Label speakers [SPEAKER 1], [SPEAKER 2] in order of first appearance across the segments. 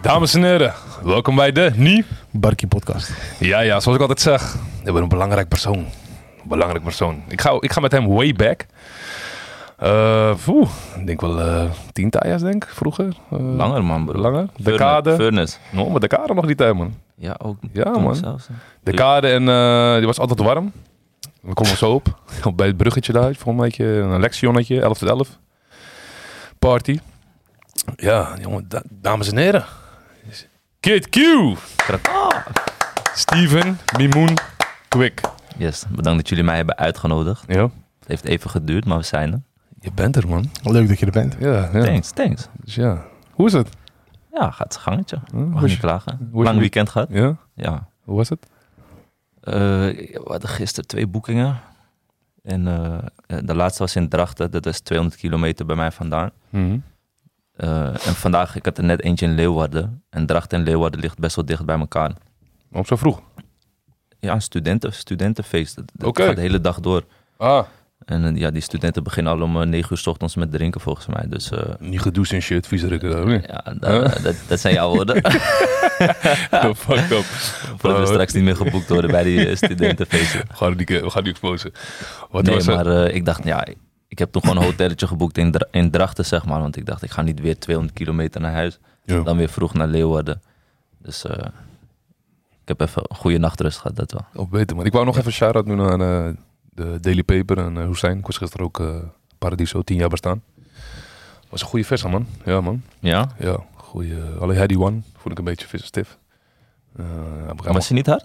[SPEAKER 1] Dames en heren, welkom bij de Nie.
[SPEAKER 2] Barkie podcast.
[SPEAKER 1] Ja, ja, zoals ik altijd zeg, we hebben een belangrijk persoon. Een belangrijk persoon. Ik ga, ik ga met hem way back. Eh, poeh, ik denk wel eh tien tijgers, denk ik, vroeger. Eh,
[SPEAKER 3] Langer, man, bro.
[SPEAKER 1] Langer.
[SPEAKER 3] Furnace-
[SPEAKER 1] Decade.
[SPEAKER 3] Furnace.
[SPEAKER 1] No, maar decade nog die tijd, man.
[SPEAKER 3] Ja, ook.
[SPEAKER 1] Ja,
[SPEAKER 3] toen
[SPEAKER 1] man.
[SPEAKER 3] zelfs, hè.
[SPEAKER 1] Decade en eh, die was altijd warm. We komen zo op. Bij het bruggetje daar, volgens mij had je een lectionnetje, 11 tot 11. Party. Ja, jongen, da- dames en heren. Kid Q. Steven, Mimoen, Quick.
[SPEAKER 3] Yes, bedankt dat jullie mij hebben uitgenodigd.
[SPEAKER 1] Ja.
[SPEAKER 3] Het heeft even geduurd, maar we zijn er.
[SPEAKER 1] Je bent er, man.
[SPEAKER 2] Leuk dat je er bent.
[SPEAKER 1] Ja, ja.
[SPEAKER 3] Thanks, thanks.
[SPEAKER 1] Dus ja. Hoe is het?
[SPEAKER 3] Ja, gaat zijn gangetje.
[SPEAKER 1] hoe
[SPEAKER 3] Mag
[SPEAKER 1] is
[SPEAKER 3] niet
[SPEAKER 1] je-
[SPEAKER 3] klagen.
[SPEAKER 1] je
[SPEAKER 3] Lang
[SPEAKER 1] week-
[SPEAKER 3] weekend gehad.
[SPEAKER 1] Ja?
[SPEAKER 3] Ja.
[SPEAKER 1] Hoe was het?
[SPEAKER 3] Eh, we hadden gisteren twee boekingen. En eh, de laatste was in Drachten. Dat is 200 kilometer bij mij vandaan.
[SPEAKER 1] Mhm.
[SPEAKER 3] Eh, en vandaag, ik had er net eentje in Leeuwarden. En Drachten en Leeuwarden ligt best wel dicht bij elkaar.
[SPEAKER 1] Om zo vroeg.
[SPEAKER 3] Ja, een studenten, studentenfeest. Dat, dat
[SPEAKER 1] Oké.
[SPEAKER 3] gaat de hele dag door.
[SPEAKER 1] Ah.
[SPEAKER 3] En eh, ja, die studenten beginnen al om eh, 9 uur 's ochtends met drinken volgens mij. Dus eh,
[SPEAKER 1] Niet gedoe en shit, vieze rukken daar, of niet?
[SPEAKER 3] ja, da- dat, dat zijn jouw woorden.
[SPEAKER 1] Fuck up.
[SPEAKER 3] Voordat we straks niet meer geboekt worden bij die eh, studentenfeesten.
[SPEAKER 1] We gaan die, we gaan die exposen. Wat
[SPEAKER 3] nee,
[SPEAKER 1] was het?
[SPEAKER 3] maar eh, ik dacht, ja, ik- ik heb toen gewoon een hotelletje geboekt in, Dra- in Drachten, zeg maar. Want ik dacht, ik ga niet weer 200 kilometer naar huis.
[SPEAKER 1] Ja.
[SPEAKER 3] Dan weer vroeg naar Leeuwarden. Dus eh, ik heb even een goede nachtrust gehad, dat wel.
[SPEAKER 1] Of Oh, beter, man. Ik wou nog even shout-out doen aan eh, de Daily Paper en eh Hussein. Ik was gisteren ook eh, Paradiso, 10 jaar bestaan. Was een goede visser, man. Ja, man.
[SPEAKER 3] Ja?
[SPEAKER 1] Ja, goeie. alleen hij die one vond ik een beetje visserstif. Eh, hij begon-
[SPEAKER 3] Was je niet hard?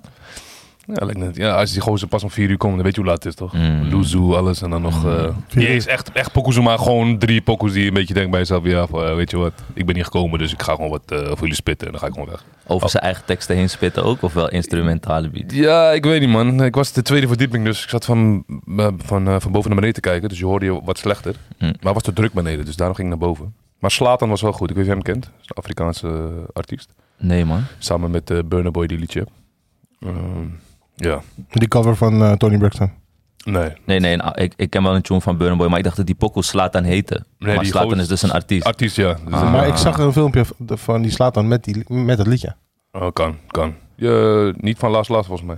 [SPEAKER 1] ja, lijkt net, ja, als die gozer pas om 4 uur komt, dan weet je hoe laat het is, toch?
[SPEAKER 3] Mm.
[SPEAKER 1] Luzu, alles en dan nog... eh die is echt, echt pokoes, maar gewoon drie pokoes die een beetje denkt bij jezelf... Ja, van, eh, weet je wat, ik ben niet gekomen, dus ik ga gewoon wat eh, voor jullie spitten en dan ga ik gewoon weg.
[SPEAKER 3] Over zijn eigen teksten heen spitten ook, of wel instrumentale beat?
[SPEAKER 1] Ja, ik weet niet man. Ik was de tweede verdieping, dus ik zat van, eh, van, eh, van boven naar beneden te kijken. Dus je hoorde je wat slechter.
[SPEAKER 3] Hm.
[SPEAKER 1] Maar het was te druk beneden, dus daarom ging ik naar boven. Maar Slatan was wel goed. Ik weet niet of je hem kent. Dat is een Afrikaanse eh, artiest.
[SPEAKER 3] Nee, man.
[SPEAKER 1] Samen met eh Burner Boy, die liedje. Ehm, ja.
[SPEAKER 2] Die cover van eh, Tony Braxton.
[SPEAKER 1] Nee.
[SPEAKER 3] Nee, nee, nou, ik, ik ken wel een tune van Burna Boy, maar ik dacht dat die pokoe Slatan heette.
[SPEAKER 1] Nee,
[SPEAKER 3] maar
[SPEAKER 1] die
[SPEAKER 3] Slatan
[SPEAKER 1] gozer-
[SPEAKER 3] is dus een artiest.
[SPEAKER 1] Artiest, ja. Dus
[SPEAKER 3] Ah.
[SPEAKER 2] Maar ik zag een filmpje v- de- van die slaat dan met, die, met dat liedje.
[SPEAKER 1] eh, oh, kan, kan. Je, niet van Last Last, volgens mij.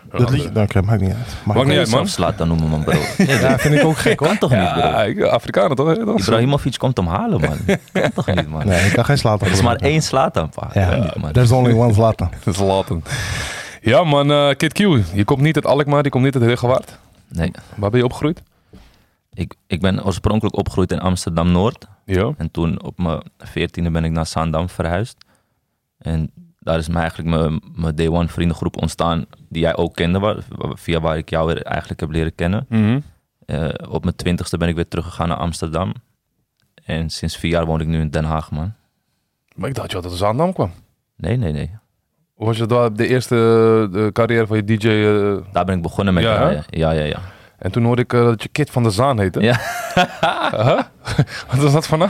[SPEAKER 1] Een
[SPEAKER 2] Dat
[SPEAKER 1] andere.
[SPEAKER 2] liedje, nou, oké, maakt niet uit.
[SPEAKER 1] Oh, Maakt niet
[SPEAKER 3] Nee,
[SPEAKER 1] uit, man.
[SPEAKER 3] man. Slatan noemen, man, bro. Ja,
[SPEAKER 2] Ja, vind ik ook gek hoor.
[SPEAKER 3] kan toch niet, bro?
[SPEAKER 1] Ja, ik- Afrikanen toch? hè? Dat is-
[SPEAKER 3] Ibrahimovic komt hem halen, man. kan toch niet, man?
[SPEAKER 2] Nee, ik kan geen slaat
[SPEAKER 3] Er is maar één Slatan, pa.
[SPEAKER 2] Ja,
[SPEAKER 3] Kan niet, man.
[SPEAKER 2] there's only one slaat
[SPEAKER 1] Zlatan. Ja man, eh, Kid Q. Je komt niet uit Alkmaar, je komt niet uit Heergewaard.
[SPEAKER 3] Nee,
[SPEAKER 1] Waar ben je opgegroeid?
[SPEAKER 3] ik, ik ben oorspronkelijk opgegroeid in Amsterdam-Noord.
[SPEAKER 1] Ja.
[SPEAKER 3] En toen op mijn veertiende ben ik naar Zaandam verhuisd. En daar is me eigenlijk mijn, mijn day one vriendengroep ontstaan, die jij ook kende, waar- via waar ik jou weer eigenlijk heb leren kennen.
[SPEAKER 1] Mhm.
[SPEAKER 3] Eh, op mijn twintigste ben ik weer teruggegaan naar Amsterdam. En sinds vier jaar woon ik nu in Den Haag, man.
[SPEAKER 1] Maar ik dacht je altijd uit Zaandam kwam.
[SPEAKER 3] Nee, nee, nee.
[SPEAKER 1] Of was je daar de eerste eh, de carrière van je DJ? eh,
[SPEAKER 3] Daar ben ik begonnen met
[SPEAKER 1] Ja, hè?
[SPEAKER 3] draaien. Ja, ja, ja.
[SPEAKER 1] en toen hoorde ik eh, dat je Kid van de Zaan heette.
[SPEAKER 3] Ja.
[SPEAKER 1] Huh? Wat is dat voor naam?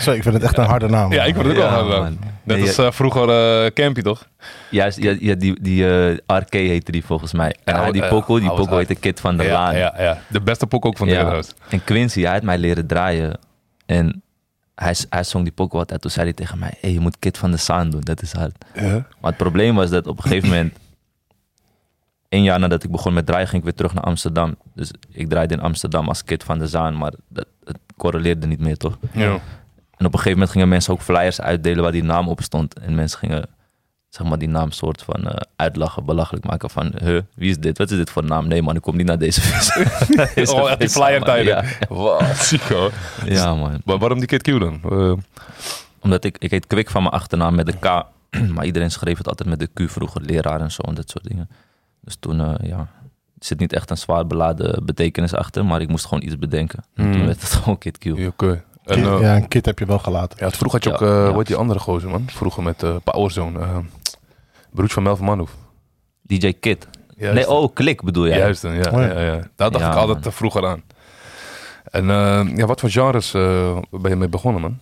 [SPEAKER 2] Zo, ik vind het echt een harde naam.
[SPEAKER 1] Ja, ik word het ook
[SPEAKER 3] Ja,
[SPEAKER 1] wel
[SPEAKER 3] man.
[SPEAKER 1] gedaan. Net
[SPEAKER 3] Nee,
[SPEAKER 1] als
[SPEAKER 3] ja-
[SPEAKER 1] eh, vroeger eh, Campy, toch?
[SPEAKER 3] Juist, ja, ja, die, die eh, RK heette die volgens mij. En
[SPEAKER 1] Ja,
[SPEAKER 3] hij die
[SPEAKER 1] ja,
[SPEAKER 3] Poco, die
[SPEAKER 1] hij was
[SPEAKER 3] Poco
[SPEAKER 1] hard.
[SPEAKER 3] heette Kid van der
[SPEAKER 1] ja,
[SPEAKER 3] Laan.
[SPEAKER 1] ja, ja. De beste pok ook van de
[SPEAKER 3] Ja.
[SPEAKER 1] hele huis.
[SPEAKER 3] En Quincy, hij had mij leren draaien. En hij, s- hij zong die Poco altijd. Toen zei hij tegen mij, hey, je moet Kid van de Saan doen, dat is hard. Maar het probleem was dat op een gegeven moment... Een jaar nadat ik begon met draaien, ging ik weer terug naar Amsterdam. Dus ik draaide in Amsterdam als Kid van de Zaan, maar dat, het correleerde niet meer, toch?
[SPEAKER 1] Ja.
[SPEAKER 3] En op een gegeven moment gingen mensen ook flyers uitdelen waar die naam op stond. En mensen gingen zeg maar, die naam soort van eh, uitlachen, belachelijk maken. Van, huh, wie is dit? Wat is dit voor naam? Nee man, ik kom niet naar deze vis. Deze
[SPEAKER 1] Oh, echt die
[SPEAKER 3] vis,
[SPEAKER 1] flyer
[SPEAKER 3] man.
[SPEAKER 1] tijden.
[SPEAKER 3] Ja,
[SPEAKER 1] Wat ziek hoor.
[SPEAKER 3] ja man.
[SPEAKER 1] Maar waarom die Kid Q dan? Eh,
[SPEAKER 3] Omdat ik, ik heet Kwik van mijn achternaam met een K. maar iedereen schreef het altijd met de Q vroeger. Leraar en zo en dat soort dingen. Dus toen, eh, ja... Er zit niet echt een zwaar beladen betekenis achter, maar ik moest gewoon iets bedenken. En
[SPEAKER 1] Hmm.
[SPEAKER 3] Toen werd het gewoon Kid Q.
[SPEAKER 1] ja, Oké. En, eh,
[SPEAKER 2] Ja, een kid heb je wel gelaten.
[SPEAKER 1] Ja, vroeger had je
[SPEAKER 3] Ja,
[SPEAKER 1] ook, eh
[SPEAKER 3] ja.
[SPEAKER 1] hoe heet die andere gozer man? Vroeger met eh, Powerzone. eh broers van Melvin Manhoef.
[SPEAKER 3] DJ Kid.
[SPEAKER 1] Ja,
[SPEAKER 3] nee, oh, Klik bedoel jij.
[SPEAKER 1] Juist, ja, ja,
[SPEAKER 2] Oh ja.
[SPEAKER 1] ja. ja. Daar dacht
[SPEAKER 3] Ja,
[SPEAKER 1] ik altijd
[SPEAKER 3] man.
[SPEAKER 1] te vroeger aan. En eh, ja, wat voor genres eh, ben je mee begonnen, man?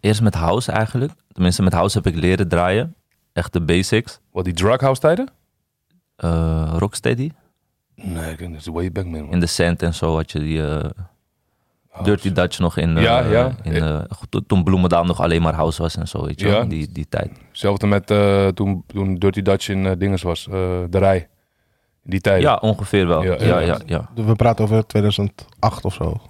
[SPEAKER 3] Eerst met house eigenlijk. Tenminste, met house heb ik leren draaien. Echt de basics.
[SPEAKER 1] Wat, die drughouse tijden?
[SPEAKER 3] Eh, rocksteady.
[SPEAKER 1] Nee, ik denk dat is way back, man.
[SPEAKER 3] In de sand en zo had je die... eh, Dirty Dutch nog in... eh,
[SPEAKER 1] Ja, ja.
[SPEAKER 3] In, eh, to- toen Bloemendaal nog alleen maar house was en zo, weet je wel,
[SPEAKER 1] Ja.
[SPEAKER 3] Die, die tijd.
[SPEAKER 1] Hetzelfde met eh, toen, toen Dirty Dutch in eh, Dinges was. eh, de Rij. In die tijd.
[SPEAKER 3] Ja, ongeveer wel.
[SPEAKER 1] Ja,
[SPEAKER 3] Ja, ja,
[SPEAKER 1] ja.
[SPEAKER 3] ja.
[SPEAKER 2] We praten over 2008 of zo.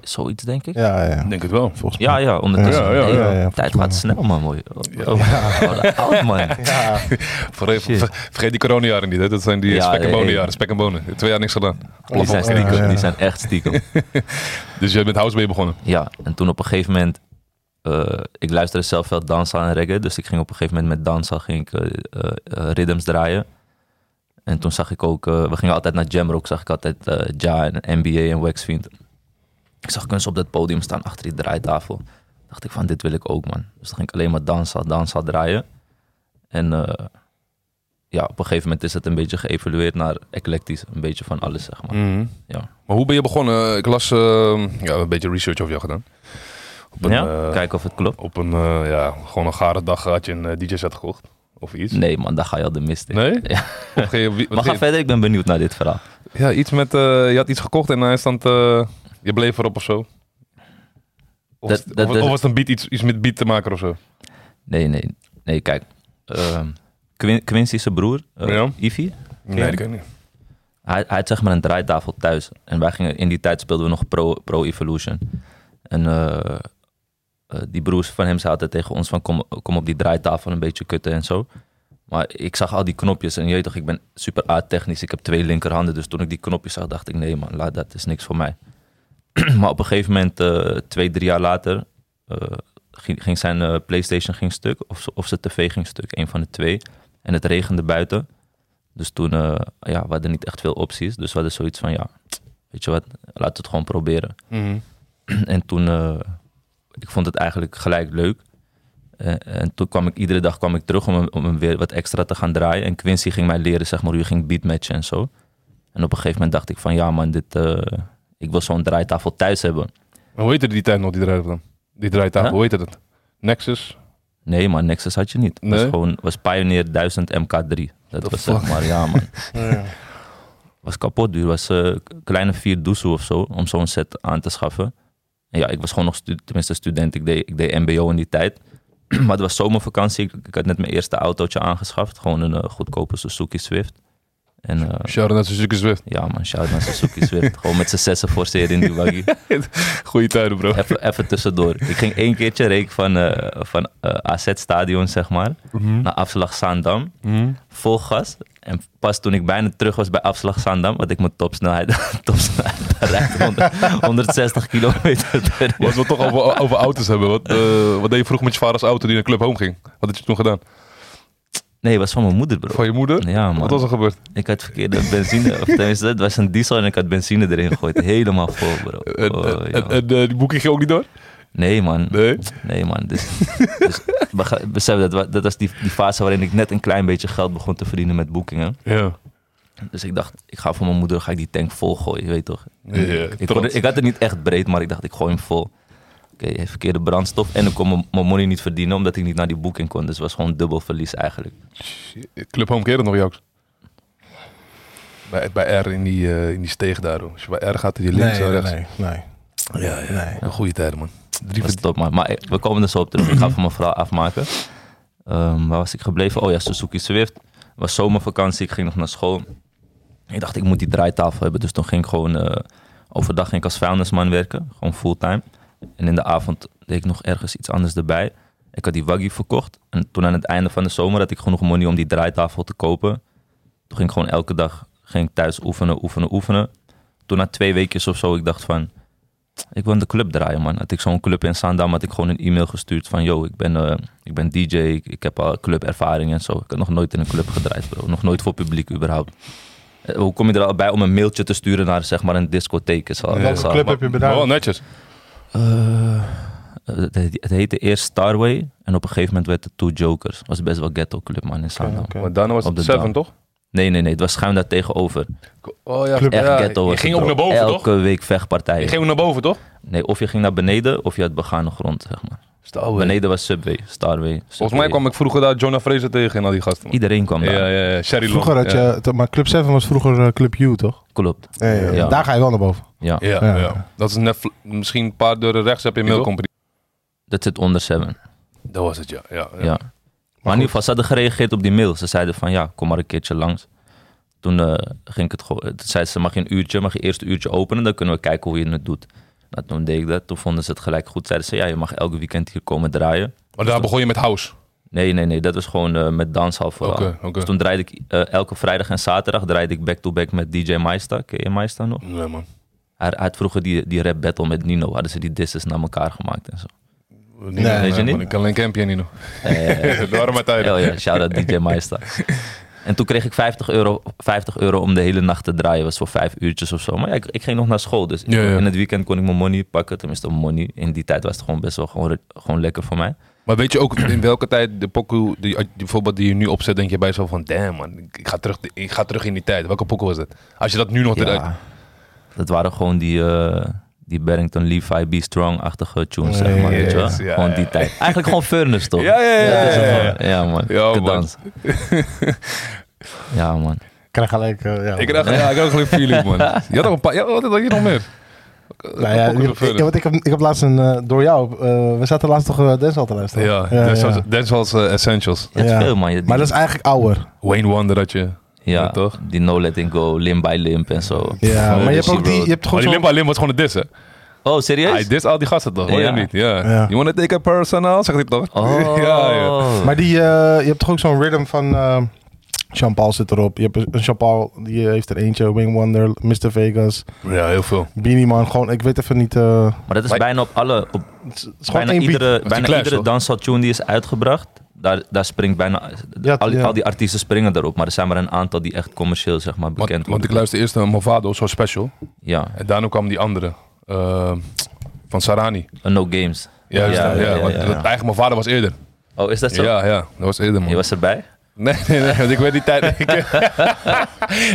[SPEAKER 3] Zoiets, denk ik. Ja,
[SPEAKER 2] Ja, ja, ja.
[SPEAKER 1] Ik denk het wel.
[SPEAKER 2] Volgens
[SPEAKER 3] ja,
[SPEAKER 2] mij.
[SPEAKER 3] ondertussen.
[SPEAKER 1] Ja, ja,
[SPEAKER 3] Nee,
[SPEAKER 1] ja, ja,
[SPEAKER 2] ja,
[SPEAKER 3] tijd
[SPEAKER 2] volgens mij
[SPEAKER 3] gaat snel, man. Mooi. Oh, wat Oud, man.
[SPEAKER 2] Ja,
[SPEAKER 1] Vergeet,
[SPEAKER 3] Shit.
[SPEAKER 1] ver- vergeet die coronajaren niet, hè? dat zijn die
[SPEAKER 3] Ja, eh,
[SPEAKER 1] spek en
[SPEAKER 3] nee,
[SPEAKER 1] bonen
[SPEAKER 3] nee.
[SPEAKER 1] jaren. Spek en bonen. Twee jaar niks gedaan.
[SPEAKER 3] Die zijn,
[SPEAKER 2] Ja,
[SPEAKER 3] stiekem,
[SPEAKER 2] ja.
[SPEAKER 3] die zijn echt stiekem.
[SPEAKER 1] Dus je bent house mee begonnen.
[SPEAKER 3] Ja, en toen op een gegeven moment... eh, ik luisterde zelf veel dansa en reggae. Dus ik ging op een gegeven moment met dansa ging ik, eh, eh, eh, rhythms draaien. En toen zag ik ook... eh, we gingen altijd naar Jamrock. Zag ik altijd eh, Ja en NBA en Waxfiend. Ik zag kunst op dat podium staan achter die draaitafel. Dacht ik van, dit wil ik ook, man. Dus dan ging ik alleen maar dansa, dansa draaien. En eh, ja, op een gegeven moment is het een beetje geëvolueerd naar eclectisch. Een beetje van alles, zeg
[SPEAKER 1] Mm.
[SPEAKER 3] maar. Ja.
[SPEAKER 1] Maar hoe ben je begonnen? Ik las eh, ja, een beetje research over jou gedaan. Op een,
[SPEAKER 3] ja?
[SPEAKER 1] eh,
[SPEAKER 3] Kijken of het klopt.
[SPEAKER 1] op een eh, ja, gewoon een gare dag had je een eh, DJ-set gekocht. Of iets.
[SPEAKER 3] Nee, man, daar ga je al de mist in.
[SPEAKER 1] Nee?
[SPEAKER 3] Ja.
[SPEAKER 1] Of ging je- wie- wat
[SPEAKER 3] Maar ga
[SPEAKER 1] ging je-
[SPEAKER 3] verder, ik ben benieuwd naar dit verhaal.
[SPEAKER 1] ja, iets met, eh, je had iets gekocht en hij stond, eh, je bleef erop of zo. Of,
[SPEAKER 3] Dat-
[SPEAKER 1] was-
[SPEAKER 3] dat-
[SPEAKER 1] of,
[SPEAKER 3] dat-
[SPEAKER 1] of was het een beat, iets, iets met beat te maken of zo?
[SPEAKER 3] Nee, nee, nee, kijk. ehm, Quin Quincy, zijn broer, eh,
[SPEAKER 1] Ja.
[SPEAKER 3] Ivy,
[SPEAKER 1] Nee, dat ken ik niet.
[SPEAKER 3] hij, hij had zeg maar een draaitafel thuis. En wij gingen, in die tijd speelden we nog Pro, pro Evolution. En eh, eh, die broers van hem zaten tegen ons van kom, kom op die draaitafel een beetje kutten en zo. Maar ik zag al die knopjes en je weet toch, ik ben super aardtechnisch. Ik heb twee linkerhanden, dus toen ik die knopjes zag dacht ik nee man, laat dat, is niks voor mij. maar op een gegeven moment, eh, twee, drie jaar later, eh, ging, ging zijn eh, Playstation ging stuk of, z- of zijn tv ging stuk, een van de twee. En het regende buiten. Dus toen, eh, ja, we hadden niet echt veel opties. Dus we hadden zoiets van, ja, weet je wat, laten we het gewoon proberen.
[SPEAKER 1] Mhm.
[SPEAKER 3] En toen, eh, ik vond het eigenlijk gelijk leuk. Eh, en toen kwam ik, iedere dag kwam ik terug om hem, om hem weer wat extra te gaan draaien. En Quincy ging mij leren, zeg maar, hoe je ging beatmatchen en zo. En op een gegeven moment dacht ik van, ja man, dit, eh, ik wil zo'n draaitafel thuis hebben.
[SPEAKER 1] En Hoe heette die tijd nog, die draait dan? Die draaitafel,
[SPEAKER 3] Huh?
[SPEAKER 1] hoe heette dat? Nexus?
[SPEAKER 3] Nee man, Nexus had je niet. Het
[SPEAKER 1] Nee?
[SPEAKER 3] was gewoon, was Pioneer 1000 MK3. Dat
[SPEAKER 1] The Oh,
[SPEAKER 3] was zeg maar, ja man.
[SPEAKER 2] ja.
[SPEAKER 3] was kapot duur. was eh, k- kleine vier doezoe of zo om zo'n set aan te schaffen. En ja, ik was gewoon nog stu- tenminste student. Ik deed, ik deed mbo in die tijd. maar het was zomervakantie. Ik, ik had net mijn eerste autootje aangeschaft. Gewoon een eh, goedkope Suzuki Swift. En eh,
[SPEAKER 1] Shout out naar Suzuki Swift.
[SPEAKER 3] ja man, shout naar Suzuki Swift. gewoon met z'n zessen forceren in die buggy.
[SPEAKER 1] Goeie tijden, bro.
[SPEAKER 3] Even, even tussendoor. Ik ging één keertje reek van, eh, van eh, AZ Stadion, zeg maar, naar afslag Zaandam
[SPEAKER 1] Mhm.
[SPEAKER 3] vol gas. En pas toen ik bijna terug was bij afslag Zaandam, had ik mijn topsnelheid, topsnelheid bereikt. 100 160 kilometer per uur.
[SPEAKER 1] Wat we het toch over, over auto's hebben. Wat, eh, wat deed je vroeg met je vaders auto die naar Club Home ging? Wat had je toen gedaan?
[SPEAKER 3] Nee, het was van mijn moeder, bro.
[SPEAKER 1] Van je moeder?
[SPEAKER 3] Ja,
[SPEAKER 1] Wat
[SPEAKER 3] man.
[SPEAKER 1] was er gebeurd?
[SPEAKER 3] Ik had verkeerde benzine, of tenminste, het was een diesel en ik had benzine erin gegooid. Helemaal vol, bro.
[SPEAKER 1] En,
[SPEAKER 3] Oh,
[SPEAKER 1] en-
[SPEAKER 3] ja.
[SPEAKER 1] en, eh, die boeking ging ook niet door?
[SPEAKER 3] Nee, man.
[SPEAKER 1] Nee.
[SPEAKER 3] Nee, man. Dus, dus bega- besef, dat, wa- dat was die, die fase waarin ik net een klein beetje geld begon te verdienen met boekingen.
[SPEAKER 1] Ja.
[SPEAKER 3] Dus ik dacht, ik ga voor mijn moeder, ga ik die tank vol gooien, je weet toch?
[SPEAKER 1] Ja, ja,
[SPEAKER 3] ik, kon-
[SPEAKER 1] trots.
[SPEAKER 3] ik had het niet echt breed, maar ik dacht, ik gooi hem vol. Oké, verkeerde brandstof. En ik kon mijn- mijn money niet verdienen, omdat ik niet naar die boeking kon. Dus het was gewoon dubbel verlies eigenlijk.
[SPEAKER 1] Club Home keerde nog Jacques. Bij, bij R in die, eh, in die steeg daar. hoor. Als je bij R gaat, die links en
[SPEAKER 2] Nee,
[SPEAKER 1] rechts. Oh,
[SPEAKER 2] nee, nee.
[SPEAKER 1] Ja, ja.
[SPEAKER 2] Nee.
[SPEAKER 1] Een goede tijden, man. Drie
[SPEAKER 3] Dat is
[SPEAKER 1] verd-
[SPEAKER 3] top, man. Maar eh, we komen er zo op terug. Ik ga van mijn verhaal afmaken. Ehm, waar was ik gebleven? Oh ja, Suzuki Swift. Het was zomervakantie, ik ging nog naar school. Ik dacht, ik moet die draaitafel hebben. Dus toen ging ik gewoon... eh, overdag ging ik als vuilnisman werken. Gewoon fulltime. En in de avond deed ik nog ergens iets anders erbij. Ik had die Waggy verkocht. En toen aan het einde van de zomer had ik genoeg money om die draaitafel te kopen. Toen ging ik gewoon elke dag ging ik thuis oefenen, oefenen, oefenen. Toen na twee weekjes of zo, ik dacht van... Ik wil in de club draaien, man. Had ik zo'n club in Zaandam, had ik gewoon een e-mail gestuurd van... Yo, ik ben, eh, ik ben DJ, ik, ik heb al clubervaring en zo. Ik had nog nooit in een club gedraaid, bro. Nog nooit voor publiek, überhaupt. Eh, hoe kom je er al bij om een mailtje te sturen naar, zeg maar, een discotheek? Is al,
[SPEAKER 2] Welke
[SPEAKER 3] is al-
[SPEAKER 2] club heb je
[SPEAKER 1] Maar oh, wel
[SPEAKER 2] bedacht?
[SPEAKER 1] netjes.
[SPEAKER 3] eh, het, het heette eerst Starway en op een gegeven moment werd het Two Jokers. Was best wel ghetto club man in Zaandam.
[SPEAKER 2] oké.
[SPEAKER 1] Maar daarna was
[SPEAKER 3] Op
[SPEAKER 1] het
[SPEAKER 3] de
[SPEAKER 1] Seven,
[SPEAKER 3] dam.
[SPEAKER 1] toch?
[SPEAKER 3] Nee, nee, nee, het was schuin daar tegenover.
[SPEAKER 1] Oh ja.
[SPEAKER 2] Club
[SPEAKER 3] Echt
[SPEAKER 1] ja,
[SPEAKER 3] ghetto
[SPEAKER 1] Je
[SPEAKER 3] was het,
[SPEAKER 1] ging ook
[SPEAKER 3] bro.
[SPEAKER 1] naar boven,
[SPEAKER 3] Elke
[SPEAKER 1] toch?
[SPEAKER 3] week vechtpartijen.
[SPEAKER 1] Je ging ook naar boven, toch?
[SPEAKER 3] Nee, of je ging naar beneden of je had begane grond, zeg maar.
[SPEAKER 1] Starway.
[SPEAKER 3] Beneden was Subway, Starway.
[SPEAKER 1] Oh, Volgens mij kwam ik vroeger daar Jonah Fraser tegen en al die gasten.
[SPEAKER 3] Iedereen kwam daar,
[SPEAKER 1] Ja, ja, ja. Sherry
[SPEAKER 2] Vroeger
[SPEAKER 1] Long,
[SPEAKER 2] had
[SPEAKER 1] ja.
[SPEAKER 2] je, maar Club 7 was vroeger eh, Club U, toch?
[SPEAKER 3] klopt.
[SPEAKER 2] Eh,
[SPEAKER 3] Ja.
[SPEAKER 2] Daar ga je wel naar boven.
[SPEAKER 3] Ja,
[SPEAKER 1] Ja,
[SPEAKER 2] Ja.
[SPEAKER 1] ja. dat is net, vl- misschien een paar deuren rechts heb je Mail Company.
[SPEAKER 3] dat zit onder Seven.
[SPEAKER 1] Dat was het, ja. ja, ja.
[SPEAKER 3] Ja. Maar, in ieder geval, ze hadden gereageerd op die mail. Ze zeiden van ja, kom maar een keertje langs. Toen eh, ging ik het gewoon. Toen zeiden ze: mag je een uurtje, mag je eerst een uurtje openen, dan kunnen we kijken hoe je het doet. Nou, toen deed ik dat. Toen vonden ze het gelijk goed. Zeiden ze: ja, je mag elke weekend hier komen draaien.
[SPEAKER 1] Maar daar begon je met House.
[SPEAKER 3] Nee, nee, nee, dat was gewoon eh, met danshal vooral.
[SPEAKER 1] Oké, oké.
[SPEAKER 3] Dus toen draaide ik eh, elke vrijdag en zaterdag draaide ik back-to-back met DJ Maista. Ken je Maista nog?
[SPEAKER 1] Nee, man.
[SPEAKER 3] Hij, hij had vroeger die, die rap battle met Nino. Hadden ze die disses naar elkaar gemaakt en zo.
[SPEAKER 1] Nee,
[SPEAKER 2] Weet
[SPEAKER 3] je niet?
[SPEAKER 1] man. Ik kan alleen Campy en Nino.
[SPEAKER 3] Eh,
[SPEAKER 1] De warme tijden.
[SPEAKER 3] Oh ja, shout-out DJ Maista. En toen kreeg ik 50 euro, 50 euro om de hele nacht te draaien. was voor vijf uurtjes of zo. Maar ja, ik, ik ging nog naar school. Dus
[SPEAKER 1] Ja, ja.
[SPEAKER 3] in het weekend kon ik mijn money pakken. Tenminste, money. In die tijd was het gewoon best wel gewoon, gewoon lekker voor mij.
[SPEAKER 1] Maar weet je ook in welke tijd de pokoe, die, die- bijvoorbeeld die je nu opzet, denk je bij jezelf van, damn man, ik- ik ga, terug, ik ga terug in die tijd. Welke pokoe was dat? Als je dat nu nog eruit...
[SPEAKER 3] Ja, dat waren gewoon die, eh, die Barrington Levi Be Strong-achtige tunes, zeg maar.
[SPEAKER 2] Ja,
[SPEAKER 3] weet je wel?
[SPEAKER 1] yes, ja,
[SPEAKER 3] gewoon
[SPEAKER 1] ja.
[SPEAKER 3] die tijd. Eigenlijk gewoon Furnace, toch?
[SPEAKER 1] Ja, ja, ja,
[SPEAKER 3] Dat is het
[SPEAKER 1] ja, ja,
[SPEAKER 3] gewoon. Ja, man.
[SPEAKER 1] Ja, man.
[SPEAKER 3] Kedans. ja, man.
[SPEAKER 2] Ik krijg gelijk... eh, ja.
[SPEAKER 1] Ik dacht, ja, ik had gelijk feeling man. Je had ook een paar, ja, wat had je nog meer?
[SPEAKER 2] Nou ja,
[SPEAKER 1] Pokoe
[SPEAKER 2] ik, ik,
[SPEAKER 1] verder.
[SPEAKER 2] want ik, heb, ik heb laatst een... eh, door jou... eh, we zaten laatst toch eh, Denzel te luisteren?
[SPEAKER 1] Ja, Dancehall's- Dancehall's eh, Essentials.
[SPEAKER 3] Je hebt
[SPEAKER 2] Ja.
[SPEAKER 3] veel, man. Je-
[SPEAKER 2] Maar dat is eigenlijk ouder.
[SPEAKER 1] Wayne Wonder dat je...
[SPEAKER 3] ja,
[SPEAKER 1] Ja, toch?
[SPEAKER 3] Die No Letting Go, Limb by Limb en zo.
[SPEAKER 2] Ja,
[SPEAKER 3] Oh,
[SPEAKER 2] maar je hebt
[SPEAKER 3] Dizzy
[SPEAKER 2] ook die...
[SPEAKER 3] Road.
[SPEAKER 2] Je hebt
[SPEAKER 1] Maar
[SPEAKER 2] gewoon
[SPEAKER 1] die
[SPEAKER 2] zo'n-
[SPEAKER 1] Limba Lim was gewoon een diss, hè?
[SPEAKER 3] Oh,
[SPEAKER 1] Hij
[SPEAKER 3] serieus?
[SPEAKER 1] dist al die gasten toch, hoor
[SPEAKER 3] Ja.
[SPEAKER 1] je niet? Ja.
[SPEAKER 2] Ja.
[SPEAKER 1] You wanna take it personal, zegt hij toch?
[SPEAKER 3] Oh.
[SPEAKER 1] Ja, ja.
[SPEAKER 2] Maar die, eh, je hebt toch ook zo'n rhythm van... eh Jean-Paul zit erop. Je hebt een Jean-Paul, die eh, heeft er eentje. Wing Wonder, Mr. Vegas,
[SPEAKER 1] Ja, heel veel.
[SPEAKER 2] Beanie Man. Gewoon, ik weet even niet... eh,
[SPEAKER 3] Maar dat is
[SPEAKER 1] Maar-
[SPEAKER 3] bijna op alle... Op
[SPEAKER 2] het is gewoon
[SPEAKER 3] bijna
[SPEAKER 2] één beat.
[SPEAKER 3] iedere,
[SPEAKER 1] die
[SPEAKER 3] bijna
[SPEAKER 1] Clash,
[SPEAKER 3] iedere
[SPEAKER 1] toch?
[SPEAKER 3] danshaltune die is uitgebracht... Daar, daar springt bijna...
[SPEAKER 2] Ja,
[SPEAKER 3] al,
[SPEAKER 2] ja.
[SPEAKER 3] al die artiesten springen daarop. Maar er zijn maar een aantal die echt commercieel zeg maar, bekend
[SPEAKER 1] Want, want
[SPEAKER 3] worden.
[SPEAKER 1] ik luister eerst naar Movado, zo special.
[SPEAKER 3] Ja,
[SPEAKER 1] En daarna kwam die andere. eh, van Sarani.
[SPEAKER 3] een No Games.
[SPEAKER 1] Juist, ja, ja, want
[SPEAKER 3] ja.
[SPEAKER 1] dat- Eigenlijk, mijn vader was eerder.
[SPEAKER 3] Oh, is dat zo?
[SPEAKER 1] Ja, ja, dat was eerder, man.
[SPEAKER 3] Je was erbij?
[SPEAKER 1] Nee, nee, nee, want ik weet die tijd... ik,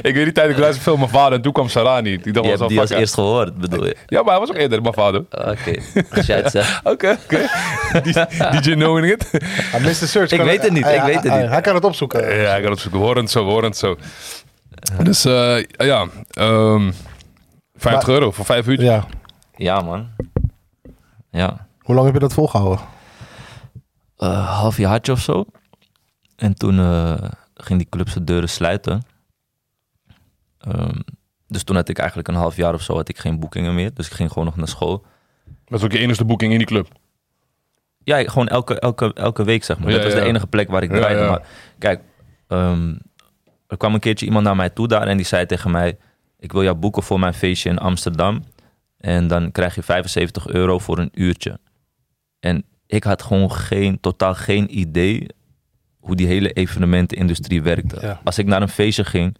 [SPEAKER 1] ik weet die tijd, ik luisterde veel naar mijn vader en toen kwam Sarani. Ik dacht, was
[SPEAKER 3] Je hebt
[SPEAKER 1] al
[SPEAKER 3] die als
[SPEAKER 1] fuck,
[SPEAKER 3] eerst gehoord, bedoel je?
[SPEAKER 1] ja. Ja, maar hij was ook eerder, mijn vader.
[SPEAKER 3] Oké, als jij het zegt.
[SPEAKER 1] Oké, oké. Die- DJ Knowing It.
[SPEAKER 2] Ah, Mr. Search
[SPEAKER 3] Ik
[SPEAKER 2] kan
[SPEAKER 3] weet het niet,
[SPEAKER 2] ah,
[SPEAKER 3] ik
[SPEAKER 2] ja,
[SPEAKER 3] weet het
[SPEAKER 2] ah,
[SPEAKER 3] niet.
[SPEAKER 2] Hij kan het opzoeken.
[SPEAKER 1] Ja, ik had het zoeken. We horen het zo, we horen het zo. Dus eh, ja, ehm 50 euro voor 5 uur.
[SPEAKER 2] Ja.
[SPEAKER 3] Ja, man. Ja.
[SPEAKER 2] Hoe lang heb je dat volgehouden?
[SPEAKER 3] eh half jaartje of zo. En toen eh, ging die club zijn deuren sluiten. Ehm, dus toen had ik eigenlijk een half jaar of zo had ik geen boekingen meer. Dus ik ging gewoon nog naar school.
[SPEAKER 1] Dat is ook je enige boeking in die club.
[SPEAKER 3] Ja, ik- gewoon elke, elke, elke week zeg maar.
[SPEAKER 1] Ja,
[SPEAKER 3] dat was
[SPEAKER 1] ja.
[SPEAKER 3] de enige plek waar ik
[SPEAKER 1] Ja,
[SPEAKER 3] draaide.
[SPEAKER 1] ja.
[SPEAKER 3] Maar kijk, ehm, er kwam een keertje iemand naar mij toe daar en die zei tegen mij... Ik wil jou boeken voor mijn feestje in Amsterdam. En dan krijg je 75 euro voor een uurtje. En ik had gewoon geen, totaal geen idee hoe die hele evenementenindustrie werkte.
[SPEAKER 2] Ja.
[SPEAKER 3] Als ik naar een feestje ging,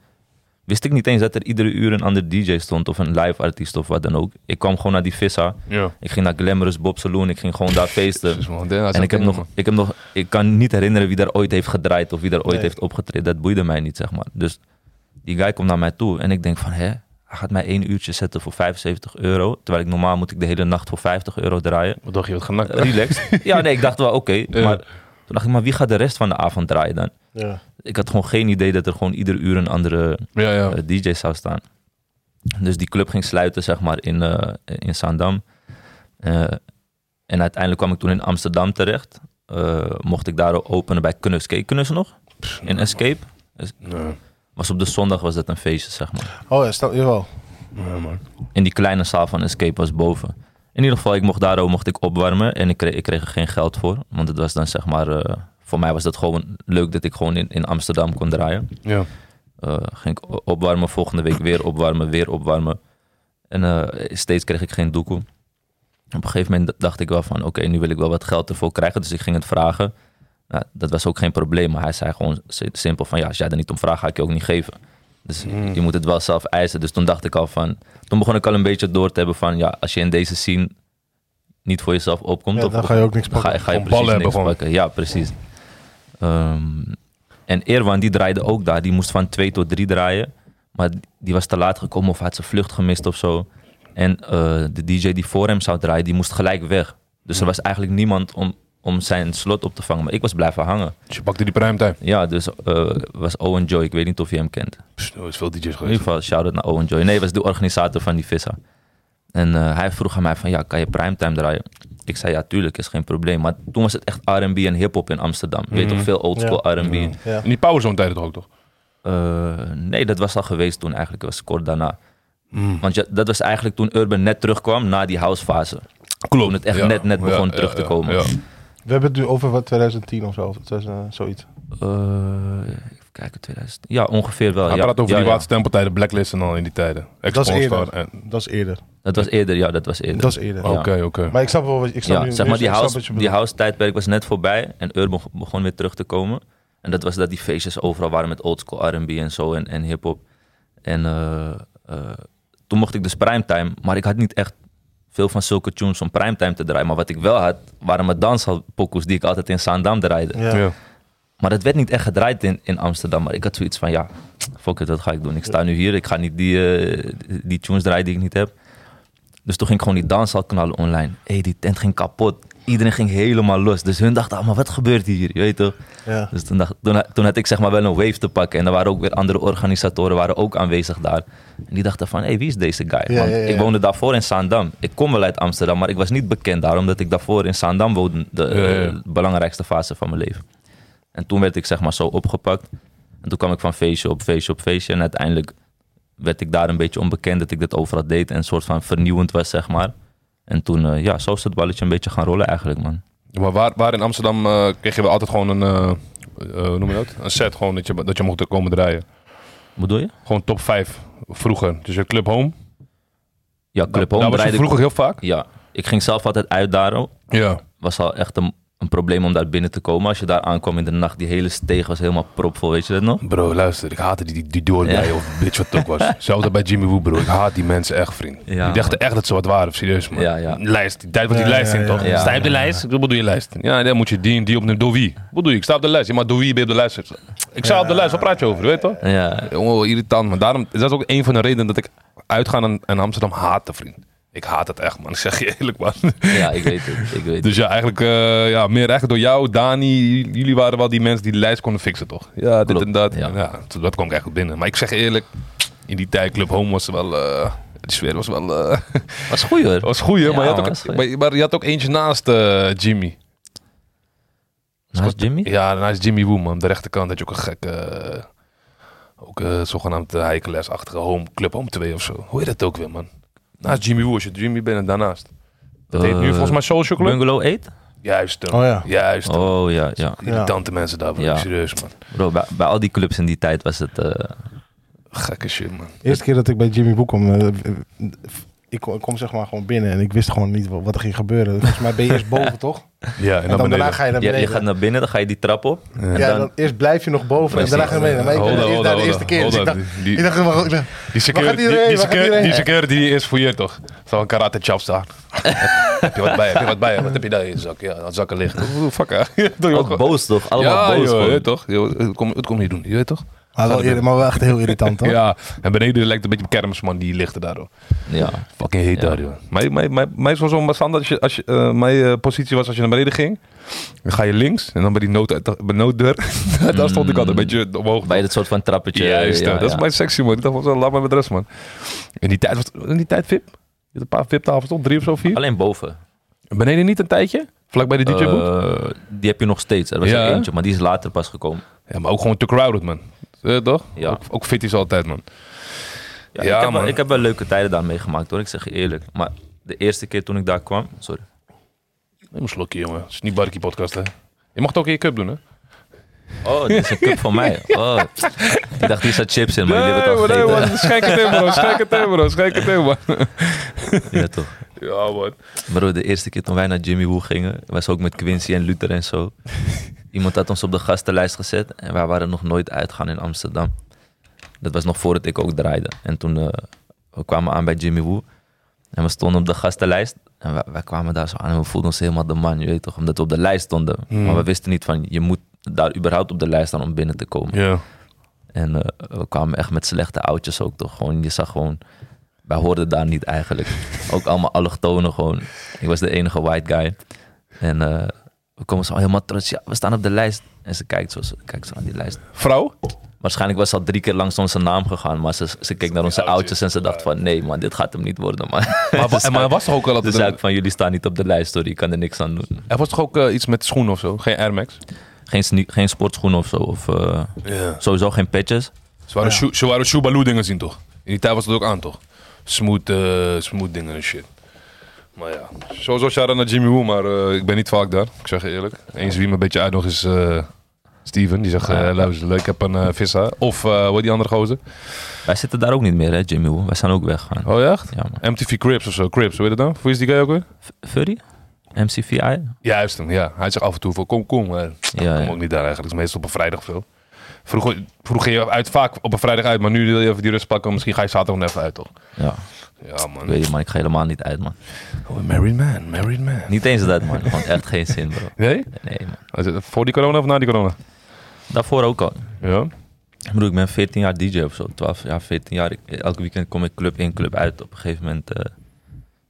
[SPEAKER 3] wist ik niet eens dat er iedere uur een ander DJ stond of een live artiest of wat dan ook. Ik kwam gewoon naar die Vissa.
[SPEAKER 1] Ja.
[SPEAKER 3] Ik ging naar Glamorous Bob Saloon. Ik ging gewoon daar feesten.
[SPEAKER 1] Dus, man, dat is
[SPEAKER 3] En ik heb,
[SPEAKER 1] ding,
[SPEAKER 3] nog,
[SPEAKER 1] man.
[SPEAKER 3] ik heb nog, ik kan niet herinneren wie daar ooit heeft gedraaid of wie daar ooit heeft opgetreden. Dat boeide mij niet, zeg maar. Dus die guy komt naar mij toe en ik denk van, hè, hij gaat mij één uurtje zetten voor 75 euro. Terwijl ik normaal moet ik de hele nacht voor 50 euro draaien.
[SPEAKER 1] Wat dacht je, wat genakt?
[SPEAKER 3] Eh, Relaxed. ja, nee, ik dacht wel, oké.
[SPEAKER 1] Ja.
[SPEAKER 3] Maar toen dacht ik, maar wie gaat de rest van de avond draaien dan?
[SPEAKER 2] Ja.
[SPEAKER 3] Ik had gewoon geen idee dat er gewoon ieder uur een andere
[SPEAKER 1] Ja, ja.
[SPEAKER 3] eh, DJ zou staan. Dus die club ging sluiten, zeg maar, in, eh, in Zaandam. Eh, en uiteindelijk kwam ik toen in Amsterdam terecht. Eh, mocht ik daar openen bij Knus. Ken je Knus nog? In Escape.
[SPEAKER 1] Nee,
[SPEAKER 3] Was op de zondag was dat een feestje, zeg maar.
[SPEAKER 2] Oh, ja, stel, jawel.
[SPEAKER 1] nee, man.
[SPEAKER 3] In die kleine zaal van Escape was boven. In ieder geval, ik mocht daar ook mocht ik opwarmen. En ik kreeg, ik kreeg er geen geld voor. Want het was dan, zeg maar... eh, voor mij was dat gewoon leuk dat ik gewoon in, in Amsterdam kon draaien.
[SPEAKER 1] Ja.
[SPEAKER 3] Eh, ging ik o- opwarmen, volgende week weer opwarmen, weer opwarmen. En eh, steeds kreeg ik geen doekoe. Op een gegeven moment d- dacht ik wel van, oké, nu wil ik wel wat geld ervoor krijgen. Dus ik ging het vragen. Nou, dat was ook geen probleem, maar hij zei gewoon si- simpel van, ja, als jij er niet om vraagt, ga ik je ook niet geven. Dus
[SPEAKER 2] Hmm.
[SPEAKER 3] je moet het wel zelf eisen. Dus toen dacht ik al van, toen begon ik al een beetje door te hebben van, ja, als je in deze scene niet voor jezelf opkomt,
[SPEAKER 2] Ja,
[SPEAKER 3] of,
[SPEAKER 2] dan ga je ook niks
[SPEAKER 3] dan ga,
[SPEAKER 2] pakken.
[SPEAKER 3] ga je
[SPEAKER 1] Gewoon
[SPEAKER 3] precies
[SPEAKER 1] ballen hebben
[SPEAKER 3] niks
[SPEAKER 1] gewoon.
[SPEAKER 3] pakken. Ja, precies. Ehm, en Irwan, die draaide ook daar. Die moest van twee tot drie draaien. Maar die was te laat gekomen of had zijn vlucht gemist of zo. En eh, de DJ die voor hem zou draaien, die moest gelijk weg. Dus Dus er was eigenlijk niemand om, om zijn slot op te vangen. Maar ik was blijven hangen.
[SPEAKER 1] Dus je pakte die primetime.
[SPEAKER 3] Ja, dus eh, was Owen Joy. Ik weet niet of je hem kent.
[SPEAKER 1] Pst, Er is veel DJ's
[SPEAKER 3] In ieder
[SPEAKER 1] geweest.
[SPEAKER 3] geval, shout-out naar Owen Joy. Nee, was de organisator van die vissa. En eh, hij vroeg aan mij van, ja, kan je primetime draaien? Ik zei, ja, tuurlijk, is geen probleem. Maar toen was het echt R&B en hiphop in Amsterdam. Je weet toch, veel oldschool
[SPEAKER 2] Ja.
[SPEAKER 3] R&B.
[SPEAKER 2] Ja.
[SPEAKER 1] In die powerzone tijden toch ook, toch?
[SPEAKER 3] Eh, nee, dat was al geweest toen eigenlijk. Dat was kort daarna.
[SPEAKER 1] Mm.
[SPEAKER 3] Want ja, dat was eigenlijk toen Urban net terugkwam na die housefase.
[SPEAKER 1] Klopt.
[SPEAKER 3] Toen het echt net- net begon terug te komen.
[SPEAKER 1] Ja.
[SPEAKER 2] We hebben het nu over wat 2010 of zo. of 2000, zoiets.
[SPEAKER 3] Eh, even kijken, 2000. Ja, ongeveer wel.
[SPEAKER 1] Hij
[SPEAKER 3] ja.
[SPEAKER 1] praat over
[SPEAKER 3] ja,
[SPEAKER 1] die
[SPEAKER 3] ja.
[SPEAKER 1] laatste tempeltijden, Blacklist en al in die tijden.
[SPEAKER 2] Dat is
[SPEAKER 1] Ex-Pornstar
[SPEAKER 2] eerder.
[SPEAKER 1] en-
[SPEAKER 2] Dat is eerder.
[SPEAKER 3] Dat was eerder, ja, dat was eerder.
[SPEAKER 2] Dat is eerder.
[SPEAKER 3] Ja.
[SPEAKER 1] Oké, oké.
[SPEAKER 2] Maar ik snap wel wat ik snap
[SPEAKER 3] ja,
[SPEAKER 2] nu,
[SPEAKER 3] zeg
[SPEAKER 2] nu-
[SPEAKER 3] maar, die
[SPEAKER 2] ik snap
[SPEAKER 3] house,
[SPEAKER 2] wat je
[SPEAKER 3] die
[SPEAKER 2] bedoelt.
[SPEAKER 3] house tijdperk was net voorbij en Urban begon- begon weer terug te komen. En dat was dat die feestjes overal waren met oldschool R&B en zo en, en hip-hop. En eh, eh, toen mocht ik dus primetime, maar ik had niet echt veel van zulke tunes om primetime te draaien. Maar wat ik wel had, waren mijn danshal-pokoes die ik altijd in Zaandam draaide.
[SPEAKER 2] Ja.
[SPEAKER 1] Ja.
[SPEAKER 3] Maar dat werd niet echt gedraaid in, in Amsterdam. Maar ik had zoiets van, ja, fuck it, wat ga ik doen? Ik sta nu hier, ik ga niet die, eh, die tunes draaien die ik niet heb. Dus toen ging ik gewoon die danshal knallen online. Hé, die tent ging kapot. Iedereen ging helemaal los. Dus hun dachten, ah, maar wat gebeurt hier? Je weet toch?
[SPEAKER 2] Ja.
[SPEAKER 3] Dus toen, dacht, toen, toen had ik zeg maar wel een wave te pakken. En er waren ook weer andere organisatoren waren ook aanwezig daar. En die dachten van, hé, wie is deze guy?
[SPEAKER 2] Ja,
[SPEAKER 3] Want
[SPEAKER 2] ja, ja.
[SPEAKER 3] ik woonde daarvoor in Zaandam. Ik kom wel uit Amsterdam, maar ik was niet bekend daar. Omdat ik daarvoor in Zaandam woonde, de
[SPEAKER 1] Ja, ja.
[SPEAKER 3] eh, belangrijkste fase van mijn leven. En toen werd ik zeg maar zo opgepakt. En toen kwam ik van feestje op feestje op feestje. En uiteindelijk werd ik daar een beetje onbekend dat ik dit overal deed. En een soort van vernieuwend was, zeg maar. En toen, eh, ja, zo is het balletje een beetje gaan rollen eigenlijk, man.
[SPEAKER 1] Maar waar, waar in Amsterdam eh, kreeg je wel altijd gewoon een, eh, eh, hoe noem je dat? Een set gewoon dat je, dat je mocht komen draaien.
[SPEAKER 3] Wat bedoel je?
[SPEAKER 1] Gewoon top 5 vroeger. Dus je Club Home.
[SPEAKER 3] Ja, Club
[SPEAKER 1] Daar- daar
[SPEAKER 3] Home
[SPEAKER 1] was je
[SPEAKER 3] draaide ik-
[SPEAKER 1] vroeger heel vaak.
[SPEAKER 3] Ja, ik ging zelf altijd uit daar.
[SPEAKER 1] Ja.
[SPEAKER 3] Was al echt een, een probleem om daar binnen te komen. Als je daar aankwam in de nacht, die hele steeg was helemaal propvol, weet je dat nog?
[SPEAKER 1] Bro, luister, ik haatte die, die, die doorbij
[SPEAKER 3] Ja.
[SPEAKER 1] of bitch wat het ook was. Zelfde bij Jimmy Woo, bro. Ik haat die mensen echt, vriend.
[SPEAKER 3] Ja,
[SPEAKER 1] die dachten echt dat ze wat waren, serieus, man.
[SPEAKER 3] Ja, ja.
[SPEAKER 1] Lijst, die tijd wat die
[SPEAKER 2] Ja,
[SPEAKER 1] lijst
[SPEAKER 2] ja,
[SPEAKER 1] in,
[SPEAKER 2] ja,
[SPEAKER 1] toch?
[SPEAKER 3] ja.
[SPEAKER 1] Sta je op de lijst? Ik bedoel, doe je lijst. Ja, dan moet je die en die opnemen. Door wie? Wat doe je? Ik sta op de lijst. Ja, maar door wie ben je op de lijst? Ik sta op de lijst, wat praat je over, weet je toch?
[SPEAKER 3] Ja,
[SPEAKER 1] Jongen, irritant, man. Daarom, dat is ook een van de redenen dat ik uitgaan en, en Amsterdam haatte, vriend. Ik haat het echt, man. Ik zeg je eerlijk, man.
[SPEAKER 3] ja ik weet het. Ik weet het.
[SPEAKER 1] Dus ja, eigenlijk eh, ja, meer eigenlijk door jou, Dani. Jullie waren wel die mensen die de lijst konden fixen, toch? Ja, dit
[SPEAKER 3] Klopt,
[SPEAKER 1] en dat.
[SPEAKER 3] ja.
[SPEAKER 1] Ja. toen- dat kwam ik echt goed binnen. Maar ik zeg je eerlijk, in die tijd Club Home was wel... eh die sfeer was wel... eh,
[SPEAKER 3] Was goed hoor.
[SPEAKER 1] was goed, hè?
[SPEAKER 3] Ja,
[SPEAKER 1] maar, je had
[SPEAKER 3] was
[SPEAKER 1] ook,
[SPEAKER 3] goed.
[SPEAKER 1] maar, je- maar je had ook eentje naast eh, Jimmy.
[SPEAKER 3] Naast Jimmy?
[SPEAKER 1] Ja, naast Jimmy Woo, man. Aan de rechterkant had je ook een gekke... eh, ook eh, zogenaamd uh, heikelesachtige home, Club Home 2 of zo. Hoe heet dat ook weer, man? Naast Jimmy Woo, als je Jimmy bent en daarnaast. Dat heet nu
[SPEAKER 3] Eh,
[SPEAKER 1] volgens mij Social Club.
[SPEAKER 3] Bungalow 8?
[SPEAKER 1] Juist, hem.
[SPEAKER 2] Oh ja.
[SPEAKER 1] Juist, hem.
[SPEAKER 3] Oh ja, ja.
[SPEAKER 1] Irritante mensen daar, bro.
[SPEAKER 3] Ja.
[SPEAKER 1] Serieus, man.
[SPEAKER 3] Bro, bij, bij al die clubs in die tijd was het... eh,
[SPEAKER 1] Gekke shit, man.
[SPEAKER 2] Eerste keer dat ik bij Jimmy Boek kwam, eh, ik kom, ik kom zeg maar gewoon binnen en ik wist gewoon niet wat, wat er ging gebeuren. Volgens mij ben je eerst boven, toch? En,
[SPEAKER 1] Ja, en
[SPEAKER 2] dan daarna ga je naar
[SPEAKER 3] je,
[SPEAKER 2] beneden.
[SPEAKER 3] je gaat naar binnen, dan ga je die trap op.
[SPEAKER 2] ja,
[SPEAKER 3] En dan,
[SPEAKER 2] dan eerst blijf je nog boven en daarna ga je naar beneden. Maar ik ben
[SPEAKER 1] Hold
[SPEAKER 2] eerst
[SPEAKER 1] on,
[SPEAKER 2] daar de
[SPEAKER 1] hold
[SPEAKER 2] eerste
[SPEAKER 1] on,
[SPEAKER 2] keer. Dus ik
[SPEAKER 1] hold on.
[SPEAKER 2] dacht,
[SPEAKER 1] Die-
[SPEAKER 2] ik dacht, ik dacht,
[SPEAKER 1] Die
[SPEAKER 2] Waar gaat
[SPEAKER 1] security,
[SPEAKER 2] die heen?
[SPEAKER 1] die, die,
[SPEAKER 2] Waar gaat die
[SPEAKER 1] security,
[SPEAKER 2] heen?
[SPEAKER 1] die security die is voor je toch? Zal een karate chop staan. heb je wat bij? Heb je wat bij? Wat heb je daar in je zak? Ja, dat zakken liggen. Oeh, fuck hè. Je weet
[SPEAKER 3] ook
[SPEAKER 1] toch?
[SPEAKER 3] boos toch? Allemaal
[SPEAKER 1] Ja,
[SPEAKER 3] boos
[SPEAKER 1] joh, je
[SPEAKER 3] gewoon.
[SPEAKER 1] weet toch? Joh, Het komt het komt niet doen, je weet toch?
[SPEAKER 2] maar wel, eerder- maar wel echt heel irritant, toch?
[SPEAKER 1] Ah, Ja, en beneden lijkt het een beetje op kermisman, die lichten daar. hoor.
[SPEAKER 3] Ja.
[SPEAKER 1] Fucking heet
[SPEAKER 3] Ja.
[SPEAKER 1] daar, joh. Mijn, mijn, mijn, mijn, was wel standaard als je, als je, eh, mijn eh, positie was als je naar beneden ging. Dan ga je links en dan bij die nood, bij de nooddeur. daar stond ik altijd een beetje omhoog.
[SPEAKER 3] Bij dat soort van trappetje.
[SPEAKER 1] Juist,
[SPEAKER 3] ja,
[SPEAKER 1] dat is
[SPEAKER 3] ja.
[SPEAKER 1] mijn sectie, man. Ik dacht, wel, laat maar met rust, man. In die tijd, was, in die tijd VIP? Je had een paar VIP-tafels, toch? Drie of zo, vier?
[SPEAKER 3] Alleen boven.
[SPEAKER 1] Beneden niet een tijdje? Vlak bij de dj boot
[SPEAKER 3] Eh, die heb je nog steeds. Er was
[SPEAKER 1] Ja,
[SPEAKER 3] er
[SPEAKER 1] hè?
[SPEAKER 3] eentje, maar die is later pas gekomen.
[SPEAKER 1] Ja, maar ook gewoon te crowded, man. Eh, toch?
[SPEAKER 3] Ja.
[SPEAKER 1] Ook, ook fit is altijd, man. Ja,
[SPEAKER 3] Ja, ik, heb wel,
[SPEAKER 1] man.
[SPEAKER 3] ik heb wel leuke tijden daar meegemaakt hoor, ik zeg je eerlijk. Maar de eerste keer toen ik daar kwam... Sorry.
[SPEAKER 1] Neem een slokje, jongen. Het is niet Barkie podcast, hè? Je mag het ook in je cup doen, hè?
[SPEAKER 3] Oh, dit is een cup van mij. Oh. Ik dacht, hier zat chips in, maar jullie hebben het al
[SPEAKER 1] nee,
[SPEAKER 3] gegeten.
[SPEAKER 1] man. Schijk het in, bro. Schijk het in, bro. Schijk het in, man.
[SPEAKER 3] Ja, toch.
[SPEAKER 1] Ja, man.
[SPEAKER 3] Bro, de eerste keer toen wij naar Jimmy Woo gingen... was ook met Quincy en Luther en zo. Iemand had ons op de gastenlijst gezet... en wij waren nog nooit uitgaan in Amsterdam. Dat was nog voordat ik ook draaide. En toen eh, we kwamen aan bij Jimmy Woo... en we stonden op de gastenlijst... en wij, wij kwamen daar zo aan en we voelden ons helemaal de man, je weet toch? Omdat we op de lijst stonden. Maar we wisten niet van, je moet daar überhaupt op de lijst staan om binnen te komen.
[SPEAKER 1] Ja.
[SPEAKER 3] En eh, we kwamen echt met slechte oudjes ook toch. Gewoon, je zag gewoon, wij hoorden daar niet eigenlijk. Ook allemaal allochtonen gewoon. Ik was de enige white guy. En eh, we komen zo helemaal trots. Ja, we staan op de lijst. En ze kijkt zo, ze kijkt zo naar die lijst.
[SPEAKER 1] Vrouw?
[SPEAKER 3] Waarschijnlijk was ze al drie keer langs onze naam gegaan. Maar ze, ze keek naar onze oudjes en ze dacht van... Nee man, dit gaat hem niet worden man.
[SPEAKER 1] Maar, wa- en maar er was toch ook wel
[SPEAKER 3] Dus
[SPEAKER 1] altijd
[SPEAKER 3] zei ik
[SPEAKER 1] een,
[SPEAKER 3] van... Jullie staan niet op de lijst hoor. Je kan er niks aan doen.
[SPEAKER 1] Er was toch ook eh, iets met schoenen of zo? Geen Air Max?
[SPEAKER 3] Geen, sne- geen sportschoenen of zo. Of, eh,
[SPEAKER 1] Ja.
[SPEAKER 3] sowieso geen patches.
[SPEAKER 1] Ze waren, shoe- ze waren Shubaloo dingen zien toch? In die tijd was het ook aan toch? Smooth, eh, smooth dingen en shit. Maar ja, sowieso shout-out naar Jimmy Woo, maar eh, ik ben niet vaak daar. Ik zeg je eerlijk. Eens wie me een beetje uitnodigt is eh, Steven. Die zegt, eh, luister, leuk, ik heb een eh vissa. Of, eh wat die andere gozer?
[SPEAKER 3] Wij zitten daar ook niet meer hè Jimmy. Woo. Wij zijn ook weggegaan.
[SPEAKER 1] Oh ja, echt?
[SPEAKER 3] Ja man.
[SPEAKER 1] MTV Crips of zo. Crips, hoe heet dat dan? Hoe is die guy ook weer?
[SPEAKER 3] F- Furry? MCVI?
[SPEAKER 1] Juist hem, ja. Hij zegt af en toe van kom, kom. Maar
[SPEAKER 3] Ja,
[SPEAKER 1] kom
[SPEAKER 3] ja.
[SPEAKER 1] ook niet daar eigenlijk. Het is meestal op een vrijdag of zo. Vroeger, vroeger ging je uit, vaak op een vrijdag uit, maar nu wil je even die rust pakken. Misschien ga je zaterdag nog even uit, toch?
[SPEAKER 3] Ja.
[SPEAKER 1] Ja,
[SPEAKER 3] Ik
[SPEAKER 1] man.
[SPEAKER 3] weet het man, ik ga helemaal niet uit man.
[SPEAKER 1] Oh, married man, married man.
[SPEAKER 3] Niet eens dat man. Gewoon echt geen zin bro.
[SPEAKER 1] Nee?
[SPEAKER 3] Nee man.
[SPEAKER 1] Was het Voor die corona of na die corona?
[SPEAKER 3] Daarvoor ook al.
[SPEAKER 1] Ja.
[SPEAKER 3] Ik bedoel, ik ben 14 jaar DJ of zo. 12 jaar, 14 jaar. Ik- elk weekend kom ik club in, club uit. Op een gegeven moment. eh, het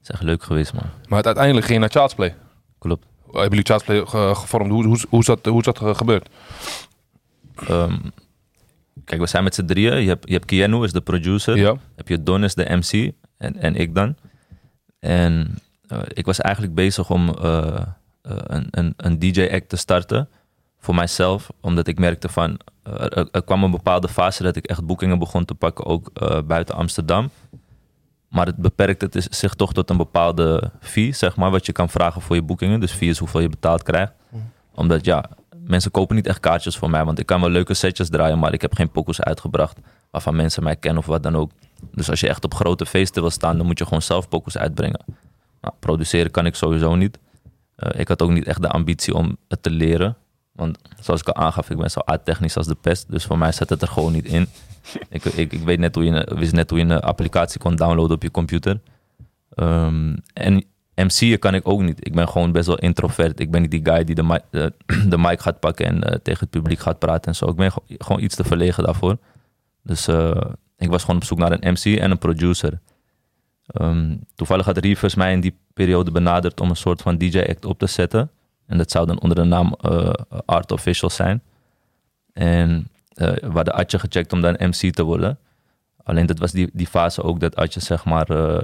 [SPEAKER 3] is echt leuk geweest, man.
[SPEAKER 1] Maar het- uiteindelijk ging je naar Child's Play.
[SPEAKER 3] Klopt.
[SPEAKER 1] Hebben jullie Child's Play ge- gevormd? Hoe, hoe, hoe, is dat, hoe is dat ge- gebeurd?
[SPEAKER 3] Ehm, kijk, we zijn met z'n drieën. Je hebt, je hebt Keanu, is de producer.
[SPEAKER 1] Ja.
[SPEAKER 3] Heb je Don, is de MC. En, en ik dan. En eh, ik was eigenlijk bezig om eh, eh, een, een, een DJ-act te starten. Voor mijzelf. Omdat ik merkte van... eh, er, er kwam een bepaalde fase dat ik echt boekingen begon te pakken. Ook eh, buiten Amsterdam. Maar het beperkt het is- zich toch tot een bepaalde fee, zeg maar, wat je kan vragen voor je boekingen. Dus fee is hoeveel je betaald krijgt. Omdat ja, mensen kopen niet echt kaartjes voor mij. Want ik kan wel leuke setjes draaien, maar ik heb geen pokkels uitgebracht waarvan mensen mij kennen of wat dan ook. Dus als je echt op grote feesten wil staan, dan moet je gewoon zelf pokkels uitbrengen. Nou, produceren kan ik sowieso niet. Eh, ik had ook niet echt de ambitie om het te leren. Want zoals ik al aangaf, ik ben zo aardtechnisch als de pest. Dus voor mij zat het er gewoon niet in. Ik, ik, ik weet net hoe je, een- wist net hoe je een applicatie kon downloaden op je computer. Ehm, en MC'en kan ik ook niet. Ik ben gewoon best wel introvert. Ik ben niet die guy die de, mic- eh, de mic gaat pakken en eh, tegen het publiek gaat praten en zo. Ik ben gewoon- gewoon iets te verlegen daarvoor. Dus eh, ik was gewoon op zoek naar een MC en een producer. Ehm, toevallig had Reverse mij in die periode benaderd om een soort van DJ-act op te zetten. En dat zou dan onder de naam eh, Art Official zijn. En eh, we hadden Atje gecheckt om dan MC te worden. Alleen dat was die, die fase ook dat Atje zeg maar eh, eh,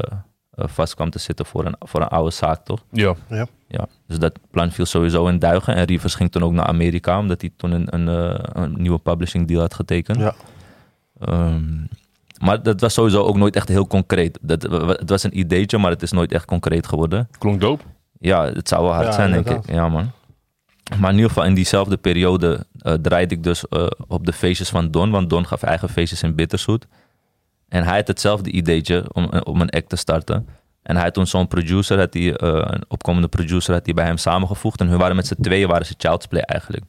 [SPEAKER 3] vast kwam te zitten voor een, voor een oude zaak, toch?
[SPEAKER 1] Ja.
[SPEAKER 3] Ja, dus dat plan viel sowieso in duigen. En Rivers ging toen ook naar Amerika, omdat hij toen een, een, eh, een nieuwe publishing deal had getekend.
[SPEAKER 2] Ja.
[SPEAKER 3] Ehm, maar dat was sowieso ook nooit echt heel concreet. Dat, w- w- het was een ideetje, maar het is nooit echt concreet geworden.
[SPEAKER 1] Klonk dope.
[SPEAKER 3] Ja, het zou wel hard
[SPEAKER 2] Ja,
[SPEAKER 3] zijn, denk ik.
[SPEAKER 2] inderdaad.
[SPEAKER 3] Ja, man. Maar in ieder geval in diezelfde periode eh, draaide ik dus eh, op de feestjes van Don. Want Don gaf eigen feestjes in Bitterzoet. En hij had hetzelfde ideetje om, eh, om een act te starten. En hij had toen zo'n producer, had hij, eh, een opkomende producer, had hij bij hem samengevoegd. En hun waren met z'n tweeën, waren ze Child's Play eigenlijk.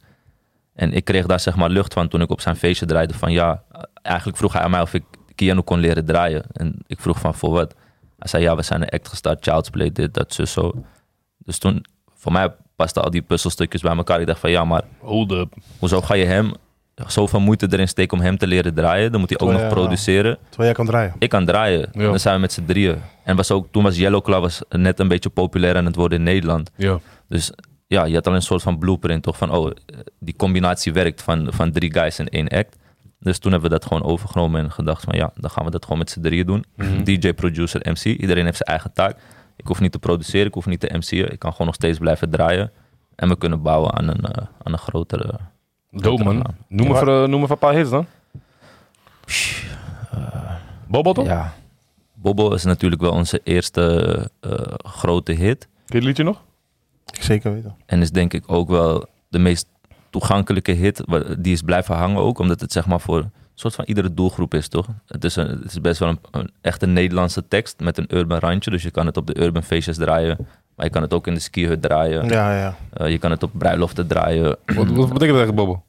[SPEAKER 3] En ik kreeg daar zeg maar lucht van toen ik op zijn feestje draaide. Van ja, eh, eigenlijk vroeg hij aan mij of ik Keanu kon leren draaien. En ik vroeg van voor wat? Hij zei ja, we zijn een act gestart, Child's Play, dit, dat, zus, zo. Dus toen, voor mij pasten al die puzzelstukjes bij elkaar. Ik dacht van ja, maar
[SPEAKER 1] Hold up.
[SPEAKER 3] hoezo ga je hem zoveel moeite erin steken om hem te leren draaien? Dan moet hij ook
[SPEAKER 2] Terwijl
[SPEAKER 3] nog
[SPEAKER 2] je-
[SPEAKER 3] produceren
[SPEAKER 2] Terwijl jij kan draaien.
[SPEAKER 3] ik kan draaien.
[SPEAKER 1] Ja.
[SPEAKER 3] Dan zijn we met z'n drieën. En was ook, toen was Yellow Claw was net een beetje populair aan het worden in Nederland.
[SPEAKER 1] Ja.
[SPEAKER 3] Dus ja, je had al een soort van blueprint toch van, oh, eh, die combinatie werkt van, van drie guys in één act. Dus toen hebben we dat gewoon overgenomen en gedacht van ja, dan gaan we dat gewoon met z'n drieën doen. DJ, producer, MC. Iedereen heeft zijn eigen taak. Ik hoef niet te produceren, ik hoef niet te MC'en. Ik kan gewoon nog steeds blijven draaien. En we kunnen bouwen aan een, eh, aan een grotere...
[SPEAKER 1] Dope man.
[SPEAKER 3] Ja.
[SPEAKER 1] Noem me, voor, eh, noem me voor een paar hits dan. eh, Bobbel toch?
[SPEAKER 3] Ja. Bobo is natuurlijk wel onze eerste eh, grote hit.
[SPEAKER 1] Ken je het liedje nog?
[SPEAKER 2] Ik zeker weten.
[SPEAKER 3] En is denk ik ook wel de meest toegankelijke hit. wa- Die is blijven hangen ook, omdat het zeg maar voor een soort van iedere doelgroep is, toch? Het is, een, het is best wel een, een echte Nederlandse tekst met een urban randje. Dus je kan het op de urban feestjes draaien. Maar je kan het ook in de skihut draaien.
[SPEAKER 2] Ja, ja.
[SPEAKER 3] Eh, je kan het op bruiloften draaien.
[SPEAKER 1] Wat, wat betekent dat eigenlijk Bobbel?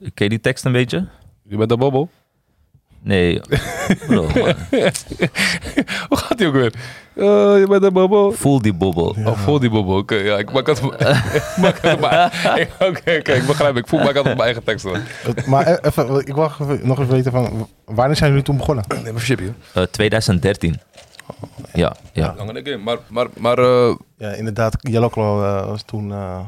[SPEAKER 3] Ken je die tekst een beetje?
[SPEAKER 1] Je bent dat Bobbel?
[SPEAKER 3] Nee. Bro, man.
[SPEAKER 1] Hoe gaat die ook weer? Eh, je bent dat Bobbel.
[SPEAKER 3] Voel die bobbel.
[SPEAKER 1] Oh, voor die bobbel. Oké, ja, ik maak het. maak het op mijn- Oké, oké, ik begrijp. Ik voel maak altijd op mijn eigen tekst. dan.
[SPEAKER 2] Het- Maar e- even, ik wil even- nog even weten van, w- wanneer zijn jullie toen begonnen?
[SPEAKER 1] Neem even chipje.
[SPEAKER 3] Eh, 2013. Eh, Ja, ja.
[SPEAKER 1] Langer dan game. Maar, maar, maar eh,
[SPEAKER 2] Ja, inderdaad. Yellow Claw eh, was toen... eh,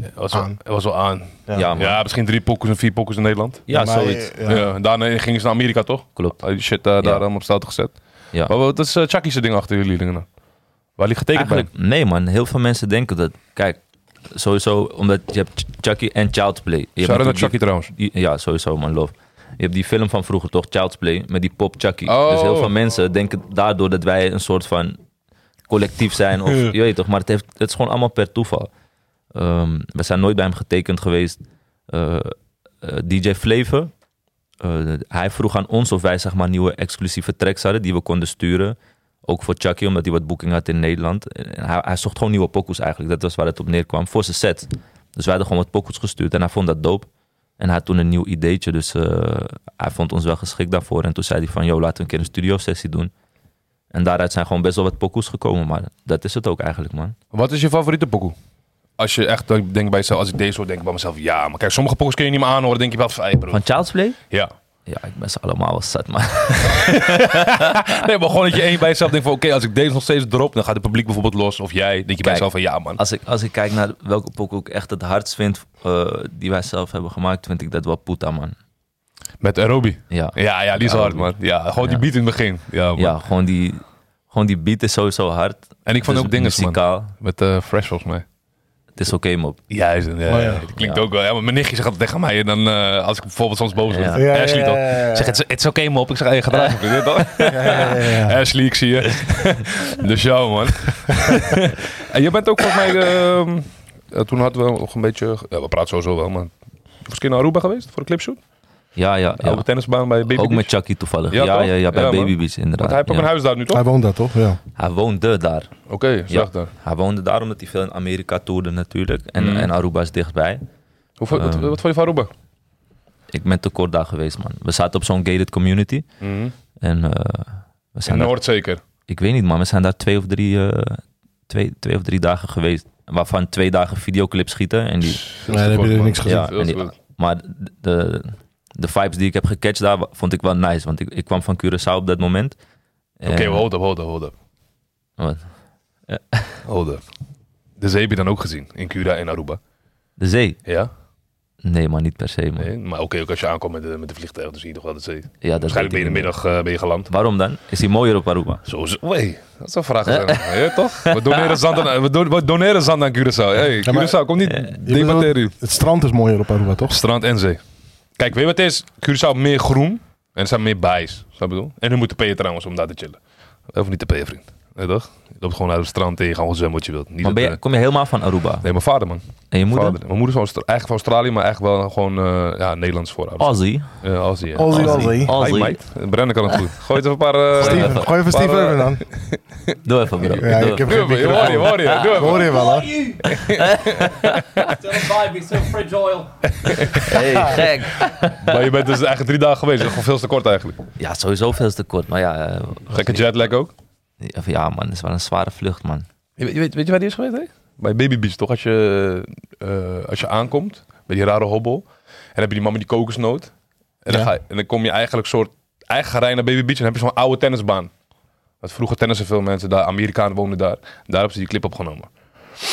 [SPEAKER 1] het was, wel-
[SPEAKER 2] Aan.
[SPEAKER 1] het was wel aan.
[SPEAKER 2] ja.
[SPEAKER 3] Ja, man.
[SPEAKER 1] Ja, misschien drie pokkers en vier pokkers in Nederland.
[SPEAKER 3] Ja,
[SPEAKER 2] Maar,
[SPEAKER 3] zoiets.
[SPEAKER 2] eh,
[SPEAKER 1] Ja.
[SPEAKER 2] ja.
[SPEAKER 1] en daarna gingen ze naar Amerika, toch?
[SPEAKER 3] Klopt.
[SPEAKER 1] Al die shit eh, daar
[SPEAKER 3] Ja.
[SPEAKER 1] allemaal op staat gezet.
[SPEAKER 3] Ja.
[SPEAKER 1] Maar wat is eh, Chucky zijn ding achter jullie dingen dan? Waar ligt getekend bij?
[SPEAKER 3] Eigenlijk, nee man, heel veel mensen denken dat, kijk, sowieso omdat je hebt Ch- Chucky en Child's Play. Je hebt
[SPEAKER 1] Shout-out naar
[SPEAKER 3] natuurlijk die-
[SPEAKER 1] Chucky trouwens.
[SPEAKER 3] die- ja, sowieso man, love. Je hebt die film van vroeger toch, Child's Play, met die pop Chucky.
[SPEAKER 1] Oh.
[SPEAKER 3] Dus heel veel mensen denken daardoor dat wij een soort van collectief zijn of je weet toch, maar het, heeft, het is gewoon allemaal per toeval. Ehm, we zijn nooit bij hem getekend geweest. Eh, eh, DJ Flavor, eh, hij vroeg aan ons of wij zeg maar nieuwe exclusieve tracks hadden die we konden sturen. Ook voor Chucky, omdat hij wat boeking had in Nederland. En hij, hij zocht gewoon nieuwe pokoes eigenlijk. Dat was waar het op neerkwam. Voor zijn set. Dus wij hadden gewoon wat pokoes gestuurd. En hij vond dat dope. En hij had toen een nieuw ideetje. Dus eh, hij vond ons wel geschikt daarvoor. En toen zei hij van, yo, laten we een keer een studiosessie doen. En daaruit zijn gewoon best wel wat pokoes gekomen. Maar dat is het ook eigenlijk, man.
[SPEAKER 1] Wat is je favoriete pokoe? Als je echt dan denkt bij jezelf, als ik deze hoor, denk ik bij mezelf, ja. Maar kijk, sommige pokkers kun je niet meer aanhoren, denk je wel van, hey, bro.
[SPEAKER 3] Van Child's Play?
[SPEAKER 1] Ja.
[SPEAKER 3] Ja, ik ben ze allemaal wel zat, man.
[SPEAKER 1] Nee, maar gewoon dat je één bij jezelf denkt van, oké, als ik deze nog steeds drop, dan gaat het publiek bijvoorbeeld los. Of jij, denk je bij
[SPEAKER 3] Kijk.
[SPEAKER 1] jezelf van, ja man.
[SPEAKER 3] Als ik, als ik kijk naar welke pokoe ik echt het hardst vind eh, die wij zelf hebben gemaakt, vind ik dat wel Puta, man.
[SPEAKER 1] Met Aerobi.
[SPEAKER 3] Ja.
[SPEAKER 1] Ja, ja, die is
[SPEAKER 3] Ja,
[SPEAKER 1] hard, man.
[SPEAKER 3] Aerobi.
[SPEAKER 1] Ja, gewoon die
[SPEAKER 3] Ja.
[SPEAKER 1] beat in het begin. Ja, man.
[SPEAKER 3] Ja, gewoon die, gewoon die beat is sowieso hard.
[SPEAKER 1] En ik vond
[SPEAKER 3] Het is
[SPEAKER 1] ook dingen, man.
[SPEAKER 3] muzikaal.
[SPEAKER 1] Met eh, Fresh, volgens mij.
[SPEAKER 3] Het is oké, mop.
[SPEAKER 1] Juist, ja, ja,
[SPEAKER 2] Oh, ja.
[SPEAKER 1] dat klinkt
[SPEAKER 3] Ja.
[SPEAKER 1] ook wel. Ja, maar mijn nichtje zegt altijd tegen mij. En dan, eh, als ik bijvoorbeeld soms boos ben.
[SPEAKER 3] Ja.
[SPEAKER 2] Ja,
[SPEAKER 1] Ashley
[SPEAKER 2] ja,
[SPEAKER 1] toch?
[SPEAKER 2] ja, ja, ja.
[SPEAKER 1] Zeg, het is oké, mop. Ik zeg, hey, ga eruit. vriendin, toch?
[SPEAKER 2] ja, ja, ja.
[SPEAKER 1] Ashley, ik zie je. dus jou, man. en je bent ook volgens mij... ehm, eh, toen hadden we nog een beetje... ja, we praten sowieso wel, maar... Je was een keer naar Aruba geweest voor een clipshoot?
[SPEAKER 3] Ja, ja. ja.
[SPEAKER 1] Op de tennisbaan bij Baby
[SPEAKER 3] ook
[SPEAKER 1] Beach?
[SPEAKER 3] met Chucky toevallig.
[SPEAKER 1] Ja,
[SPEAKER 3] Ja, ja,
[SPEAKER 1] toch?
[SPEAKER 3] ja, bij
[SPEAKER 1] Ja, man.
[SPEAKER 3] Baby Beach inderdaad.
[SPEAKER 1] Want hij heeft ook
[SPEAKER 3] ja.
[SPEAKER 1] een huis daar nu, toch?
[SPEAKER 2] Hij woont daar, toch? Ja.
[SPEAKER 3] Hij woonde daar.
[SPEAKER 1] Oké, zag daar.
[SPEAKER 3] Hij woonde daar omdat hij veel in Amerika toerde natuurlijk. En,
[SPEAKER 1] Mm.
[SPEAKER 3] en Aruba is dichtbij.
[SPEAKER 1] Hoe, vond- wat,
[SPEAKER 3] Ehm.
[SPEAKER 1] wat vond je van Aruba?
[SPEAKER 3] Ik ben te kort daar geweest, man. We zaten op zo'n gated community. En eh, we
[SPEAKER 1] Mm. In
[SPEAKER 3] zijn daar,
[SPEAKER 1] Noord zeker.
[SPEAKER 3] ik weet niet, man. We zijn daar twee of drie, eh, twee, twee of drie dagen geweest. Waarvan twee dagen videoclips schieten. En die,
[SPEAKER 2] Nee, dan heb je er niks gezien.
[SPEAKER 3] Ja,
[SPEAKER 1] Veel
[SPEAKER 3] en
[SPEAKER 1] te
[SPEAKER 3] die-
[SPEAKER 1] goed.
[SPEAKER 3] maar de, de vibes die ik heb gecatcht daar wa- vond ik wel nice. Want ik, ik kwam van Curaçao op dat moment. En-
[SPEAKER 1] Oké, hold up, hold up, hold up.
[SPEAKER 3] Wat?
[SPEAKER 1] Hold up. Oh, De zee heb je dan ook gezien in Cura en Aruba.
[SPEAKER 3] De zee?
[SPEAKER 1] Ja?
[SPEAKER 3] Nee, maar niet per se, man.
[SPEAKER 1] Nee? Maar oké, ook als je aankomt met de, met de vliegtuig, dan zie je toch wel de zee.
[SPEAKER 3] Ja, dat
[SPEAKER 1] Waarschijnlijk ben
[SPEAKER 3] weet
[SPEAKER 1] je
[SPEAKER 3] ik
[SPEAKER 1] in de
[SPEAKER 3] niet.
[SPEAKER 1] middag eh, ben je geland.
[SPEAKER 3] Waarom dan? Is hij mooier op Aruba?
[SPEAKER 1] Zo is Wee, dat zou vragen zijn. Ja, toch? We doneren zand aan, we do- we doneren zand aan Curaçao. Hey,
[SPEAKER 2] Ja, maar-
[SPEAKER 1] Curaçao, kom niet
[SPEAKER 2] Je bedoelt,
[SPEAKER 1] debatteren. hier.
[SPEAKER 2] Het strand is mooier op Aruba, toch?
[SPEAKER 1] Strand en zee. Kijk, weet je wat het is? Curaçao meer groen en er zijn meer baais. Snap je wat ik bedoel? En nu moet de peer trouwens om daar te chillen. Of niet te peer, vriend. Nee, toch? Je loopt gewoon naar het strand en je gaat gewoon zwemmen wat je wilt. Niet
[SPEAKER 3] Maar
[SPEAKER 1] dat,
[SPEAKER 3] ben je,
[SPEAKER 1] eh,
[SPEAKER 3] kom je helemaal van Aruba?
[SPEAKER 1] Nee, mijn vader, man.
[SPEAKER 3] En je moeder?
[SPEAKER 1] Vader. Mijn moeder is van Austra- eigenlijk van Australië, maar eigenlijk wel gewoon eh, ja, Nederlands Eh, voorouders.
[SPEAKER 3] Aussie.
[SPEAKER 1] Ja, Aussie, ja.
[SPEAKER 2] Ozzy,
[SPEAKER 3] Ozzy.
[SPEAKER 2] Ozzy.
[SPEAKER 1] Hi,
[SPEAKER 3] Aussie.
[SPEAKER 1] mate. Brennan kan het goed. Gooi even een paar... eh,
[SPEAKER 2] Steven, gooi even Steve
[SPEAKER 1] Maar, eh,
[SPEAKER 2] Irwin aan.
[SPEAKER 3] Doe even, bro.
[SPEAKER 2] Ja,
[SPEAKER 3] Doe
[SPEAKER 2] ik heb
[SPEAKER 1] Doe
[SPEAKER 2] geen
[SPEAKER 1] even, je hoor je,
[SPEAKER 2] microfoon.
[SPEAKER 1] hoor je. Doe
[SPEAKER 2] Ik
[SPEAKER 1] even.
[SPEAKER 2] hoor je wel, hè?
[SPEAKER 4] you? still alive, he's still fragile.
[SPEAKER 3] Hey, gek.
[SPEAKER 1] Maar je bent dus eigenlijk drie dagen geweest. Dat is gewoon veel te kort eigenlijk.
[SPEAKER 3] Ja, sowieso veel te kort. Maar ja, eh,
[SPEAKER 1] Gekke jetlag ook.
[SPEAKER 3] ja, van- ja, man, het is wel een zware vlucht, man.
[SPEAKER 1] Je weet, je weet, weet je waar die is geweest, hè? Bij Baby Beach, toch? Als je, eh, als je aankomt, bij die rare hobbel. En dan heb je die man met die kokosnoot. En dan,
[SPEAKER 2] Ja.
[SPEAKER 1] ga je- en dan kom je eigenlijk soort... Eigen rij naar Baby Beach en dan heb je zo'n oude tennisbaan. Want vroeger tennissen veel mensen daar. Amerikanen woonden daar. Daar hebben ze die clip opgenomen.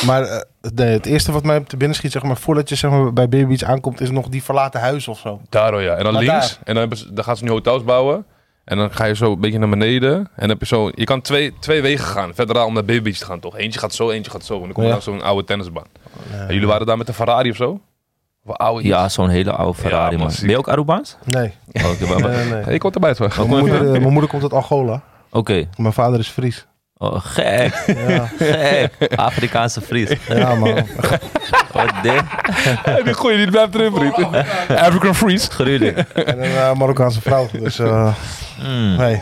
[SPEAKER 2] Maar eh, nee, het eerste wat mij te binnen schiet, zeg maar, voordat je zeg maar, bij Baby Beach aankomt, is nog die verlaten huis of zo.
[SPEAKER 1] Daardoor ja. En dan
[SPEAKER 2] Maar
[SPEAKER 1] links.
[SPEAKER 2] daar.
[SPEAKER 1] En dan, hebben ze, dan gaan ze nu hotels bouwen. En dan ga je zo een beetje naar beneden. En dan heb je zo... Je kan twee, twee wegen gaan. Verder daar om naar Baby Beach te gaan, toch? Eentje gaat zo, eentje gaat zo. En dan kom je
[SPEAKER 2] Ja.
[SPEAKER 1] naar zo'n oude tennisbaan. En jullie waren daar met een Ferrari of zo? Of een oude
[SPEAKER 3] Ja, zo'n hele oude Ferrari,
[SPEAKER 1] man,
[SPEAKER 3] man.
[SPEAKER 1] ziek.
[SPEAKER 3] Ben je ook Arubaans?
[SPEAKER 2] Nee,
[SPEAKER 3] Oh, Oké, maar-
[SPEAKER 2] nee, nee.
[SPEAKER 1] Hey, ik kom erbij het weg.
[SPEAKER 2] Mijn moeder, eh, mijn moeder komt uit Angola.
[SPEAKER 3] oké.
[SPEAKER 2] Mijn vader is Fries.
[SPEAKER 3] Oh, gek,
[SPEAKER 2] Ja,
[SPEAKER 3] gek. Afrikaanse Fries.
[SPEAKER 2] ja man.
[SPEAKER 3] Wat dit?
[SPEAKER 1] Die goeie, die blijft erin, vriend. African Freeze.
[SPEAKER 3] Gruwelijk.
[SPEAKER 2] En een eh, Marokkaanse vrouw. Dus eh,
[SPEAKER 3] Mm.
[SPEAKER 2] nee.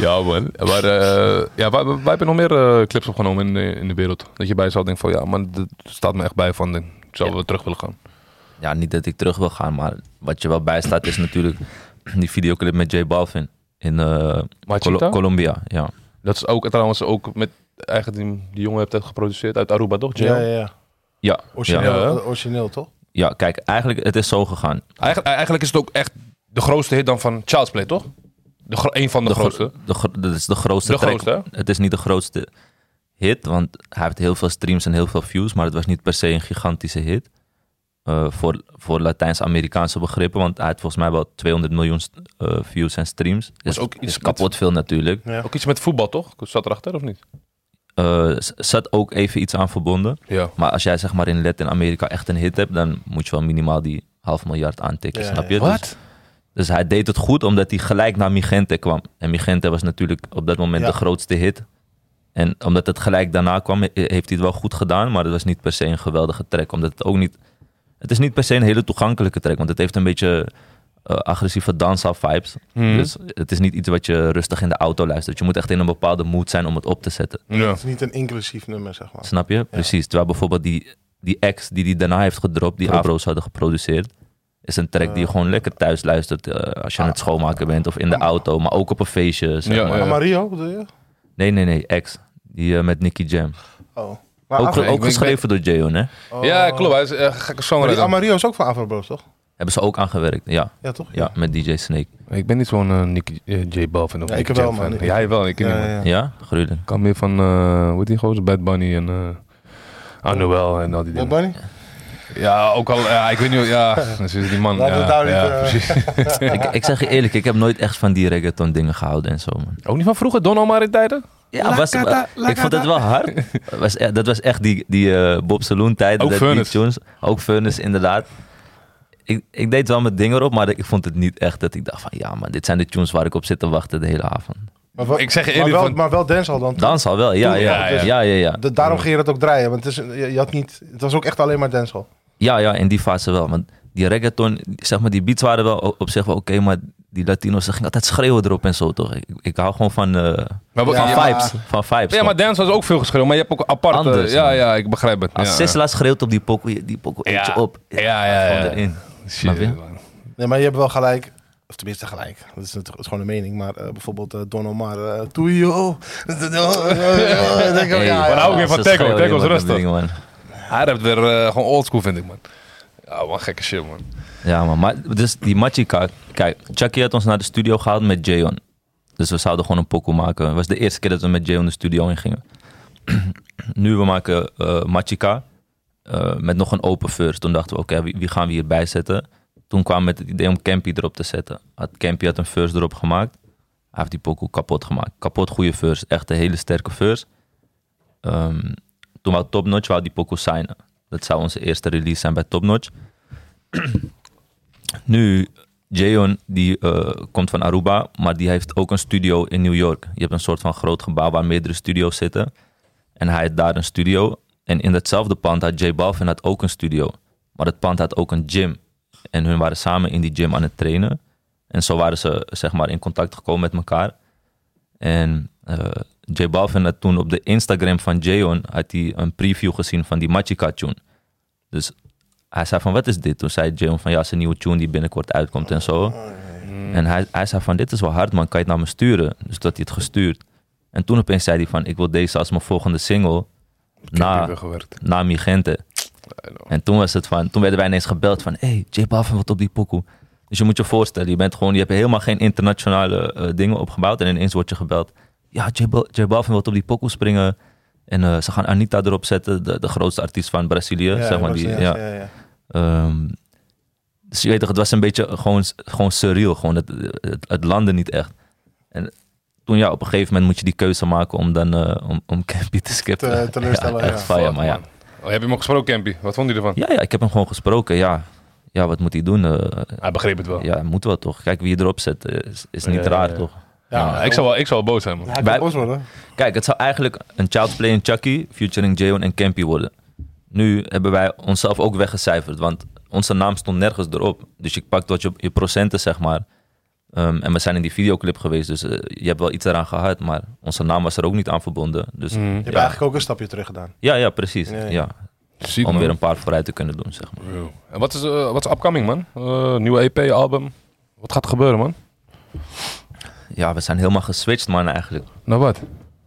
[SPEAKER 1] Ja, man. Maar eh, ja, wij, wij hebben nog meer eh, clips opgenomen in, de- in de wereld. Dat je bij zou denken van, ja, man, dat staat me echt bij van, ik zou wel terug willen gaan.
[SPEAKER 3] Ja, niet dat ik terug wil gaan, maar wat je wel bijstaat is natuurlijk die videoclip met J Balvin in eh,
[SPEAKER 1] Machita?
[SPEAKER 3] Col- Colombia. Ja.
[SPEAKER 1] Dat is ook, trouwens, ook met eigenlijk die, die jongen hebt het geproduceerd uit Aruba, toch?
[SPEAKER 2] Ja,
[SPEAKER 1] Ja,
[SPEAKER 2] ja, ja.
[SPEAKER 3] Ja, ja.
[SPEAKER 2] Origineel,
[SPEAKER 1] Ja.
[SPEAKER 2] eh, origineel toch?
[SPEAKER 3] ja, kijk, eigenlijk het is zo gegaan.
[SPEAKER 1] Eigenlijk, eigenlijk is het ook echt de grootste hit dan van Child's Play, toch? De gro- een van de,
[SPEAKER 3] De gro-
[SPEAKER 1] grootste.
[SPEAKER 3] de gro- dat is de grootste
[SPEAKER 1] De
[SPEAKER 3] track.
[SPEAKER 1] grootste,
[SPEAKER 3] Het is niet de grootste hit, want hij heeft heel veel streams en heel veel views, maar het was niet per se een gigantische hit. eh, voor voor Latijns-Amerikaanse begrippen, want hij had volgens mij wel 200 miljoen st- eh, views en streams. Is,
[SPEAKER 1] ook
[SPEAKER 3] ook
[SPEAKER 1] iets
[SPEAKER 3] is
[SPEAKER 1] met-
[SPEAKER 3] kapot veel natuurlijk.
[SPEAKER 2] Ja.
[SPEAKER 1] Ook iets met voetbal, toch? Zat erachter, of niet?
[SPEAKER 3] Eh, z- zat ook even iets aan verbonden.
[SPEAKER 1] Ja.
[SPEAKER 3] Maar als jij zeg maar in Latin-Amerika echt een hit hebt, dan moet je wel minimaal die half miljard aantikken,
[SPEAKER 2] Ja,
[SPEAKER 3] snap
[SPEAKER 2] ja.
[SPEAKER 3] je? Dus- Dus hij deed het goed omdat hij gelijk naar Migente kwam. En Migente was natuurlijk op dat moment
[SPEAKER 2] Ja.
[SPEAKER 3] de grootste hit. En omdat het gelijk daarna kwam, he- heeft hij het wel goed gedaan. Maar het was niet per se een geweldige track. Omdat het ook niet. Het is niet per se een hele toegankelijke track. Want het heeft een beetje eh, agressieve dancehall vibes.
[SPEAKER 1] Hmm.
[SPEAKER 3] Dus het is niet iets wat je rustig in de auto luistert. Je moet echt in een bepaalde mood zijn om het op te zetten.
[SPEAKER 1] Ja.
[SPEAKER 2] Het is niet een inclusief nummer, zeg maar.
[SPEAKER 3] Snap je? Precies. Terwijl bijvoorbeeld die, die ex die die daarna heeft gedropt, die Afro's hadden geproduceerd, is een track die je gewoon lekker thuis luistert eh, als je aan het schoonmaken bent of in de auto, maar ook op een feestje. Zeg
[SPEAKER 1] Ah. Ja,
[SPEAKER 3] maar.
[SPEAKER 1] ja.
[SPEAKER 2] Ah, Mario, bedoel je?
[SPEAKER 3] Nee, nee, nee, ex. Die eh, met Nicky Jam.
[SPEAKER 2] Oh. Maar
[SPEAKER 3] Ook,
[SPEAKER 2] Afro-
[SPEAKER 1] ik
[SPEAKER 3] ook
[SPEAKER 1] ben-
[SPEAKER 3] geschreven door Jeon, hè?
[SPEAKER 1] ja, klopt. Hij is een gekke
[SPEAKER 2] Oh. maar die
[SPEAKER 1] songwriter.
[SPEAKER 2] Amario is ook van Afro Bros, toch?
[SPEAKER 3] Hebben ze ook aangewerkt, ja.
[SPEAKER 2] Ja, toch?
[SPEAKER 3] Ja, met DJ Snake.
[SPEAKER 1] Ik ben niet zo'n eh, Nicky eh, J Balvin of
[SPEAKER 2] Ja,
[SPEAKER 1] Nicky
[SPEAKER 2] ik wel,
[SPEAKER 1] Jam
[SPEAKER 2] man.
[SPEAKER 1] fan. Ja, hij wel. Ik ken
[SPEAKER 2] Ja,
[SPEAKER 1] hem.
[SPEAKER 2] ja, ja.
[SPEAKER 3] Ja, gruwelijk.
[SPEAKER 1] Ik kan meer van, eh hoe heet die gozer? Bad Bunny en eh Anuel en al die
[SPEAKER 2] Bad
[SPEAKER 1] dingen.
[SPEAKER 2] Bunny?
[SPEAKER 1] Ja, ook al, ja, ik weet niet, hoe- ja, dat is die man.
[SPEAKER 2] Laten we
[SPEAKER 1] ja,
[SPEAKER 2] het daar niet,
[SPEAKER 1] ja,
[SPEAKER 2] eh,
[SPEAKER 1] precies.
[SPEAKER 3] ik, ik zeg je eerlijk, ik heb nooit echt van die reggaeton dingen gehouden en zo, man.
[SPEAKER 1] Ook niet van vroeger, Don Omar in tijden?
[SPEAKER 3] Ja, was, ik vond het wel hard. was, e- dat was echt die, die eh, Bob Saloon tijd.
[SPEAKER 1] Ook
[SPEAKER 3] dat
[SPEAKER 1] Furnace.
[SPEAKER 3] Die tunes, ook Furnace, inderdaad. Ik, ik deed wel mijn dingen erop, maar ik vond het niet echt dat ik dacht van... Ja, maar dit zijn de tunes waar ik op zit te wachten de hele avond.
[SPEAKER 2] Maar wel,
[SPEAKER 1] Ik zeg je
[SPEAKER 2] maar
[SPEAKER 1] eerlijk,
[SPEAKER 2] wel,
[SPEAKER 1] van-
[SPEAKER 2] maar wel dancehall dan.
[SPEAKER 3] Dans al wel, ja,
[SPEAKER 1] Toen-
[SPEAKER 3] ja.
[SPEAKER 1] ja, ja.
[SPEAKER 3] Ja, ja, ja.
[SPEAKER 2] Da- daarom ging je dat ook draaien, want het, is, je, je had niet, het was ook echt alleen maar dancehall.
[SPEAKER 3] Ja, ja, in die fase wel. Want die reggaeton, zeg maar, die beats waren wel o- op zich wel oké, maar... Die Latino's, ze gingen altijd schreeuwen erop en zo, toch? Ik, ik hou gewoon van, eh,
[SPEAKER 1] Maar wat-
[SPEAKER 3] van
[SPEAKER 1] ja.
[SPEAKER 3] vibes. Van vibes
[SPEAKER 1] Ja,
[SPEAKER 3] gewoon.
[SPEAKER 1] maar dance was ook veel geschreeuw, maar je hebt ook apart.
[SPEAKER 3] Anders,
[SPEAKER 1] ja,
[SPEAKER 3] man.
[SPEAKER 1] ja, ik begrijp het.
[SPEAKER 3] Als
[SPEAKER 1] ja,
[SPEAKER 3] Sisla schreeuwt op die pokoe, die pokoe eet je
[SPEAKER 1] Ja.
[SPEAKER 3] op.
[SPEAKER 1] Ja, ja, ja.
[SPEAKER 3] Gewoon erin. Snap je?
[SPEAKER 1] Shit, man.
[SPEAKER 2] Nee, maar je hebt wel gelijk. Of tenminste gelijk. Dat is, natuurlijk- het is gewoon een mening. Maar eh, bijvoorbeeld eh, Don Omar. eh Toejo. Dan denk ik, ja,
[SPEAKER 3] Hey,
[SPEAKER 2] ja,
[SPEAKER 1] Maar nou ook
[SPEAKER 2] ja.
[SPEAKER 1] weer van
[SPEAKER 3] ze
[SPEAKER 1] Tekko.
[SPEAKER 3] schreeuwen
[SPEAKER 1] Tekko is
[SPEAKER 3] helemaal
[SPEAKER 1] rustig.
[SPEAKER 3] dat ding, man.
[SPEAKER 1] Hij rapt weer eh, gewoon oldschool, vind ik, man. Ja, man, gekke shit, man.
[SPEAKER 3] Ja, man. Maar dus die Machika... Kijk, Chucky had ons naar de studio gehaald met Jayon. Dus we zouden gewoon een pokoe maken. Het was de eerste keer dat we met Jayon de studio in gingen. nu we maken eh Machika eh, met nog een open verse. Toen dachten we, oké, wie, wie gaan we hierbij zetten? Toen kwam met het idee om Campy erop te zetten. Had, Campy had een verse erop gemaakt. Hij heeft die pokoe kapot gemaakt. Kapot goede verse. Echt een hele sterke verse. Ehm, toen wou Top Notch wou die pokoe signen. Dat zou onze eerste release zijn bij Top Notch. Nu, Jayon, die eh, komt van Aruba, maar die heeft ook een studio in New York. Je hebt een soort van groot gebouw waar meerdere studio's zitten. En hij had daar een studio. En in datzelfde pand had J Balvin had ook een studio. Maar het pand had ook een gym. En hun waren samen in die gym aan het trainen. En zo waren ze zeg maar in contact gekomen met elkaar. En eh J Balvin had toen op de Instagram van Jayon had hij een preview gezien van die Machika tune. Dus hij zei van, wat is dit? Toen zei Jayon van, ja, het is een nieuwe tune die binnenkort uitkomt en zo. En hij, hij zei van, dit is wel hard man, kan je het naar me sturen? Dus dat hij het gestuurd. En toen opeens zei hij van, ik wil deze als mijn volgende single.
[SPEAKER 1] Die
[SPEAKER 3] Na,
[SPEAKER 1] weer gewerkt.
[SPEAKER 3] na Migente. En toen was het van, toen werden wij ineens gebeld van, hey, J Balvin, wat op die pokoe? Dus je moet je voorstellen, je bent gewoon, je hebt helemaal geen internationale eh, dingen opgebouwd en ineens word je gebeld. Ja, J, Bal- J Balvin wil op die pokoe springen. En eh, ze gaan Anita erop zetten, de, de grootste artiest van Brazilië.
[SPEAKER 2] Ja,
[SPEAKER 3] zeg maar, die,
[SPEAKER 2] ja,
[SPEAKER 3] ja.
[SPEAKER 2] ja, ja.
[SPEAKER 3] Ehm, dus je weet toch, het was een beetje gewoon, gewoon surreal. Gewoon het, het, het landde niet echt. En toen ja, op een gegeven moment moet je die keuze maken om dan eh, om, om Campy te skippen.
[SPEAKER 2] Te- teleurstellen,
[SPEAKER 3] Ja, echt
[SPEAKER 2] ja.
[SPEAKER 3] fire,
[SPEAKER 1] Fuck,
[SPEAKER 3] maar ja.
[SPEAKER 1] man. Oh, heb je hem al gesproken, Campy? Wat vond hij ervan?
[SPEAKER 3] ja. Ja, ik heb hem gewoon gesproken. Ja, ja wat moet hij doen? Eh,
[SPEAKER 1] Hij begreep het wel.
[SPEAKER 3] ja, moet wel toch. Kijk wie je erop zet. eh, Is, is niet
[SPEAKER 1] Ja,
[SPEAKER 3] raar
[SPEAKER 1] ja, ja.
[SPEAKER 3] toch?
[SPEAKER 1] Ja, ik zou wel, ik zou wel boos zijn, man.
[SPEAKER 2] Hij
[SPEAKER 3] Wij-
[SPEAKER 2] kan boos worden.
[SPEAKER 3] Kijk, het zou eigenlijk een Child's Play en Chucky featuring Jayon en Campy worden. Nu hebben wij onszelf ook weggecijferd, want onze naam stond nergens erop. Dus je pakt wat je, je procenten, zeg maar. Ehm, en we zijn in die videoclip geweest, dus eh, je hebt wel iets eraan gehad, maar onze naam was er ook niet aan verbonden. Dus
[SPEAKER 1] Mm.
[SPEAKER 2] Je hebt
[SPEAKER 3] ja.
[SPEAKER 2] eigenlijk ook een stapje terug gedaan.
[SPEAKER 3] ja, ja, precies.
[SPEAKER 2] Ja,
[SPEAKER 3] Ja,
[SPEAKER 2] ja.
[SPEAKER 1] Ziek,
[SPEAKER 3] Om
[SPEAKER 1] man.
[SPEAKER 3] weer een paar vooruit te kunnen doen, zeg maar.
[SPEAKER 1] Yo. En wat is, eh, wat is upcoming, man? Eh, nieuwe EP, album. Wat gaat er gebeuren, man?
[SPEAKER 3] Ja, we zijn helemaal geswitcht, man, eigenlijk.
[SPEAKER 1] Nou wat?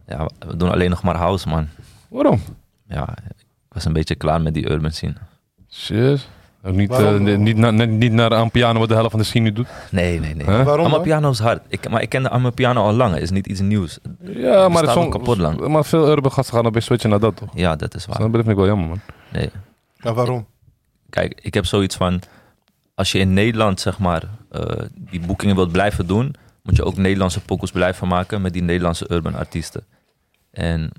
[SPEAKER 3] Ja, we doen alleen nog maar house, man.
[SPEAKER 1] Waarom?
[SPEAKER 3] Ja, ik was een beetje klaar met die urban scene.
[SPEAKER 1] Shit. Ook niet,
[SPEAKER 2] Waarom?
[SPEAKER 1] eh, niet, na- net niet naar aan piano wat de helft van de scene doet.
[SPEAKER 3] Nee, nee, nee.
[SPEAKER 1] Huh?
[SPEAKER 2] Waarom dan?
[SPEAKER 3] Amapiano is hard. Ik, maar ik kende Amapiano al lang. Het is niet iets nieuws.
[SPEAKER 1] Ja, maar, het
[SPEAKER 3] bestaat
[SPEAKER 1] song,
[SPEAKER 3] ook kapot lang.
[SPEAKER 1] maar veel urban gasten gaan op weer switchen naar dat toch?
[SPEAKER 3] Ja, dat is
[SPEAKER 1] Dus
[SPEAKER 3] waar.
[SPEAKER 1] dat vind ik wel jammer man.
[SPEAKER 3] Nee.
[SPEAKER 2] Maar waarom?
[SPEAKER 3] Kijk, ik heb zoiets van... Als je in Nederland, zeg maar, eh, die boekingen wilt blijven doen... moet je ook Nederlandse pokkels blijven maken met die Nederlandse urban artiesten. En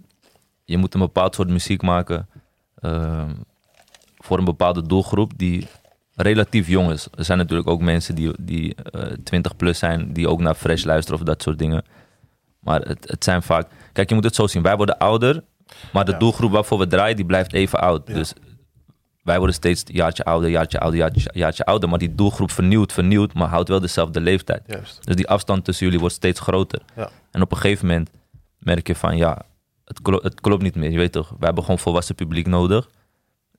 [SPEAKER 3] je moet een bepaald soort muziek maken... eh, voor een bepaalde doelgroep die relatief jong is. Er zijn natuurlijk ook mensen die, die eh, 20 plus zijn... die ook naar Fresh luisteren of dat soort dingen. Maar het, het zijn vaak... Kijk, je moet het zo zien. Wij worden ouder, maar de
[SPEAKER 2] Ja.
[SPEAKER 3] doelgroep waarvoor we draaien... die blijft even oud.
[SPEAKER 2] Ja.
[SPEAKER 3] Dus wij worden steeds jaartje ouder, jaartje ouder, jaartje, jaartje ouder. Maar die doelgroep vernieuwt, vernieuwt, maar houdt wel dezelfde leeftijd.
[SPEAKER 2] Juist.
[SPEAKER 3] Dus die afstand tussen jullie wordt steeds groter.
[SPEAKER 2] Ja.
[SPEAKER 3] En op een gegeven moment merk je van ja, het, klo- het klopt niet meer. Je weet toch, we hebben gewoon volwassen publiek nodig.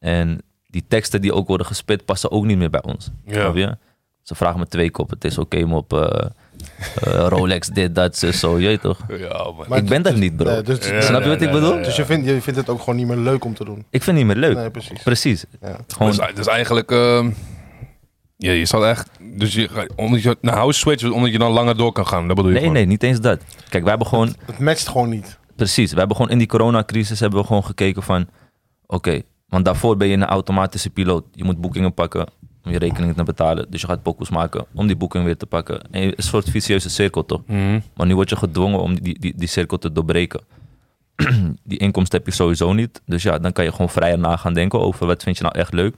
[SPEAKER 3] En die teksten die ook worden gespit passen ook niet meer bij ons. Snap je? Ze vragen me twee koppen. Het is oké om op eh, eh, Rolex, dit, dat, zus, zo. Je weet toch?
[SPEAKER 1] Ja, man.
[SPEAKER 2] Maar
[SPEAKER 3] ik ben dat niet, bro.
[SPEAKER 2] Nee, dus-
[SPEAKER 1] Ja,
[SPEAKER 3] Snap je
[SPEAKER 1] nee,
[SPEAKER 3] wat ik
[SPEAKER 1] nee,
[SPEAKER 3] bedoel?
[SPEAKER 1] nee,
[SPEAKER 2] Dus je vindt, je vindt het ook gewoon niet meer leuk om te doen.
[SPEAKER 3] Ik vind het niet meer leuk.
[SPEAKER 2] Nee, precies.
[SPEAKER 3] Precies.
[SPEAKER 2] Ja.
[SPEAKER 3] Gewoon,
[SPEAKER 1] Dus, dus eigenlijk, ehm, ja, je zal echt, dus je, gaat- omdat je naar house switch, omdat je dan langer door kan gaan. Dat bedoel je
[SPEAKER 3] nee,
[SPEAKER 1] gewoon.
[SPEAKER 3] nee, niet eens dat. Kijk, wij hebben gewoon
[SPEAKER 2] Het matcht gewoon niet.
[SPEAKER 3] Precies, we hebben gewoon in die coronacrisis hebben we gewoon gekeken van... Oké, want daarvoor ben je een automatische piloot. Je moet boekingen pakken om je rekeningen te betalen. Dus je gaat pokus maken om die boeking weer te pakken. En je- een soort vicieuze cirkel toch?
[SPEAKER 1] Mhm.
[SPEAKER 3] Maar nu word je gedwongen om die, die, die cirkel te doorbreken. die inkomsten heb je sowieso niet. Dus ja, dan kan je gewoon vrijer na gaan denken over wat vind je nou echt leuk.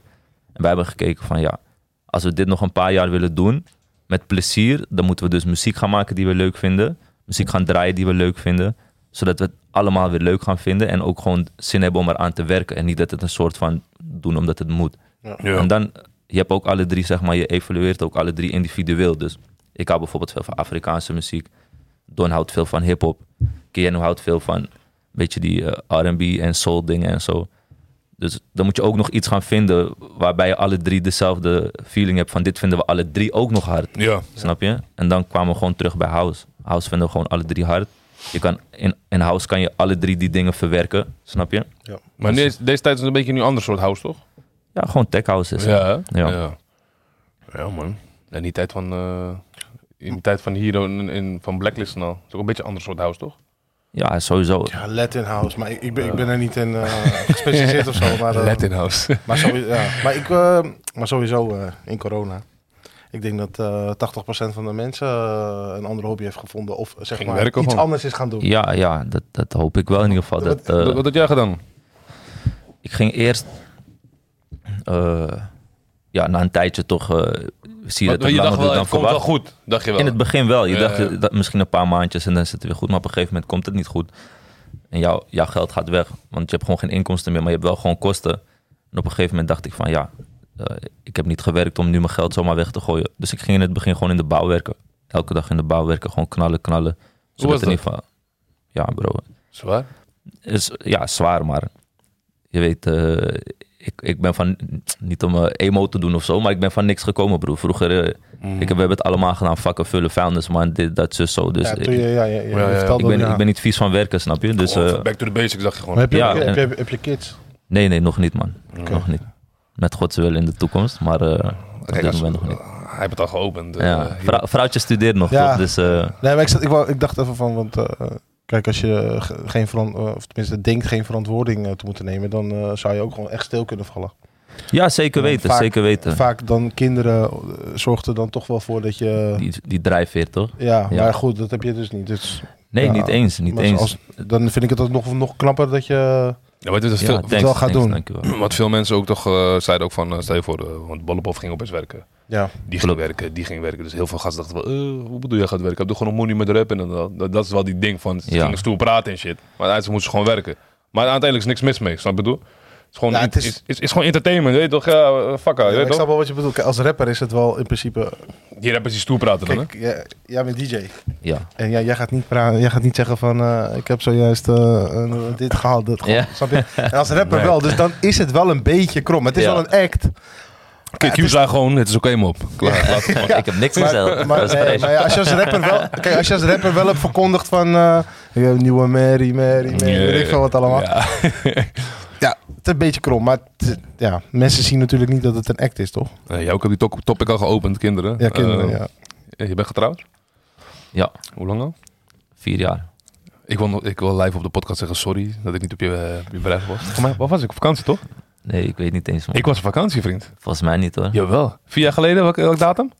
[SPEAKER 3] En wij hebben gekeken van ja, als we dit nog een paar jaar willen doen met plezier, dan moeten we dus muziek gaan maken die we leuk vinden. Muziek gaan draaien die we leuk vinden. Zodat we het allemaal weer leuk gaan vinden en ook gewoon zin hebben om eraan te werken. En niet dat het een soort van doen omdat het moet.
[SPEAKER 1] Ja.
[SPEAKER 3] En dan, je hebt ook alle drie, zeg maar, je evalueert ook alle drie individueel. Dus ik hou bijvoorbeeld veel van Afrikaanse muziek. Don houdt veel van hip-hop. Keanu houdt veel van, een beetje die eh, RB en soul dingen en zo. Dus dan moet je ook nog iets gaan vinden waarbij je alle drie dezelfde feeling hebt van dit vinden we alle drie ook nog hard.
[SPEAKER 1] ja.
[SPEAKER 3] Snap je? En dan kwamen we gewoon terug bij house. House vinden we gewoon alle drie hard. Je kan, in, in house kan je alle drie die dingen verwerken. Snap je?
[SPEAKER 1] Maar deze, deze tijd is het een beetje nu een ander soort house, toch?
[SPEAKER 3] Ja, gewoon tech house is het.
[SPEAKER 1] Ja, hè?
[SPEAKER 3] Ja.
[SPEAKER 1] ja. Ja, man. En die tijd van, eh, in die tijd van Hero en en van Blacklist en al. is ook een beetje een ander soort house, toch?
[SPEAKER 3] Ja, sowieso.
[SPEAKER 2] Ja, Latin house. Maar ik, ik, ben, ik ben er niet in eh, gespecialiseerd of zo. Maar, eh,
[SPEAKER 1] house.
[SPEAKER 2] Maar sowieso, ja. maar ik, eh, maar sowieso eh, in corona. Ik denk dat eh 80% van de mensen eh, een andere hobby heeft gevonden. Of eh, zeg
[SPEAKER 1] Ging
[SPEAKER 2] maar
[SPEAKER 1] werken
[SPEAKER 2] iets
[SPEAKER 1] gewoon.
[SPEAKER 2] anders is gaan doen.
[SPEAKER 3] Ja, ja dat, dat hoop ik wel in ieder geval. Dat, eh,
[SPEAKER 1] Wat wat had jij gedaan?
[SPEAKER 3] ik ging eerst... eh, ja, na een tijdje toch... eh, zie je
[SPEAKER 1] Want
[SPEAKER 3] dat het
[SPEAKER 1] je dacht
[SPEAKER 3] langer
[SPEAKER 1] wel, het
[SPEAKER 3] duurt dan
[SPEAKER 1] komt wel
[SPEAKER 3] verwacht.
[SPEAKER 1] goed, dacht je wel.
[SPEAKER 3] In het begin wel. Je
[SPEAKER 1] Ja,
[SPEAKER 3] dacht
[SPEAKER 1] ja.
[SPEAKER 3] eh, dat misschien een paar maandjes en dan zit het weer goed. Maar op een gegeven moment komt het niet goed. En jouw, jouw geld gaat weg. Want je hebt gewoon geen inkomsten meer, maar je hebt wel gewoon kosten. En op een gegeven moment dacht ik van ja, eh, ik heb niet gewerkt om nu mijn geld zomaar weg te gooien. Dus ik ging in het begin gewoon in de bouw werken. Elke dag in de bouw werken, gewoon knallen, knallen. Zodat
[SPEAKER 1] was
[SPEAKER 3] in ieder geval... Ja bro,
[SPEAKER 1] Zwaar?
[SPEAKER 3] is, ja, zwaar, maar je weet, eh, ik, ik ben van, niet om eh, emo te doen of zo, maar ik ben van niks gekomen, broer. Vroeger, eh, ik heb, we hebben het allemaal gedaan, vakken vullen, vuilnis, maar dit, dat, zus, zo. Dus
[SPEAKER 2] ja,
[SPEAKER 3] ik,
[SPEAKER 2] toen je, ja, ja, je
[SPEAKER 1] Ja, ja.
[SPEAKER 2] vertelde
[SPEAKER 3] ik ben,
[SPEAKER 2] ja.
[SPEAKER 3] ik ben niet vies van werken, snap je? Dus,
[SPEAKER 1] Gewoon
[SPEAKER 3] eh,
[SPEAKER 1] back to the basics, dacht je
[SPEAKER 2] Maar
[SPEAKER 1] gewoon.
[SPEAKER 2] heb, je,
[SPEAKER 3] Ja,
[SPEAKER 2] heb,
[SPEAKER 3] en-
[SPEAKER 2] je, heb, je, heb je kids?
[SPEAKER 3] nee, nee, nog niet, man.
[SPEAKER 2] Oké.
[SPEAKER 3] Nog niet. Met Gods wil in de toekomst, maar eh, op
[SPEAKER 1] Kijk,
[SPEAKER 3] dit
[SPEAKER 1] als-
[SPEAKER 3] moment nog niet.
[SPEAKER 1] Hij heeft het al geopend. eh,
[SPEAKER 3] Ja,
[SPEAKER 1] hier.
[SPEAKER 3] vrou- vrouwtje studeert nog,
[SPEAKER 2] Ja.
[SPEAKER 3] toch? Dus eh,
[SPEAKER 2] Nee, maar ik, zat- ik, wou, ik dacht even van, want eh, kijk, als je eh, ge- geen veran- eh, of tenminste denkt geen verantwoording eh, te moeten nemen, dan eh, zou je ook gewoon echt stil kunnen vallen.
[SPEAKER 3] ja, zeker
[SPEAKER 2] Ja,
[SPEAKER 3] weten,
[SPEAKER 2] vaak-
[SPEAKER 3] zeker weten.
[SPEAKER 2] Vaak dan kinderen eh, zorgt er dan toch wel voor dat je.
[SPEAKER 3] Die, die drijfveer, toch?
[SPEAKER 2] Ja,
[SPEAKER 3] Ja.
[SPEAKER 2] maar goed, dat heb je dus niet. Dus,
[SPEAKER 3] Nee,
[SPEAKER 2] Ja,
[SPEAKER 3] niet eens, niet
[SPEAKER 2] maar
[SPEAKER 3] eens.
[SPEAKER 2] als- dan vind ik het ook nog, nog knapper dat je.
[SPEAKER 1] Ja, maar dit is
[SPEAKER 3] Ja,
[SPEAKER 1] veel,
[SPEAKER 3] thanks,
[SPEAKER 2] wel gaat
[SPEAKER 3] thanks,
[SPEAKER 2] doen.
[SPEAKER 3] dankjewel.
[SPEAKER 1] wat veel mensen ook toch eh, zeiden ook van, eh, stel je voor, eh, want Bollebov ging opeens werken.
[SPEAKER 2] Ja.
[SPEAKER 1] Die ging werken, die ging werken. Dus heel veel gasten dachten wel, eh, hoe bedoel je gaat werken? Ik doe gewoon een money met rap en dat, dat. Dat is wel die ding van, ze
[SPEAKER 3] Ja.
[SPEAKER 1] gingen stoer praten en shit. Maar uiteindelijk moesten ze gewoon werken. Maar uiteindelijk is niks mis mee, snap je wat ik bedoel? Het is gewoon,
[SPEAKER 2] Ja, het is-
[SPEAKER 1] is, is, is gewoon entertainment, weet je toch? Ja, eh, fuck out,
[SPEAKER 2] Ja,
[SPEAKER 1] weet
[SPEAKER 2] ik
[SPEAKER 1] je
[SPEAKER 2] snap
[SPEAKER 1] toch?
[SPEAKER 2] wel wat je bedoelt. Kijk, als rapper is het wel in principe.
[SPEAKER 1] Die rappers die stoer praten dan, hè?
[SPEAKER 2] Kijk, jij, jij bent DJ.
[SPEAKER 3] Ja.
[SPEAKER 2] En jij, jij, gaat niet praten, jij gaat niet zeggen van. eh, ik heb zojuist eh, een- dit gehaald. Dat gehaald.
[SPEAKER 3] Ja.
[SPEAKER 2] Snap je? En als rapper
[SPEAKER 1] Nee.
[SPEAKER 2] wel. Dus dan is het wel een beetje krom. Het is
[SPEAKER 3] Ja.
[SPEAKER 2] wel een act.
[SPEAKER 1] Kijk, Q zei gewoon, het is oké, mop. Klaar, laat het gewoon.
[SPEAKER 3] Ik heb niks
[SPEAKER 2] Maar,
[SPEAKER 3] gezegd.
[SPEAKER 2] maar,
[SPEAKER 3] Dat is
[SPEAKER 2] nee,
[SPEAKER 3] fresh.
[SPEAKER 2] maar ja, als, je als, rapper wel, kijk, als je als rapper wel hebt verkondigd van. eh, ik heb een nieuwe Mary, Mary, Mary.
[SPEAKER 1] Ja,
[SPEAKER 2] Weet ik veel wat allemaal.
[SPEAKER 1] Ja.
[SPEAKER 2] Ja, het een beetje krom, maar het- ja, mensen zien natuurlijk niet dat het een act is, toch?
[SPEAKER 1] Eh, ja, ook heb die to- topic al geopend, kinderen.
[SPEAKER 2] Ja, kinderen,
[SPEAKER 1] Eh,
[SPEAKER 2] ja.
[SPEAKER 1] eh, Je bent getrouwd?
[SPEAKER 3] Ja.
[SPEAKER 1] Hoe lang al?
[SPEAKER 3] Vier jaar.
[SPEAKER 1] Ik wil, nog- ik wil live op de podcast zeggen sorry dat ik niet op je, eh, op je bedrijf was. Voor mij, wat was ik? Op vakantie, toch?
[SPEAKER 3] Nee, ik weet niet eens. Man.
[SPEAKER 1] Ik was op vakantie, vriend.
[SPEAKER 3] Volgens mij niet hoor.
[SPEAKER 1] Jawel. Vier jaar geleden, welke, welke datum?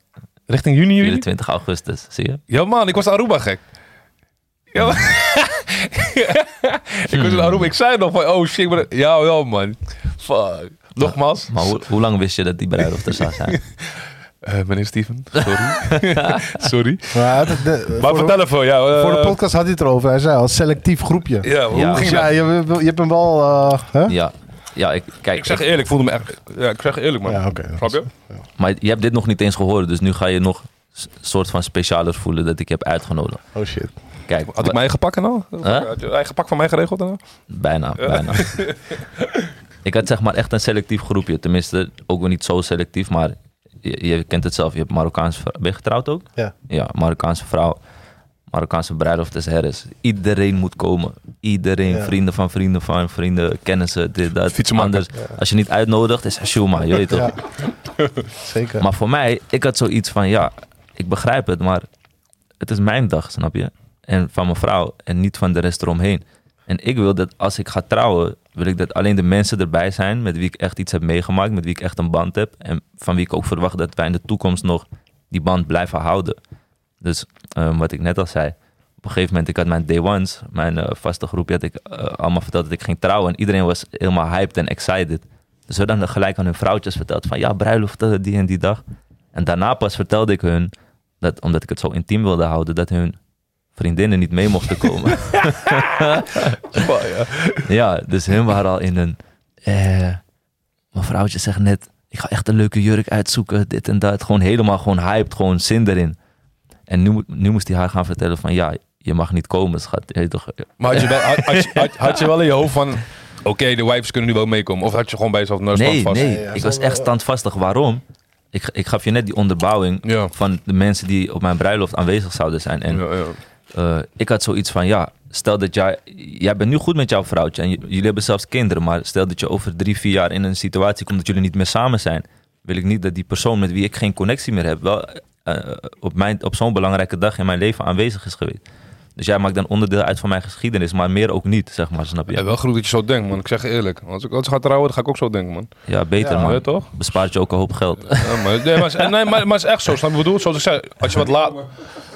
[SPEAKER 1] Richting juni, juli?
[SPEAKER 3] 24 augustus, zie je?
[SPEAKER 1] Ja man, ik was Aruba gek. Ja, man. ik was in Aruba. Ik zei nog van, oh shit, ik ben... Ja, ja man. Fuck. Nogmaals.
[SPEAKER 3] Maar hoe, hoe lang wist je dat die bruiloft er zou zijn?
[SPEAKER 1] Eh, meneer Steven, sorry. sorry.
[SPEAKER 2] Maar, het- de-
[SPEAKER 1] Maar
[SPEAKER 2] voor,
[SPEAKER 1] vertel
[SPEAKER 2] de,
[SPEAKER 1] even, ja. eh,
[SPEAKER 2] voor de podcast had hij het erover. Hij zei al, selectief groepje.
[SPEAKER 1] Ja, hoe
[SPEAKER 3] Ja.
[SPEAKER 1] ging dat?
[SPEAKER 2] Dus ja, je, wil- je hebt hem wel... eh, hè?
[SPEAKER 3] Ja, ja ik, kijk, eh,
[SPEAKER 1] Ik zeg
[SPEAKER 3] ik-
[SPEAKER 1] eerlijk, ik voelde me erg. Ja, ik zeg eerlijk man.
[SPEAKER 2] Ja, oké.
[SPEAKER 1] Snap je?
[SPEAKER 3] maar je hebt dit nog niet eens gehoord, dus nu ga je nog s- soort van specialer voelen dat ik je heb uitgenodigd.
[SPEAKER 2] Oh shit.
[SPEAKER 3] Kijk,
[SPEAKER 1] Had ik mijn eigen pak en al?
[SPEAKER 3] Huh?
[SPEAKER 1] Had je eigen pak van mij geregeld en al?
[SPEAKER 3] Bijna, bijna. ik had zeg maar echt een selectief groepje. Tenminste, ook weer niet zo selectief, maar je, je kent het zelf. Je hebt Marokkaanse vrou- Ben je getrouwd ook?
[SPEAKER 2] Ja.
[SPEAKER 3] Ja, Marokkaanse vrouw. Marokkaanse bruiloft is herres. Iedereen moet komen. Iedereen.
[SPEAKER 2] Ja.
[SPEAKER 3] Vrienden van vrienden van vrienden. Kennissen, dit, dat.
[SPEAKER 1] Fietsenmaker.
[SPEAKER 3] Anders, als je niet uitnodigt, is het shuma, je weet toch.
[SPEAKER 2] Ja. Zeker.
[SPEAKER 3] Maar voor mij, ik had zoiets van, ja, ik begrijp het, maar het is mijn dag, snap je? En van mijn vrouw en niet van de rest eromheen. En ik wil dat als ik ga trouwen, wil ik dat alleen de mensen erbij zijn met wie ik echt iets heb meegemaakt, met wie ik echt een band heb en van wie ik ook verwacht dat wij in de toekomst nog die band blijven houden. Dus ehm, wat ik net al zei, op een gegeven moment, ik had mijn day ones, mijn eh, vaste groepje, had ik eh, allemaal verteld dat ik ging trouwen en iedereen was helemaal hyped en excited. Dus we hadden dan gelijk aan hun vrouwtjes verteld van ja, bruiloft eh, die en die dag. En daarna pas vertelde ik hun, dat, omdat ik het zo intiem wilde houden, dat hun vriendinnen niet mee mochten komen. ja, dus hun waren al in een... eh, mijn vrouwtje zegt net, ik ga echt een leuke jurk uitzoeken, dit en dat. Gewoon helemaal gewoon hyped, gewoon zin erin. En nu, moet- nu moest hij haar gaan vertellen van ja, je mag niet komen, schat. Je weet toch,
[SPEAKER 1] Maar had je wel, had, had, je- had- had je wel in je hoofd van... Oké, de wives kunnen nu wel meekomen. Of had je gewoon bij jezelf naar
[SPEAKER 3] Nee,
[SPEAKER 1] stand vast?
[SPEAKER 3] nee,
[SPEAKER 2] Ja, ja,
[SPEAKER 3] ik
[SPEAKER 2] zo
[SPEAKER 3] was
[SPEAKER 2] wel,
[SPEAKER 3] echt
[SPEAKER 2] ja.
[SPEAKER 3] standvastig. Waarom? Ik, ik gaf je net die onderbouwing
[SPEAKER 1] Ja.
[SPEAKER 3] van de mensen die op mijn bruiloft aanwezig zouden zijn. En
[SPEAKER 1] Ja, ja.
[SPEAKER 3] eh, ik had zoiets van, ja, stel dat jij... Jij bent nu goed met jouw vrouwtje en j- jullie hebben zelfs kinderen. Maar stel dat je over drie, vier jaar in een situatie komt dat jullie niet meer samen zijn. Wil ik niet dat die persoon met wie ik geen connectie meer heb... wel eh, op, mijn- op zo'n belangrijke dag in mijn leven aanwezig is geweest. Dus jij maakt dan onderdeel uit van mijn geschiedenis, maar meer ook niet, zeg maar, snap
[SPEAKER 1] Ja,
[SPEAKER 3] je?
[SPEAKER 1] wel goed dat je zo denkt, man. Ik zeg je eerlijk. Als ik, als ik ga trouwen, dan ga ik ook zo denken, man.
[SPEAKER 3] Ja, beter,
[SPEAKER 2] Ja.
[SPEAKER 1] Weet je
[SPEAKER 3] man.
[SPEAKER 1] toch?
[SPEAKER 3] Bespaart je ook een hoop geld.
[SPEAKER 1] Ja, maar, nee, maar, nee, maar, maar het is echt zo. Snap je wat ik bedoel? Zoals ik zei, als je wat, laat,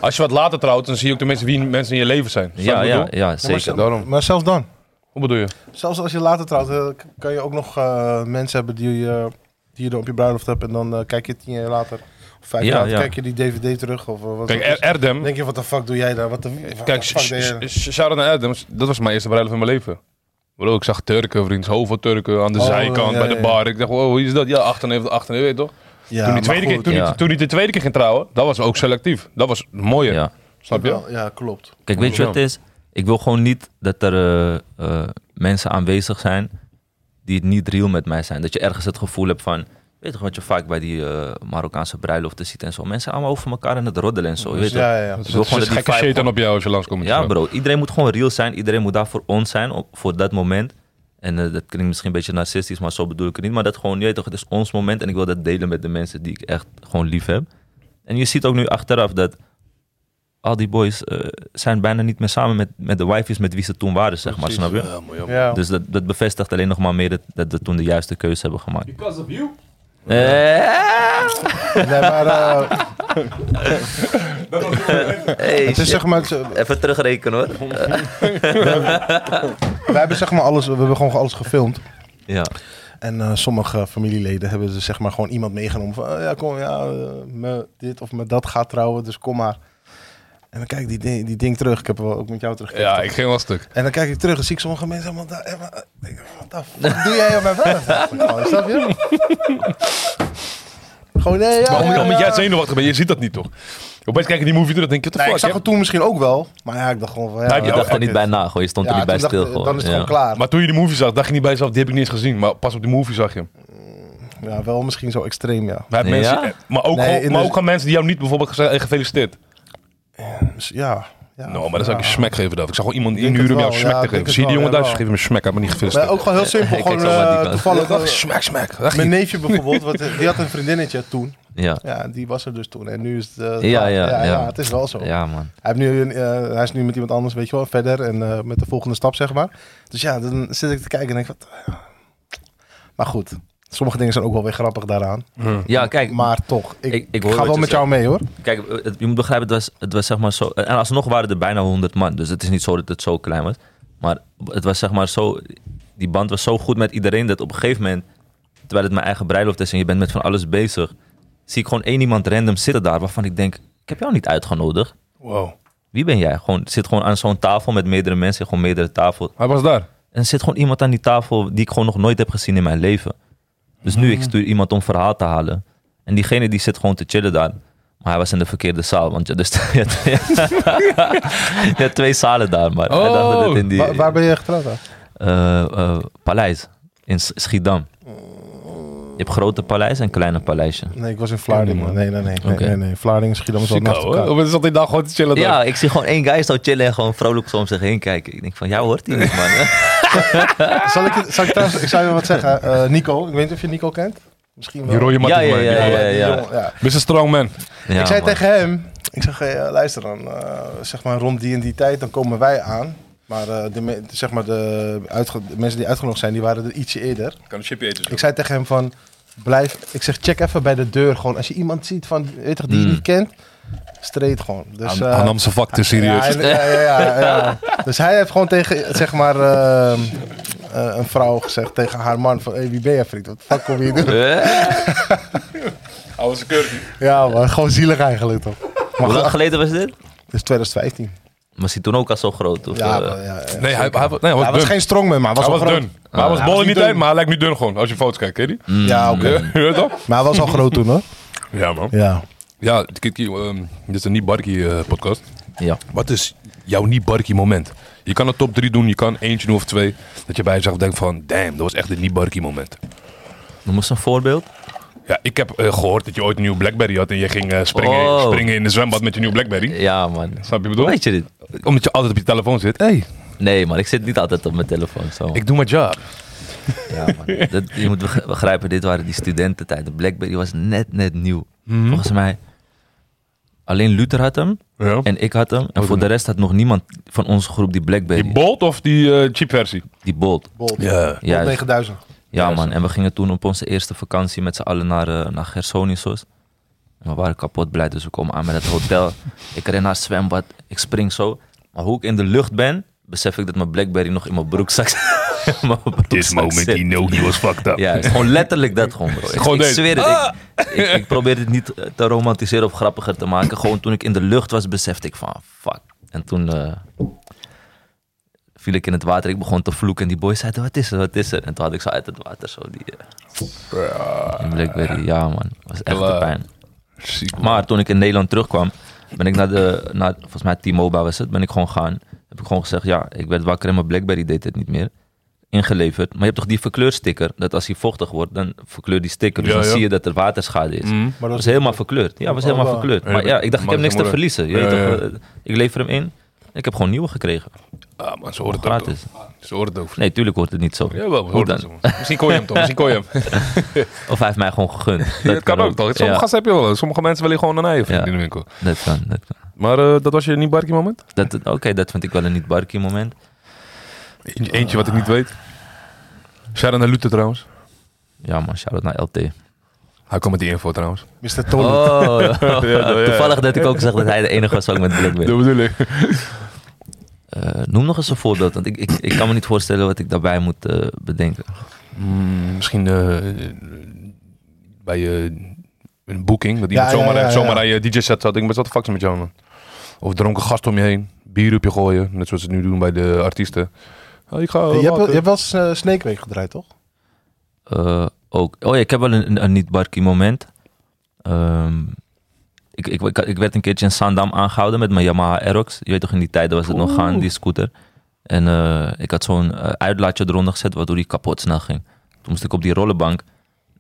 [SPEAKER 1] als je wat later trouwt, dan zie je ook de mensen wie mensen in je leven zijn. Snap je
[SPEAKER 3] Ja,
[SPEAKER 1] wat ik
[SPEAKER 3] ja,
[SPEAKER 1] bedoel?
[SPEAKER 3] ja,
[SPEAKER 2] maar,
[SPEAKER 3] zeker.
[SPEAKER 2] zelf-
[SPEAKER 1] daarom.
[SPEAKER 2] maar zelfs dan.
[SPEAKER 1] Hoe bedoel je?
[SPEAKER 2] Zelfs als je later trouwt, eh, k- kan je ook nog eh, mensen hebben die, je- die je dan op je bruiloft hebt. En dan eh, kijk je tien jaar later, of vijf
[SPEAKER 3] Ja,
[SPEAKER 2] jaar later,
[SPEAKER 3] ja.
[SPEAKER 2] kijk je die DVD terug. Of, eh, wat
[SPEAKER 1] Kijk,
[SPEAKER 2] wat is-
[SPEAKER 1] Er- Erdem.
[SPEAKER 2] denk je, wat de fuck doe jij daar? Wat de, what
[SPEAKER 1] Kijk,
[SPEAKER 2] the fuck deed jij daar?
[SPEAKER 1] shout-out naar Erdem. Dat was mijn eerste bruiloft in mijn leven. Bro, ik zag Turken, vriend. Zoveel Turken aan de
[SPEAKER 2] Oh,
[SPEAKER 1] zijkant,
[SPEAKER 2] ja,
[SPEAKER 1] bij de
[SPEAKER 2] ja, ja.
[SPEAKER 1] bar. Ik dacht, wow, wie is dat? Ja, 98, 98, weet je toch?
[SPEAKER 2] Ja,
[SPEAKER 1] toen,
[SPEAKER 2] maar
[SPEAKER 1] die tweede
[SPEAKER 2] goed,
[SPEAKER 1] keer, toen,
[SPEAKER 3] ja.
[SPEAKER 1] die, toen die de tweede keer ging trouwen, dat was ook selectief. Dat was mooier.
[SPEAKER 3] Ja.
[SPEAKER 1] Snap je?
[SPEAKER 2] wel, Ja, klopt.
[SPEAKER 3] Kijk, weet je wat het is? Ik wil gewoon niet dat er eh, eh, mensen aanwezig zijn die het niet real met mij zijn. Dat je ergens het gevoel hebt van, weet je wat je vaak bij die eh, Marokkaanse bruiloften ziet en zo. Mensen zijn allemaal over elkaar aan het roddelen en zo. je weet toch?
[SPEAKER 2] Ja, ja, ja.
[SPEAKER 1] Dat is
[SPEAKER 3] Ik wil
[SPEAKER 1] dat
[SPEAKER 3] gewoon
[SPEAKER 1] is
[SPEAKER 3] dat die
[SPEAKER 1] gekke
[SPEAKER 3] vibe
[SPEAKER 1] shit dan op jou als je langskomt.
[SPEAKER 3] Ja bro, iedereen moet gewoon real zijn. Iedereen moet daar voor ons zijn, op, voor dat moment. En eh, dat klinkt misschien een beetje narcistisch, maar zo bedoel ik het niet. Maar dat gewoon, je weet toch, het is ons moment en ik wil dat delen met de mensen die ik echt gewoon lief heb. En je ziet ook nu achteraf dat al die boys eh, zijn bijna niet meer samen met, met de wifies met wie ze toen waren, zeg maar, snap je?
[SPEAKER 1] Ja, mooi, joh.
[SPEAKER 2] Ja.
[SPEAKER 3] Dus dat, dat bevestigt alleen nog maar meer dat, dat we toen de juiste keuze hebben gemaakt.
[SPEAKER 4] Because of you.
[SPEAKER 3] Eh,
[SPEAKER 2] Nee, maar eh,
[SPEAKER 4] Dat was het.
[SPEAKER 3] hey,
[SPEAKER 2] het is
[SPEAKER 3] shit.
[SPEAKER 2] zeg maar... het-
[SPEAKER 3] Even terugrekenen hoor.
[SPEAKER 2] Wij hebben zeg maar alles, we hebben gewoon alles gefilmd.
[SPEAKER 3] Ja,
[SPEAKER 2] En eh, sommige familieleden hebben ze zeg maar gewoon iemand meegenomen van, eh, ja kom, ja, eh, me dit of me dat gaat trouwen, dus kom maar. En dan kijk ik die, ding- die ding terug, ik heb wel ook met jou terug.
[SPEAKER 1] Ja, ik ging wel stuk.
[SPEAKER 2] En dan kijk ik terug en zie ik sommige mensen allemaal daar, eh, maar, eh, ik denk, wat de fuck doe jij op mijn bruiloft? Nou, snap je? Gewoon, nee, ja,
[SPEAKER 1] Maar om-
[SPEAKER 2] ja,
[SPEAKER 1] omdat
[SPEAKER 2] ja.
[SPEAKER 1] jij zenuwachtig bent, je ziet dat niet toch? Opeens kijk je die movie terug en denk je, what the
[SPEAKER 2] Nee, ik
[SPEAKER 1] fuck?
[SPEAKER 2] zag
[SPEAKER 1] hè?
[SPEAKER 2] het toen misschien ook wel, maar ja, ik dacht gewoon van, ja,
[SPEAKER 1] Daar heb
[SPEAKER 3] je dacht er
[SPEAKER 2] fuck
[SPEAKER 3] niet
[SPEAKER 2] it.
[SPEAKER 3] bij na, gewoon. je stond er
[SPEAKER 2] Ja,
[SPEAKER 3] niet bij
[SPEAKER 2] toen
[SPEAKER 3] stil.
[SPEAKER 2] dacht-
[SPEAKER 3] gewoon.
[SPEAKER 2] Dan is het
[SPEAKER 3] Ja.
[SPEAKER 2] gewoon klaar.
[SPEAKER 1] Maar toen je die movie zag, dacht je niet bij jezelf, die heb ik niet eens gezien. Maar pas op die movie zag je hem.
[SPEAKER 2] Ja, wel misschien zo extreem, ja.
[SPEAKER 1] Maar,
[SPEAKER 3] Ja?
[SPEAKER 1] mensen, eh, maar, ook,
[SPEAKER 2] Nee,
[SPEAKER 1] gewoon-
[SPEAKER 2] in
[SPEAKER 1] maar
[SPEAKER 2] de-
[SPEAKER 1] ook aan mensen die jou niet bijvoorbeeld gezegd eh, gefeliciteerd.
[SPEAKER 2] Dus ja,
[SPEAKER 1] nou, maar dat zou ik een smack geven. Dat. Ik zou gewoon iemand
[SPEAKER 2] Ik denk
[SPEAKER 1] inhuren om jou
[SPEAKER 2] het wel,
[SPEAKER 1] smack
[SPEAKER 2] ja,
[SPEAKER 1] te
[SPEAKER 2] ik
[SPEAKER 1] geven.
[SPEAKER 2] denk het
[SPEAKER 1] Zie je die
[SPEAKER 2] wel,
[SPEAKER 1] jongen
[SPEAKER 2] ja,
[SPEAKER 1] Duits?
[SPEAKER 2] wel.
[SPEAKER 1] Geef hem een smack. Hij me niet gevist.
[SPEAKER 2] Maar ook gewoon heel simpel.
[SPEAKER 3] Ik
[SPEAKER 2] gewoon
[SPEAKER 3] kijk zo wat die
[SPEAKER 2] eh,
[SPEAKER 3] kan.
[SPEAKER 2] toevallig.
[SPEAKER 1] Dag,
[SPEAKER 2] eh,
[SPEAKER 1] smack, smack. Dag,
[SPEAKER 2] Mijn
[SPEAKER 1] hier.
[SPEAKER 2] neefje bijvoorbeeld, want die had een vriendinnetje toen.
[SPEAKER 3] Ja,
[SPEAKER 2] Ja, die was er dus toen. En nu is het. eh,
[SPEAKER 3] ja,
[SPEAKER 2] ja,
[SPEAKER 3] ja.
[SPEAKER 2] het is wel zo.
[SPEAKER 3] ja man.
[SPEAKER 2] Hij, heeft nu, een, eh, hij is nu met iemand anders, weet je wel, verder. En eh, met de volgende stap, zeg maar. Dus ja, dan zit ik te kijken en denk ik. Wat, eh, maar goed, sommige dingen zijn ook wel weer grappig daaraan.
[SPEAKER 1] Hm.
[SPEAKER 3] Ja, kijk,
[SPEAKER 2] maar toch, ik,
[SPEAKER 3] ik- ik hoor
[SPEAKER 2] ga
[SPEAKER 3] wat
[SPEAKER 2] wel
[SPEAKER 3] je
[SPEAKER 2] met jou mee hoor.
[SPEAKER 3] Kijk, het- je moet begrijpen, het was, het was zeg maar zo... En alsnog waren er bijna 100 man. Dus het is niet zo dat het zo klein was. Maar het was zeg maar zo... Die band was zo goed met iedereen dat op een gegeven moment... Terwijl het mijn eigen bruiloft is en je bent met van alles bezig... Zie ik gewoon één iemand random zitten daar waarvan ik denk... Ik heb jou niet uitgenodigd.
[SPEAKER 1] Wow.
[SPEAKER 3] Wie ben jij? Gewoon, zit gewoon aan zo'n tafel met meerdere mensen. Gewoon meerdere tafel.
[SPEAKER 1] Hij was daar.
[SPEAKER 3] En er zit gewoon iemand aan die tafel die ik gewoon nog nooit heb gezien in mijn leven. Dus nu,
[SPEAKER 2] Ah.
[SPEAKER 3] ik stuur iemand om verhaal te halen. En diegene die zit gewoon te chillen daar. Maar hij was in de verkeerde zaal, want je, dus, je, had, je had twee zalen daar. Maar hij dacht dat het in die...
[SPEAKER 2] Wa- Oh, waar ben je getrouwd aan?
[SPEAKER 3] eh, eh, paleis, in S- Schiedam. Je hebt grote paleis en kleine paleisje.
[SPEAKER 2] Nee, ik was in Vlaardingen. man. Nee, nee, nee. nee,
[SPEAKER 3] Oké.
[SPEAKER 2] nee, nee. Vlaardingen, Schiedam is al naast
[SPEAKER 1] Zico, hè?
[SPEAKER 2] elkaar.
[SPEAKER 1] Of zat hij daar gewoon te chillen?
[SPEAKER 3] Ja,
[SPEAKER 1] daar?
[SPEAKER 3] ik zie gewoon één guy zo chillen en gewoon vrolijk zo om zich heen kijken. Ik denk van, jou hoort hij niet, man.
[SPEAKER 2] Zal ik, het- zal ik, trouwens, ik zou je wat zeggen. Eh, Nico, ik weet niet of je Nico kent. Misschien wel.
[SPEAKER 1] Die rode
[SPEAKER 3] Ja,
[SPEAKER 1] mattie
[SPEAKER 3] ja,
[SPEAKER 1] van mij.
[SPEAKER 3] ja, ja.
[SPEAKER 2] die jongen, ja.
[SPEAKER 1] Mr. Strongman.
[SPEAKER 3] Ja,
[SPEAKER 2] ik zei
[SPEAKER 3] man.
[SPEAKER 2] tegen hem, ik zeg, hey, eh, luister dan, eh, zeg maar rond die en die tijd, dan komen wij aan. Maar eh, de, me- zeg maar de, uitge- de mensen die uitgenodigd zijn, die waren er ietsje eerder.
[SPEAKER 1] Kan een chipje eten. dus.
[SPEAKER 2] Ik zei tegen hem van, blijf, ik zeg, check even bij de deur gewoon. Als je iemand ziet van, weet je toch, die je
[SPEAKER 3] Mm.
[SPEAKER 2] niet kent, straight gewoon. Dus, eh,
[SPEAKER 1] Hij nam zijn vak te serieus.
[SPEAKER 2] ja, hij- ja, ja, ja, ja. Dus hij heeft gewoon tegen, zeg maar, eh, eh, een vrouw gezegd, tegen haar man van, hey, wie ben jij vriend? Wat de fuck kom je hier doen?
[SPEAKER 3] Eh?
[SPEAKER 1] Hij was een curvy.
[SPEAKER 2] Ja man, gewoon zielig eigenlijk toch.
[SPEAKER 3] Hoe lang geleden was dit?
[SPEAKER 2] Dus 2015.
[SPEAKER 3] Was hij toen ook al zo groot? Of,
[SPEAKER 2] Ja,
[SPEAKER 3] eh?
[SPEAKER 2] maar ja, ja.
[SPEAKER 1] Nee, hij, hij, was- nee, hij was,
[SPEAKER 2] Hij was
[SPEAKER 1] dun.
[SPEAKER 2] geen strongman, maar hij was,
[SPEAKER 1] hij
[SPEAKER 2] wel
[SPEAKER 1] was
[SPEAKER 2] groot.
[SPEAKER 1] dun. Maar hij was
[SPEAKER 2] hij
[SPEAKER 1] bol in die
[SPEAKER 2] was niet
[SPEAKER 1] tijd,
[SPEAKER 2] dun.
[SPEAKER 1] maar hij lijkt nu dun gewoon. Als je foto's kijkt, ken je die?
[SPEAKER 3] Mm.
[SPEAKER 2] Ja, oké.
[SPEAKER 1] Mm. Ja, je weet toch?
[SPEAKER 2] Maar hij was al groot toen, hoor.
[SPEAKER 1] Ja, man.
[SPEAKER 2] Ja.
[SPEAKER 1] Ja, kijk, hier, ehm, dit is een Niet Barkie eh, podcast.
[SPEAKER 3] ja.
[SPEAKER 1] Wat is jouw Niet Barkie moment? Je kan een top 3 doen, je kan eentje doen of twee. Dat je bij jezelf denkt van, damn, dat was echt een Niet Barkie moment.
[SPEAKER 3] Noem eens een voorbeeld.
[SPEAKER 1] Ja, ik heb eh, gehoord dat je ooit een nieuwe Blackberry had en je ging eh, springen,
[SPEAKER 3] Oh.
[SPEAKER 1] springen in de zwembad met je nieuwe Blackberry.
[SPEAKER 3] Ja, man.
[SPEAKER 1] Snap je wat ik bedoel?
[SPEAKER 3] Weet je dit?
[SPEAKER 1] Omdat je altijd op je telefoon zit. hey,
[SPEAKER 3] Nee, man. Ik zit niet altijd op mijn telefoon. Zo.
[SPEAKER 1] ik doe mijn job.
[SPEAKER 3] Ja, man. Dat, je moet beg- begrijpen, dit waren die studententijden. Blackberry was net, net nieuw. Volgens mij, alleen Luther had hem
[SPEAKER 1] Ja.
[SPEAKER 3] en ik had hem. En voor de rest had nog niemand van onze groep die
[SPEAKER 1] Die
[SPEAKER 3] Blackberry.
[SPEAKER 1] Bolt of die eh cheap versie?
[SPEAKER 3] Die Bolt.
[SPEAKER 2] Bolt.
[SPEAKER 1] Ja.
[SPEAKER 2] Bolt
[SPEAKER 3] Juist.
[SPEAKER 2] 9000.
[SPEAKER 3] Ja, man. En we gingen toen op onze eerste vakantie met z'n allen naar, eh, naar Gersonisos. En We waren kapot blij, dus we komen aan met het hotel. Ik ren naar het zwembad, ik spring zo. Maar hoe ik in de lucht ben, besef ik dat mijn Blackberry nog in mijn broekzak in mijn broekzak zit.
[SPEAKER 1] Nogi was fucked up.
[SPEAKER 3] Ja, het is gewoon letterlijk dat gewoon, bro. Ik,
[SPEAKER 1] Gewoon
[SPEAKER 3] ik
[SPEAKER 1] deze. Ah!
[SPEAKER 3] zweer het. Ik, ik, ik probeer het niet eh, te romantiseren of grappiger te maken. Gewoon toen ik in de lucht was, besefte ik van, fuck. En toen eh, viel ik in het water. Ik begon te vloeken en die boys zeiden, wat is er, wat is er? En toen had ik zo uit het water zo die... eh, die Blackberry, ja man. was echt de
[SPEAKER 1] Klaar.
[SPEAKER 3] pijn. Maar toen ik in Nederland terugkwam, ben ik naar de, naar, volgens mij T-Mobile was het, ben ik gewoon gaan. Heb ik gewoon gezegd, ja, ik werd wakker en mijn Blackberry deed het niet meer. Ingeleverd. Maar je hebt toch die verkleursticker, dat als hij vochtig wordt, dan verkleurt die sticker. Dus
[SPEAKER 1] Ja,
[SPEAKER 3] dan
[SPEAKER 1] ja.
[SPEAKER 3] zie je dat er waterschade is.
[SPEAKER 1] Mm.
[SPEAKER 2] Maar
[SPEAKER 3] Dat
[SPEAKER 2] dat
[SPEAKER 3] was
[SPEAKER 2] was,
[SPEAKER 3] helemaal verkleurd. Ja, was helemaal
[SPEAKER 2] Oh,
[SPEAKER 3] verkleurd.
[SPEAKER 1] ja,
[SPEAKER 3] Maar ja, ik dacht,
[SPEAKER 1] maar
[SPEAKER 3] ik heb
[SPEAKER 1] dat
[SPEAKER 3] niks te
[SPEAKER 1] moet-
[SPEAKER 3] verliezen. Je weet
[SPEAKER 1] Ja, ja.
[SPEAKER 3] toch, eh, ik lever hem in. Ik heb gewoon nieuwe gekregen.
[SPEAKER 1] Ah, man, ze hoort het ook.
[SPEAKER 3] Gratis.
[SPEAKER 1] toch? Ze hoort het ook.
[SPEAKER 3] Nee, tuurlijk wordt het niet zo.
[SPEAKER 1] Jawel, we
[SPEAKER 3] Hoe
[SPEAKER 1] horen het.
[SPEAKER 3] dan?
[SPEAKER 1] zo. Misschien kon je hem toch, misschien kon je hem.
[SPEAKER 3] Of hij heeft mij gewoon gegund. Dat
[SPEAKER 1] Dat kan ook toch. Sommige
[SPEAKER 3] Ja,
[SPEAKER 1] gasten heb je wel. Sommige mensen willen gewoon een ei
[SPEAKER 3] Ja.
[SPEAKER 1] in de winkel.
[SPEAKER 3] dat kan, dat kan.
[SPEAKER 1] Maar eh, dat was je niet barkie moment?
[SPEAKER 3] Dat- Oké, dat vind ik wel een niet-barkie moment.
[SPEAKER 1] Eentje, eentje wat ik niet weet. Sharon naar Luther trouwens.
[SPEAKER 3] Ja man, shout-out naar LT.
[SPEAKER 1] Hij kwam met die info trouwens.
[SPEAKER 2] Mr. Tony.
[SPEAKER 3] Oh,
[SPEAKER 1] ja.
[SPEAKER 3] toevallig dat ik ook zag dat hij de enige was ook met Blackberry.
[SPEAKER 1] bedoel ik.
[SPEAKER 3] Eh, noem nog eens een voorbeeld, want ik, ik, ik kan me niet voorstellen wat ik daarbij moet eh, bedenken.
[SPEAKER 1] Mm, misschien eh, eh, bij eh, een boeking. Dat iemand
[SPEAKER 2] ja,
[SPEAKER 1] zomaar,
[SPEAKER 2] ja, ja.
[SPEAKER 1] zomaar aan je DJ-set zat. Ik ben zat te faxen met jou. Man. Of dronken gast om je heen. Bier op je gooien. Net zoals ze het nu doen bij de artiesten. Oh, ik ga,
[SPEAKER 2] je, hebt, wel- je
[SPEAKER 1] water.
[SPEAKER 2] hebt wel eens eh, Snake Week gedraaid, toch?
[SPEAKER 3] Eh, ook, oh ja, ik heb wel een, een- een niet-barkie moment. Ehm, ik, ik, ik, ik werd een keertje in Zaandam aangehouden met mijn Yamaha Aerox. Je weet toch, in die tijden was het nog gaan, die scooter. En eh, ik had zo'n eh, uitlaatje eronder gezet, waardoor die kapot snel ging. Toen moest ik op die rollenbank.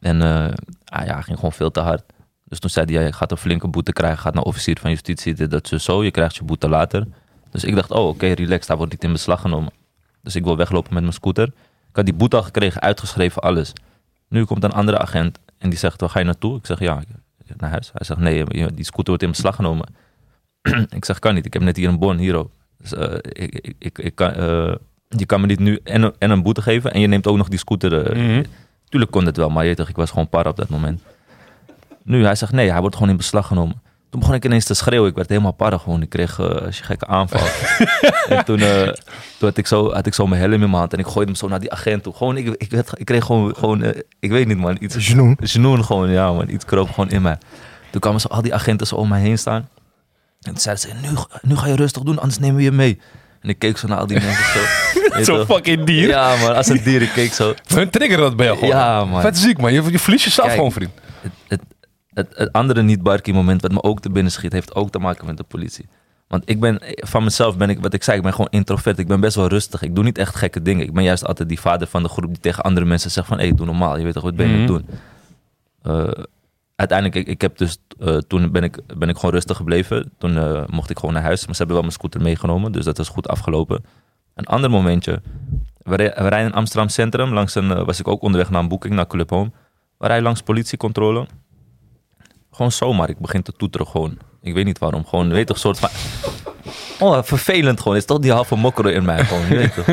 [SPEAKER 3] En eh, ah, ja, ging gewoon veel te hard. Dus toen zei hij, ja, je gaat een flinke boete krijgen. Gaat naar officier van justitie, dit, dat, zo, zo. Je krijgt je boete later. Dus ik dacht, oh oké, relax, daar wordt niet in beslag genomen. Dus ik wil weglopen met mijn scooter. Ik had die boete al gekregen, uitgeschreven, alles. Nu komt een andere agent en die zegt, waar ga je naartoe? Ik zeg, ja, ik- naar huis. Hij zegt, nee, je- die scooter wordt in beslag genomen. ik zeg, kan niet, ik heb net hier een bon, hier ook. Dus, eh, ik, ik, ik, ik kan, eh, je kan me niet nu en, een- en een boete geven en je neemt ook nog die scooter. eh,
[SPEAKER 1] Mhm.
[SPEAKER 3] Tuurlijk kon dat wel, maar je weet toch, ik was gewoon par op dat moment. Nu, hij zegt nee, hij wordt gewoon in beslag genomen. Toen begon ik ineens te schreeuwen. Ik werd helemaal parra gewoon. Ik kreeg eh, een gekke aanval. en toen, eh, toen had, ik zo, had ik zo mijn helm in mijn hand en ik gooide hem zo naar die agent toe. Gewoon, ik, ik, werd, ik kreeg gewoon, gewoon eh, ik weet niet man, iets
[SPEAKER 2] Genoen.
[SPEAKER 3] Genoen gewoon, ja man. Iets kroop gewoon in mij. Toen kwamen zo al die agenten zo om mij heen staan. En toen zeiden ze, nu, nu ga je rustig doen, anders nemen we je mee. En ik keek zo naar al die mensen zo. Weet
[SPEAKER 1] Zo'n
[SPEAKER 3] toch?
[SPEAKER 1] fucking dier.
[SPEAKER 3] Ja man, als een dier. Ik keek zo.
[SPEAKER 1] Hun trigger dat bij jou gewoon.
[SPEAKER 3] Ja, man.
[SPEAKER 1] Vet ziek, man. Je, je verliest jezelf
[SPEAKER 3] Kijk.
[SPEAKER 1] gewoon, vriend.
[SPEAKER 3] Het, het, het, het andere niet-barkie moment wat me ook te binnen schiet, heeft ook te maken met de politie. Want ik ben, van mezelf ben ik, wat ik zei, ik ben gewoon introvert. Ik ben best wel rustig. Ik doe niet echt gekke dingen. Ik ben juist altijd die vader van de groep die tegen andere mensen zegt van, hé, doe normaal. Je weet toch, wat ben je aan het
[SPEAKER 1] Mhm.
[SPEAKER 3] doen? Eh, uiteindelijk, ik, ik heb dus, eh, toen ben ik, ben ik gewoon rustig gebleven. Toen eh, mocht ik gewoon naar huis. Maar ze hebben wel mijn scooter meegenomen, dus dat was goed afgelopen. Een ander momentje. We, re- we rijden in Amsterdam Centrum. Langs een, eh, was ik ook onderweg naar een boeking, naar Club Home. We rijden langs politiecontrole. Gewoon zomaar, ik begin te toeteren gewoon. Ik weet niet waarom, gewoon, weet toch, soort van... Oh, vervelend gewoon. Het is toch die halve mokker in mij gewoon, je weet toch.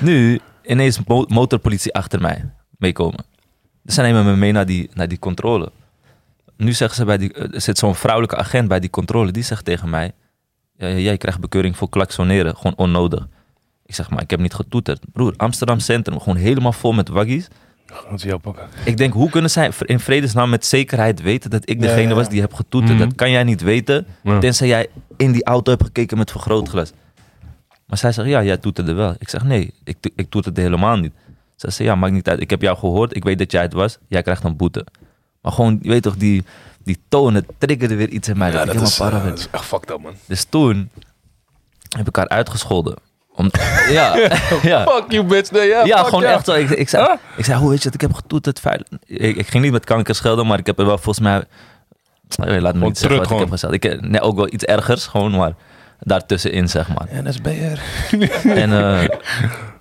[SPEAKER 3] Nu, ineens mo- motorpolitie achter mij meekomen. Dus Ze nemen me mee naar die, naar die controle. Nu zeggen ze bij die, eh, er zit zo'n vrouwelijke agent bij die controle. Die zegt tegen mij: "Ja, Jij krijgt bekeuring voor klaksoneren, gewoon onnodig. Ik zeg: Maar ik heb niet getoeterd. Broer, Amsterdam Centrum, gewoon helemaal vol met waggies.
[SPEAKER 1] Gaan ze jou pakken.
[SPEAKER 3] Ik denk, hoe kunnen zij in vredesnaam met zekerheid weten dat ik
[SPEAKER 2] Ja,
[SPEAKER 3] degene
[SPEAKER 2] ja, ja.
[SPEAKER 3] was die heb getoeterd?
[SPEAKER 1] Mhm.
[SPEAKER 3] Dat kan jij niet weten,
[SPEAKER 1] Ja.
[SPEAKER 3] tenzij jij in die auto hebt gekeken met vergrootglas. Maar zij zegt, ja, jij toeterde wel. Ik zeg, nee, ik, to- ik toeterde helemaal niet. Zij zegt, ja, maakt niet uit. Ik heb jou gehoord, ik weet dat jij het was. Jij krijgt een boete. Maar gewoon, je weet toch, die, die toon, het triggerde weer iets in mij. dat
[SPEAKER 1] Ja,
[SPEAKER 3] ik
[SPEAKER 1] dat
[SPEAKER 3] helemaal
[SPEAKER 1] is, eh,
[SPEAKER 3] para
[SPEAKER 1] dat
[SPEAKER 3] werd.
[SPEAKER 1] is echt fucked up, man.
[SPEAKER 3] Dus toen heb ik haar uitgescholden. Om, ja, ja.
[SPEAKER 1] Fuck you, bitch. Nee, ja,
[SPEAKER 3] Ja,
[SPEAKER 1] fuck
[SPEAKER 3] gewoon
[SPEAKER 1] jou.
[SPEAKER 3] echt zo. Ik, ik, zei, ik zei, hoe weet je dat? Ik heb getoeterd. Vuil. Ik, ik ging niet met kanker schelden, maar ik heb er wel volgens mij... Eh, Laat me
[SPEAKER 1] Gewoon
[SPEAKER 3] niet zeggen
[SPEAKER 1] terug
[SPEAKER 3] wat ik heb
[SPEAKER 1] gewoon.
[SPEAKER 3] gezegd. Ik, eh, nee, ook wel iets ergers, gewoon maar daartussenin, zeg maar.
[SPEAKER 1] NSB'er.
[SPEAKER 3] En, eh,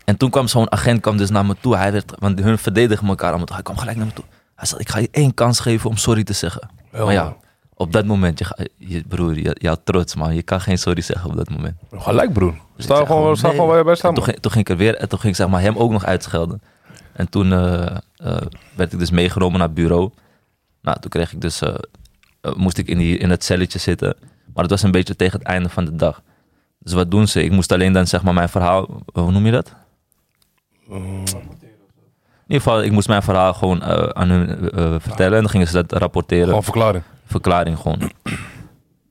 [SPEAKER 3] en toen kwam zo'n agent kwam dus naar me toe. Hij werd, want hun verdedigen elkaar allemaal. Hij kwam gelijk naar me toe. Hij zei, ik ga je één kans geven om sorry te zeggen.
[SPEAKER 1] Ja,
[SPEAKER 3] maar ja,
[SPEAKER 1] man.
[SPEAKER 3] op dat moment, je, ga- je broer, je, jouw trots man. Je kan geen sorry zeggen op dat moment.
[SPEAKER 1] Gelijk, broer. Sta
[SPEAKER 3] Ik zeg oh,
[SPEAKER 1] gewoon, sta
[SPEAKER 3] nee.
[SPEAKER 1] gewoon waar je bij staat,
[SPEAKER 3] En Toen,
[SPEAKER 1] man.
[SPEAKER 3] ging- toen ging ik er weer, en toen ging ik zeg maar hem ook nog uitschelden. En toen eh, eh, werd ik dus meegenomen naar het bureau. Nou, toen kreeg ik dus, eh, eh, moest ik in, die, in het celletje zitten. Maar het was een beetje tegen het einde van de dag. Dus wat doen ze? Ik moest alleen dan zeg maar mijn verhaal, eh, hoe noem je dat? In ieder geval, ik moest mijn verhaal gewoon eh, aan hun eh, eh, vertellen. En dan gingen ze dat rapporteren
[SPEAKER 1] Gewoon verklaren.
[SPEAKER 3] verklaring gewoon.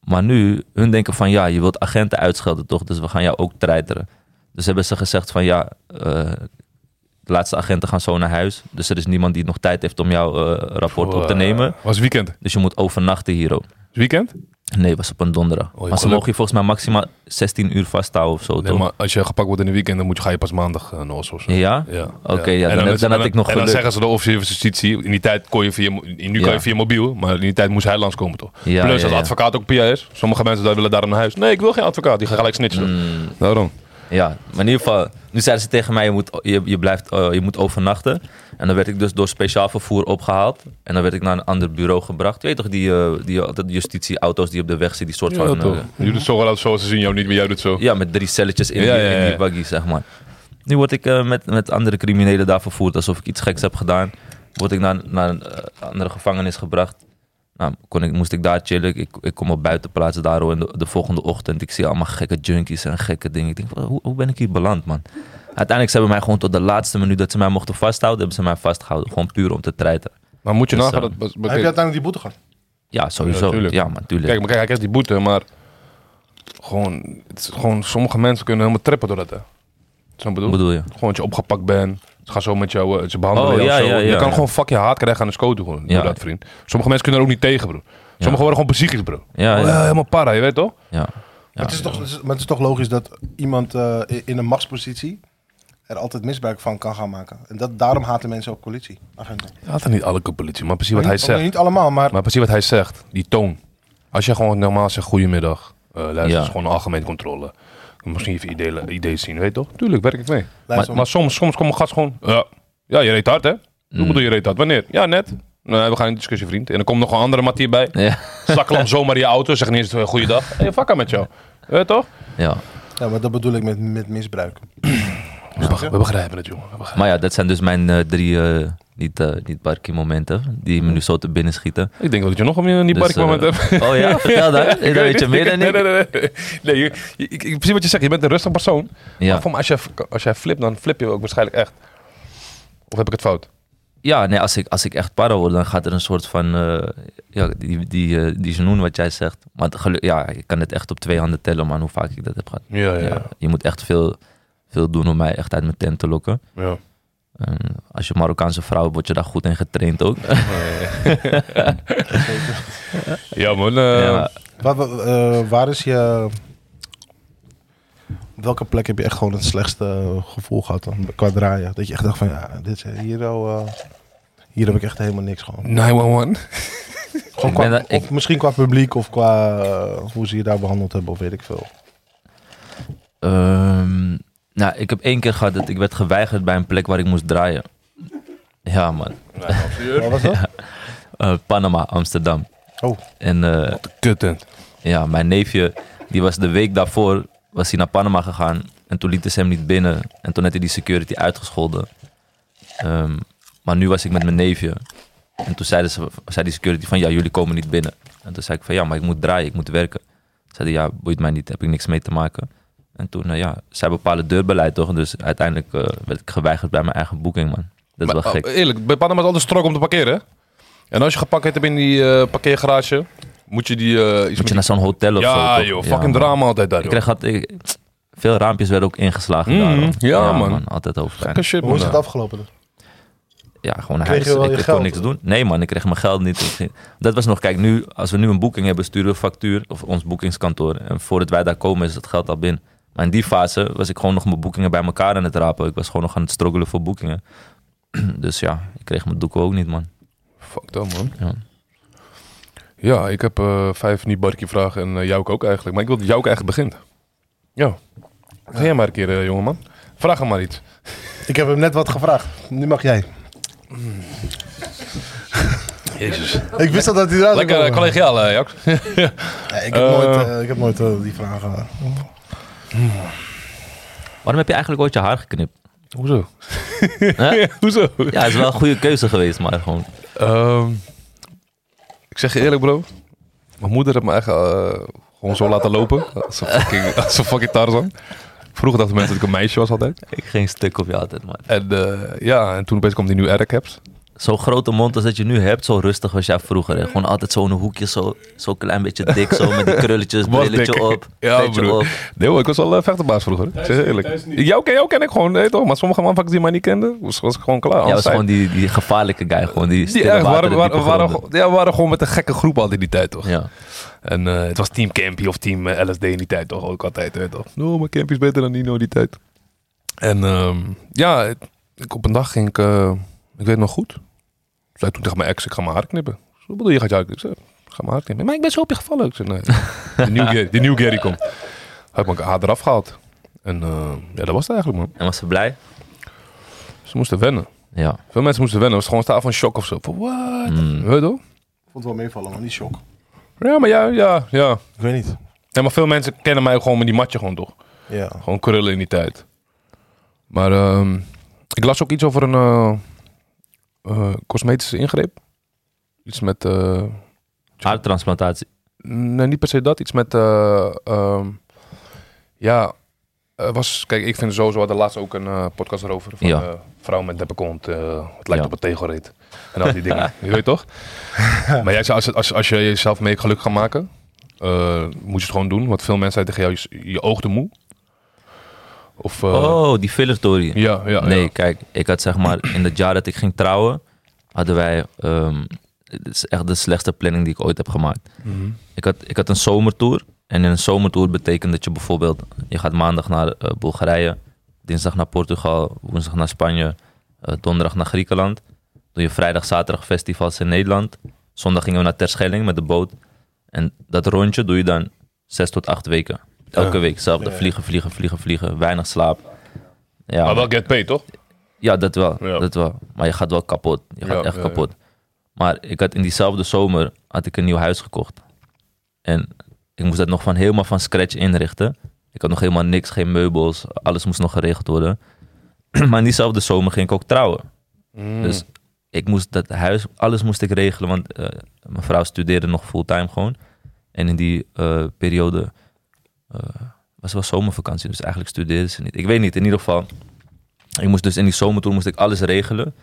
[SPEAKER 3] Maar nu, hun denken van ja, je wilt agenten uitschelden toch, dus we gaan jou ook treiteren. Dus hebben ze gezegd van ja, eh, de laatste agenten gaan zo naar huis. Dus er is niemand die nog tijd heeft om jouw eh, rapport op te
[SPEAKER 1] Eh,
[SPEAKER 3] nemen.
[SPEAKER 1] Was weekend.
[SPEAKER 3] Dus je moet overnachten hier ook.
[SPEAKER 1] Weekend?
[SPEAKER 3] Nee, was op een donderdag.
[SPEAKER 1] Oh, je
[SPEAKER 3] maar ze
[SPEAKER 1] geluk.
[SPEAKER 3] mogen je volgens mij maximaal 16 uur vasthouden of zo,
[SPEAKER 1] Nee,
[SPEAKER 3] toch?
[SPEAKER 1] maar als je gepakt wordt in een weekend, dan moet je, ga je pas maandag eh, naar Os of zo.
[SPEAKER 3] Ja?
[SPEAKER 1] Ja.
[SPEAKER 3] Oké, ja,
[SPEAKER 1] En
[SPEAKER 3] dan heb-
[SPEAKER 1] is-
[SPEAKER 3] dan had
[SPEAKER 1] en
[SPEAKER 3] ik nog
[SPEAKER 1] En dan
[SPEAKER 3] geluk.
[SPEAKER 1] zeggen ze de officier van justitie, in die tijd kon je via, mo- in- nu kan
[SPEAKER 3] Ja.
[SPEAKER 1] je via mobiel, maar in die tijd moest hij langskomen toch?
[SPEAKER 3] Ja,
[SPEAKER 1] Plus
[SPEAKER 3] ja,
[SPEAKER 1] als
[SPEAKER 3] ja.
[SPEAKER 1] advocaat ook PR is, sommige mensen daar willen daarom naar huis. Nee, ik wil geen advocaat, die gaan gelijk snitchen. doen. Daarom.
[SPEAKER 3] Mm. Ja, maar in ieder geval, nu zeiden ze tegen mij, je moet, je, je blijft, eh, je moet overnachten. En dan werd ik dus door speciaal vervoer opgehaald. En dan werd ik naar een ander bureau gebracht. Je weet toch, die, eh, die altijd justitieauto's die op de weg zitten, die soort
[SPEAKER 1] Ja,
[SPEAKER 3] van...
[SPEAKER 1] toch.
[SPEAKER 3] eh,
[SPEAKER 1] Je doet het zo wel uit, zoals ze zien jou niet, maar jij doet zo.
[SPEAKER 3] ja, met drie celletjes in,
[SPEAKER 1] Ja,
[SPEAKER 3] die,
[SPEAKER 1] ja,
[SPEAKER 3] in die
[SPEAKER 1] ja.
[SPEAKER 3] buggy, zeg maar. Nu word ik eh, met, met andere criminelen daar vervoerd, alsof ik iets geks heb gedaan. Word ik naar, naar een eh, andere gevangenis gebracht. Nou, kon ik, moest ik daar chillen. Ik, ik kom op buitenplaatsen daar hoor. En de, de volgende ochtend, ik zie allemaal gekke junkies en gekke dingen. Ik denk, wa- hoe, hoe ben ik hier beland, man? Uiteindelijk ze hebben mij gewoon tot de laatste minuut dat ze mij mochten vasthouden, hebben ze mij vastgehouden. Gewoon puur om te treiten.
[SPEAKER 1] Maar moet je
[SPEAKER 3] Dus,
[SPEAKER 1] nagaan
[SPEAKER 3] eh,
[SPEAKER 1] dat... be-
[SPEAKER 2] Heb je
[SPEAKER 1] kijk-
[SPEAKER 2] uiteindelijk die boete gehad?
[SPEAKER 3] Ja, sowieso.
[SPEAKER 1] Ja,
[SPEAKER 3] Ja,
[SPEAKER 1] tuurlijk.
[SPEAKER 3] man, tuurlijk.
[SPEAKER 1] Kijk, maar kijk, hij krijgt die boete, maar gewoon, het is gewoon, sommige mensen kunnen helemaal trippen door dat, hè. Zo bedoel
[SPEAKER 3] wat bedoel je?
[SPEAKER 1] Gewoon dat je opgepakt bent. Ze gaan zo met jou, eh, ze behandelen
[SPEAKER 3] Oh,
[SPEAKER 1] jou
[SPEAKER 3] ja,
[SPEAKER 1] zo.
[SPEAKER 3] ja,
[SPEAKER 1] je
[SPEAKER 3] ja,
[SPEAKER 1] kan
[SPEAKER 3] ja.
[SPEAKER 1] gewoon fuck je haat krijgen aan de scoot doen,
[SPEAKER 3] Ja.
[SPEAKER 1] door dat, vriend. Sommige mensen kunnen er ook niet tegen, bro. Sommigen worden gewoon psychisch, bro.
[SPEAKER 3] Ja,
[SPEAKER 1] Oh,
[SPEAKER 3] ja,
[SPEAKER 1] ja, helemaal para, je weet toch?
[SPEAKER 3] ja. Ja,
[SPEAKER 2] Maar het, is toch, het is- maar het is toch logisch dat iemand eh, in een machtspositie er altijd misbruik van kan gaan maken. En dat, daarom haten mensen ook politie. Agenten.
[SPEAKER 1] Ja, dat niet alle politie, maar precies wat hij
[SPEAKER 2] Niet-
[SPEAKER 1] zegt.
[SPEAKER 2] Niet allemaal, maar
[SPEAKER 1] Maar precies wat hij zegt, die toon. Als je gewoon normaal zegt goedemiddag, Eh, luister, het
[SPEAKER 3] Ja.
[SPEAKER 1] is gewoon een algemeen controle. Misschien even ideeën, ideeën zien, weet je toch? Tuurlijk, werk ik mee.
[SPEAKER 2] Luister,
[SPEAKER 1] Maar soms, soms komt mijn gast gewoon... Ja, ja je reed hard, hè? Hoe bedoel je reed hard? Wanneer? Ja, net. Nee, we gaan in discussie, vriend. En dan komt nog een andere Mathieu bij.
[SPEAKER 3] Ja,
[SPEAKER 1] Zakkel hem zomaar in je auto. Zeg niet eens eh, goeiedag. Hey, fuck aan met jou. Weet je toch?
[SPEAKER 3] ja.
[SPEAKER 2] ja, maar dat bedoel ik met, met misbruik.
[SPEAKER 1] We beg- We begrijpen het, jongen. We begrijpen
[SPEAKER 3] Maar ja, dat zijn dus mijn eh, drie eh, niet, eh, niet barkie momenten die me nu zo te binnen schieten.
[SPEAKER 1] het. Ik denk wel dat je nog een die
[SPEAKER 3] Dus,
[SPEAKER 1] parkmoment
[SPEAKER 3] eh,
[SPEAKER 1] hebt.
[SPEAKER 3] Oh ja, vertel dan. Dan weet je meer dan
[SPEAKER 1] Nee,
[SPEAKER 3] ik.
[SPEAKER 1] nee, nee. nee. nee je- je- ik, ik, precies wat je zegt. Je bent een rustig persoon.
[SPEAKER 3] Ja.
[SPEAKER 1] Maar voor me, als, jij, als jij flipt, dan flip je ook waarschijnlijk echt. Of heb ik het fout?
[SPEAKER 3] Ja, nee, als ik, als ik echt para word, dan gaat er een soort van... eh, ja, die, die, eh, die genoen wat jij zegt. Maar het geluk, ja, ik kan het echt op twee handen tellen, man, hoe vaak ik dat heb gehad.
[SPEAKER 1] Ja, ja,
[SPEAKER 3] Ja, je moet echt veel, veel doen om mij echt uit mijn tent te lokken.
[SPEAKER 1] ja.
[SPEAKER 3] En als je Marokkaanse vrouw hebt, word je daar goed in getraind ook.
[SPEAKER 1] Ja, man. eh,
[SPEAKER 3] ja,
[SPEAKER 2] Waar, wa- eh, waar is je... Op welke plek heb je echt gewoon het slechtste gevoel gehad dan, qua draaien? Dat je echt dacht van, ja, dit, is- hier, oh, eh, hier heb ik echt helemaal niks gewoon.
[SPEAKER 1] 911.
[SPEAKER 2] gewoon
[SPEAKER 3] Ik
[SPEAKER 2] qua,
[SPEAKER 3] ben dat- ik-
[SPEAKER 2] Of misschien qua publiek of qua eh, hoe ze je daar behandeld hebben of weet ik veel.
[SPEAKER 3] Ehm, nou, ik heb één keer gehad dat ik werd geweigerd bij een plek waar ik moest draaien. Ja, man.
[SPEAKER 2] Wat was dat?
[SPEAKER 3] Eh, Panama, Amsterdam.
[SPEAKER 2] Oh.
[SPEAKER 3] En eh,
[SPEAKER 1] Kuttend.
[SPEAKER 3] ja, mijn neefje, die was de week daarvoor was hij naar Panama gegaan. En toen lieten ze hem niet binnen. En toen had hij die security uitgescholden. Ehm, maar nu was ik met mijn neefje. En toen zeiden ze, zei die security van, ja, jullie komen niet binnen. En toen zei ik van, ja, maar ik moet draaien, ik moet werken. Zei hij, ja, boeit mij niet, heb ik niks mee te maken. En toen, nou ja, zij bepalen deurbeleid toch. Dus uiteindelijk eh, werd ik geweigerd bij mijn eigen boeking, man. Dat is wel
[SPEAKER 1] oh,
[SPEAKER 3] gek.
[SPEAKER 1] eerlijk, bij Panama is altijd strok om te parkeren. hè? En als je gepakt hebt in die eh, parkeergarage, moet je die eh, iets
[SPEAKER 3] Moet je
[SPEAKER 1] met
[SPEAKER 3] naar zo'n hotel of zo.
[SPEAKER 1] Ja,
[SPEAKER 3] toch?
[SPEAKER 1] joh.
[SPEAKER 3] Ja,
[SPEAKER 1] Fucking
[SPEAKER 3] man.
[SPEAKER 1] drama altijd daar,
[SPEAKER 3] Ik
[SPEAKER 1] joh.
[SPEAKER 3] kreeg had, ik, veel raampjes werden ook ingeslagen.
[SPEAKER 1] Mm,
[SPEAKER 3] daarom.
[SPEAKER 1] ja, man.
[SPEAKER 3] Altijd
[SPEAKER 1] Gekke
[SPEAKER 3] hoofdpijn.
[SPEAKER 1] shit,
[SPEAKER 2] Hoe is
[SPEAKER 1] man.
[SPEAKER 2] het afgelopen? dan?
[SPEAKER 3] Ja, gewoon naar
[SPEAKER 2] Kreeg je
[SPEAKER 3] huis.
[SPEAKER 2] wel
[SPEAKER 3] Ik,
[SPEAKER 2] je
[SPEAKER 3] ik
[SPEAKER 2] geld,
[SPEAKER 3] kon niks
[SPEAKER 2] of?
[SPEAKER 3] doen. Nee man, ik kreeg mijn geld niet. Ik ging- Dat was nog, kijk nu, als we nu een boeking hebben, sturen we een factuur of ons boekingskantoor. En voordat wij daar komen is het geld al binnen. Maar in die fase was ik gewoon nog mijn boekingen bij elkaar aan het rapen. Ik was gewoon nog aan het struggelen voor boekingen. Dus ja, ik kreeg mijn doeken ook niet, man.
[SPEAKER 1] Fuck dat, man.
[SPEAKER 3] Ja.
[SPEAKER 1] Ja, ik heb eh, vijf niet barkie vragen en eh, jou ook eigenlijk. Maar ik wil dat jou ook eigenlijk begint. Ja. Ga jij maar een keer, eh, jongeman. Vraag hem maar iets.
[SPEAKER 2] Ik heb hem net wat gevraagd. Nu mag jij.
[SPEAKER 1] Jezus.
[SPEAKER 2] Ik wist al dat hij eruit zou
[SPEAKER 1] Lekker eh,
[SPEAKER 2] komen.
[SPEAKER 1] collegiaal, eh, Jax.
[SPEAKER 2] Ja, ik, heb
[SPEAKER 1] Eh.
[SPEAKER 2] nooit, eh, ik heb nooit eh, die vragen.
[SPEAKER 3] Waarom heb je eigenlijk ooit je haar geknipt?
[SPEAKER 1] Hoezo?
[SPEAKER 3] Hè?
[SPEAKER 1] Hoezo?
[SPEAKER 3] Ja, het is wel een goede keuze geweest, maar gewoon...
[SPEAKER 1] Ehm, ik zeg je eerlijk, bro. Mijn moeder heeft me echt eh, gewoon zo laten lopen. Als een fucking, als een fucking Tarzan. Vroeger dachten mensen dat ik een meisje was altijd.
[SPEAKER 3] Ik ging stuk op je altijd, man.
[SPEAKER 1] En eh, ja, en toen opeens kwam die nu Aircaps.
[SPEAKER 3] Zo'n grote mond als dat je nu hebt, zo rustig was jij vroeger. Hè? Gewoon altijd zo'n hoekje, zo, zo klein beetje dik, zo met die krulletjes,
[SPEAKER 1] Was
[SPEAKER 3] brilletje
[SPEAKER 1] dik.
[SPEAKER 3] op,
[SPEAKER 1] Ja,
[SPEAKER 3] petje
[SPEAKER 1] broer.
[SPEAKER 3] op.
[SPEAKER 1] Nee hoor, ik was wel eh, vechterbaas vroeger. Ik zeg je eerlijk.
[SPEAKER 4] thuis niet.
[SPEAKER 1] Jou ken, jou ken ik gewoon, nee, toch? Maar sommige manvakkers die mij niet kenden, was, was ik gewoon klaar.
[SPEAKER 3] Jij
[SPEAKER 1] Anders
[SPEAKER 3] was
[SPEAKER 1] zei-
[SPEAKER 3] gewoon die, die gevaarlijke guy, gewoon die
[SPEAKER 1] die
[SPEAKER 3] stille
[SPEAKER 1] echt,
[SPEAKER 3] wateren,
[SPEAKER 1] waren, waren,
[SPEAKER 3] diepe
[SPEAKER 1] waren,
[SPEAKER 3] gronden.
[SPEAKER 1] gewoon- ja, we waren gewoon met een gekke groep altijd in die tijd, toch?
[SPEAKER 3] Ja.
[SPEAKER 1] En eh, het was Team Campy of Team eh, LSD in die tijd toch ook altijd, weet je toch? No, Nou, maar Campy is beter dan Nino in die tijd. En ehm, ja, het- ik, op een dag ging ik, eh, ik weet het nog goed. Ik zei toen tegen mijn ex, ik ga mijn haar knippen. Ik zei, Wat bedoel je, gaat je haar knippen? Ik zei, ik ga mijn haar knippen. Maar ik ben zo op je gevallen. Ik zei, nee. De nieuwe Gary, de nieuwe Gary komt. Hij heeft mijn haar eraf gehaald. En eh, ja, dat was het eigenlijk, man.
[SPEAKER 3] En was ze blij?
[SPEAKER 1] Ze moesten wennen.
[SPEAKER 3] Ja.
[SPEAKER 1] Veel mensen moesten wennen. Het was gewoon een staal van shock of zo. Van, what?
[SPEAKER 3] Mm.
[SPEAKER 1] Weet je toch?
[SPEAKER 2] Ik vond het wel meevallen, maar niet shock.
[SPEAKER 1] Ja, maar ja, ja, ja.
[SPEAKER 2] Ik weet niet.
[SPEAKER 1] Ja, maar veel mensen kennen mij ook gewoon met die matje gewoon, toch?
[SPEAKER 2] Ja.
[SPEAKER 1] Gewoon krullen in die tijd. Maar ehm, ik las ook iets over een eh, eh, cosmetische ingreep. Iets met... eh,
[SPEAKER 3] Haartransplantatie.
[SPEAKER 1] nee, niet per se dat. Iets met... eh, ehm, ja, er was... Kijk, ik vind sowieso... We hadden laatst ook een eh, podcast erover. Van
[SPEAKER 3] Ja.
[SPEAKER 1] eh, vrouw met neppe kont. eh, het lijkt
[SPEAKER 3] Ja.
[SPEAKER 1] op een tegelreet. En al die dingen. je weet toch? maar jij zei, als, als, als je jezelf mee gelukkig gaat maken... eh, moet je het gewoon doen. Want veel mensen zeggen tegen jou... Je, je oog de moe. Of... eh,
[SPEAKER 3] oh, die filler story.
[SPEAKER 1] ja, ja.
[SPEAKER 3] nee,
[SPEAKER 1] ja.
[SPEAKER 3] kijk, ik had zeg maar in het jaar dat ik ging trouwen, hadden wij. ehm het is echt de slechtste planning die ik ooit heb gemaakt. Ik, had, ik had een zomertour. En in een zomertour betekent dat je bijvoorbeeld. Je gaat maandag naar eh, Bulgarije, dinsdag naar Portugal, woensdag naar Spanje, eh, donderdag naar Griekenland. Doe je vrijdag, zaterdag festivals in Nederland. Zondag gingen we naar Terschelling met de boot. En dat rondje doe je dan zes tot acht weken. Elke
[SPEAKER 1] Ja.
[SPEAKER 3] week hetzelfde.
[SPEAKER 2] Ja.
[SPEAKER 3] Vliegen, vliegen, vliegen, vliegen. Weinig slaap. Ja,
[SPEAKER 1] Maar wel get paid, toch?
[SPEAKER 3] ja, dat wel.
[SPEAKER 1] Ja.
[SPEAKER 3] Dat wel. Maar je gaat wel kapot. Je gaat
[SPEAKER 1] Ja,
[SPEAKER 3] echt
[SPEAKER 1] ja, ja.
[SPEAKER 3] kapot. Maar ik had in diezelfde zomer had ik een nieuw huis gekocht. En ik moest dat nog van helemaal van scratch inrichten. Ik had nog helemaal niks, geen meubels. Alles moest nog geregeld worden. maar in diezelfde zomer ging ik ook trouwen.
[SPEAKER 1] Mm.
[SPEAKER 3] Dus ik moest dat huis, alles moest ik regelen, want eh, mijn vrouw studeerde nog fulltime gewoon. En in die eh, periode eh, was wel zomervakantie, dus eigenlijk studeerde ze niet. Ik weet niet, in ieder geval. Ik moest dus in die zomertour moest ik alles regelen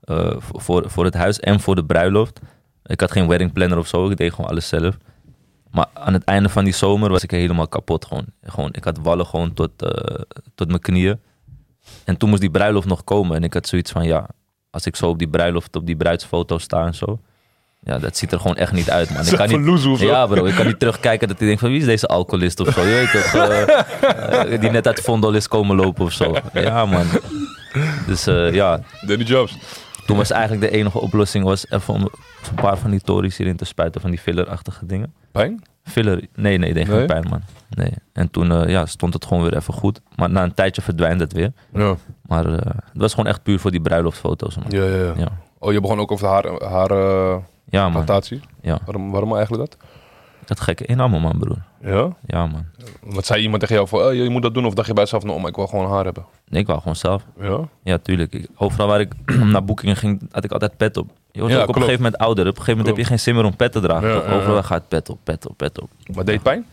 [SPEAKER 3] eh, voor, voor, voor het huis en voor de bruiloft. Ik had geen wedding planner of zo, ik deed gewoon alles zelf. Maar aan het einde van die zomer was ik helemaal kapot gewoon. gewoon ik had wallen gewoon tot, eh, tot mijn knieën. En toen moest die bruiloft nog komen en ik had zoiets van ja, als ik zo op die bruiloft, op die bruidsfoto sta en zo. Ja, dat ziet er gewoon echt niet uit, man. Ik kan niet,
[SPEAKER 1] loes of zo.
[SPEAKER 3] ja, bro, ik kan niet terugkijken dat ik denk van wie is deze alcoholist of zo. Je weet toch, eh, eh, die net uit Vondel is komen lopen of zo. Ja, man. Dus eh, ja,
[SPEAKER 1] Danny Jobs.
[SPEAKER 3] toen was eigenlijk de enige oplossing was even om een paar van die tories hierin te spuiten, van die fillerachtige dingen.
[SPEAKER 1] Pijn?
[SPEAKER 3] Filler, nee, nee, deed
[SPEAKER 1] Nee?
[SPEAKER 3] geen pijn, man. Nee. En toen eh, ja, stond het gewoon weer even goed. Maar na een tijdje verdwijnt het weer.
[SPEAKER 1] Ja.
[SPEAKER 3] Maar eh, het was gewoon echt puur voor die bruiloftfoto's, man.
[SPEAKER 1] Ja, ja, ja.
[SPEAKER 3] Ja,
[SPEAKER 1] Oh, je begon ook over haar, haar eh,
[SPEAKER 3] ja man.
[SPEAKER 1] plantatie.
[SPEAKER 3] Ja.
[SPEAKER 1] Waarom, waarom eigenlijk dat?
[SPEAKER 3] Dat gekke inamen, man, broer.
[SPEAKER 1] Ja?
[SPEAKER 3] Ja, man.
[SPEAKER 1] Wat zei iemand tegen jou van, eh, je moet dat doen of dacht je bij jezelf, nou, maar ik wil gewoon haar hebben.
[SPEAKER 3] Ik wou gewoon zelf.
[SPEAKER 1] Ja?
[SPEAKER 3] Ja, tuurlijk. Ik- overal waar ik naar boekingen ging, had ik altijd pet op. Je wordt
[SPEAKER 1] Ja,
[SPEAKER 3] ook op een
[SPEAKER 1] klopt.
[SPEAKER 3] gegeven moment ouder. Op een gegeven moment
[SPEAKER 1] Klopt.
[SPEAKER 3] heb je geen zin meer om pet te dragen.
[SPEAKER 1] Ja,
[SPEAKER 3] toch?
[SPEAKER 1] ja, ja.
[SPEAKER 3] Overal gaat pet op, pet op, pet op.
[SPEAKER 1] Maar deed pijn?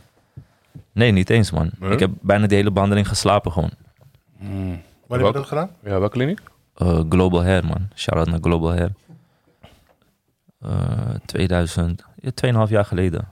[SPEAKER 3] Nee, niet eens, man.
[SPEAKER 1] Nee?
[SPEAKER 3] Ik heb bijna de hele behandeling geslapen gewoon.
[SPEAKER 2] Waar heb je dat gedaan?
[SPEAKER 1] Ja, welke kliniek?
[SPEAKER 3] Eh, Global Hair, man. Shout-out naar Global Hair. Eh 2000, ja, 2,5 jaar geleden.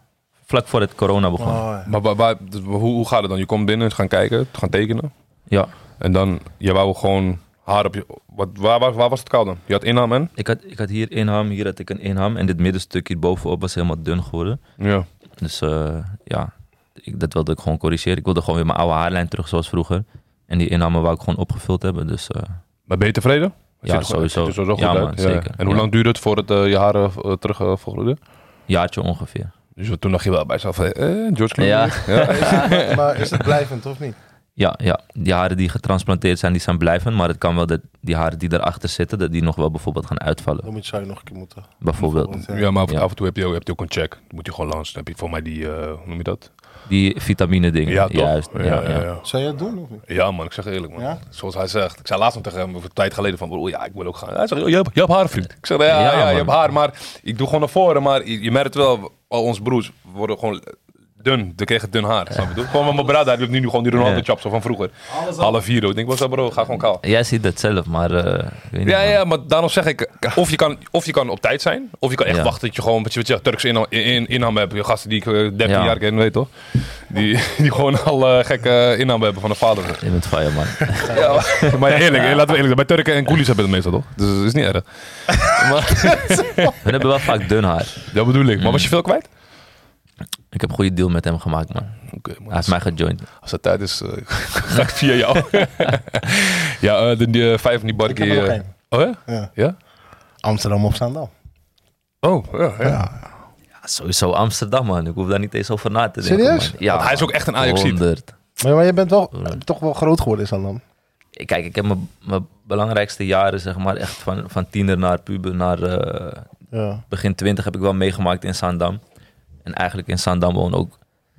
[SPEAKER 3] Vlak voor het corona begon.
[SPEAKER 2] Oh,
[SPEAKER 1] Maar waar, waar- dus hoe, hoe gaat het dan? Je komt binnen, gaan kijken, gaan tekenen.
[SPEAKER 3] Ja,
[SPEAKER 1] En dan, je wou gewoon haar op je... Wat, waar, waar, waar was het koud dan? Je had innaam en?
[SPEAKER 3] ik had, ik had hier inham, hier had ik een inham. En dit middenstuk hier bovenop was helemaal dun geworden.
[SPEAKER 1] Ja.
[SPEAKER 3] Dus eh, ja, ik, dat wilde ik gewoon corrigeren. Ik wilde gewoon weer mijn oude haarlijn terug zoals vroeger. En die innamen wou ik gewoon opgevuld hebben. Dus eh,
[SPEAKER 1] Maar ben je tevreden? Het
[SPEAKER 3] Ja,
[SPEAKER 1] ziet er gewoon- het
[SPEAKER 3] sowieso.
[SPEAKER 1] ziet er sowieso
[SPEAKER 3] Ja,
[SPEAKER 1] goed
[SPEAKER 3] man,
[SPEAKER 1] uit.
[SPEAKER 3] zeker.
[SPEAKER 1] En hoe
[SPEAKER 3] Ja.
[SPEAKER 1] lang duurde het voordat eh, je haren eh, terug eh, volgroeiden?
[SPEAKER 3] jaartje ongeveer.
[SPEAKER 1] Dus toen dacht je wel bij jezelf, eh, George Clooney.
[SPEAKER 3] Ja.
[SPEAKER 2] ja. maar is het blijvend of niet?
[SPEAKER 3] Ja, ja, die haren die getransplanteerd zijn, die zijn blijvend. Maar het kan wel dat die haren die daarachter zitten, dat die nog wel bijvoorbeeld gaan uitvallen.
[SPEAKER 2] Dan moet je, zou je nog een keer moeten.
[SPEAKER 3] Bijvoorbeeld.
[SPEAKER 2] Want, eh,
[SPEAKER 1] Ja, maar af,
[SPEAKER 3] Ja.
[SPEAKER 1] af en toe heb je, ook, heb je ook een check. Dan moet je gewoon langs. Dan heb je voor mij die, eh, hoe noem je dat?
[SPEAKER 3] Die vitamine dingen.
[SPEAKER 1] Ja, toch?
[SPEAKER 3] Juist. Ja, ja,
[SPEAKER 1] ja,
[SPEAKER 3] ja.
[SPEAKER 1] ja.
[SPEAKER 2] Zou je het doen of niet?
[SPEAKER 1] Ja, man, ik zeg eerlijk, man.
[SPEAKER 2] Ja?
[SPEAKER 1] Zoals hij zegt. Ik zei laatst nog tegen hem, een tijd geleden, van, oh ja, ik wil ook gaan. Hij zegt, "Joh, je hebt, je hebt haar, vriend. Ik zeg, ja, ja,
[SPEAKER 3] Ja,
[SPEAKER 1] je
[SPEAKER 3] man.
[SPEAKER 1] hebt haar, maar ik doe gewoon naar voren. Maar je, je merkt wel, al onze broers worden gewoon dun. Ze kregen dun haar, snap je? toch? Gewoon mijn brada, die heeft nu gewoon die Ronaldo
[SPEAKER 3] Ja.
[SPEAKER 1] chaps van vroeger.
[SPEAKER 4] Alles al.
[SPEAKER 1] Half vier, ik denk, wat is dat bro, ga gewoon kaal.
[SPEAKER 3] Jij ziet dat zelf, maar eh, ik weet niet,
[SPEAKER 1] Ja,
[SPEAKER 3] man.
[SPEAKER 1] ja, maar daarom zeg ik, of je kan, of je kan op tijd zijn, of je kan echt
[SPEAKER 3] Ja.
[SPEAKER 1] wachten dat je gewoon, wat je, wat je Turks in, in, inname hebt. Je gasten die ik eh, 13
[SPEAKER 3] Ja.
[SPEAKER 1] jaar ken, weet toch? Die, die gewoon al eh, gekke inname hebben van de vader.
[SPEAKER 3] Je bent fire, man.
[SPEAKER 1] Ja, maar- maar eerlijk, eh, laten we eerlijk zijn. Bij Turken en Koelies hebben het meestal, toch? Dus het is niet erg. Maar,
[SPEAKER 3] We hebben wel vaak dun haar.
[SPEAKER 1] dat bedoel ik. Maar was je veel kwijt?
[SPEAKER 3] Ik heb een goede deal met hem gemaakt, man.
[SPEAKER 1] Oké, man.
[SPEAKER 3] Hij heeft mij gejoind.
[SPEAKER 1] Als het tijd is, eh, ga ik via jou. ja, eh, de, die, eh, vijf van die
[SPEAKER 2] Ik heb
[SPEAKER 1] barkie.
[SPEAKER 2] er nog
[SPEAKER 1] eh,
[SPEAKER 2] één.
[SPEAKER 1] oh ja?
[SPEAKER 2] Ja.
[SPEAKER 1] Ja?
[SPEAKER 2] Amsterdam op Zaandam.
[SPEAKER 1] Oh, ja. ja.
[SPEAKER 3] Ja, sowieso Amsterdam, man. Ik hoef daar niet eens over na te denken.
[SPEAKER 2] Serieus?
[SPEAKER 3] man. Ja,
[SPEAKER 1] Want hij is ook echt een Ajaxiet.
[SPEAKER 3] 100.
[SPEAKER 2] Maar, maar je bent wel, toch wel groot geworden in Zaandam.
[SPEAKER 3] Kijk, ik heb mijn- mijn belangrijkste jaren, zeg maar, echt van, van tiener naar puber naar eh,
[SPEAKER 2] Ja.
[SPEAKER 3] begin twintig heb ik wel meegemaakt in Zaandam. En eigenlijk in Zaandam woon ook.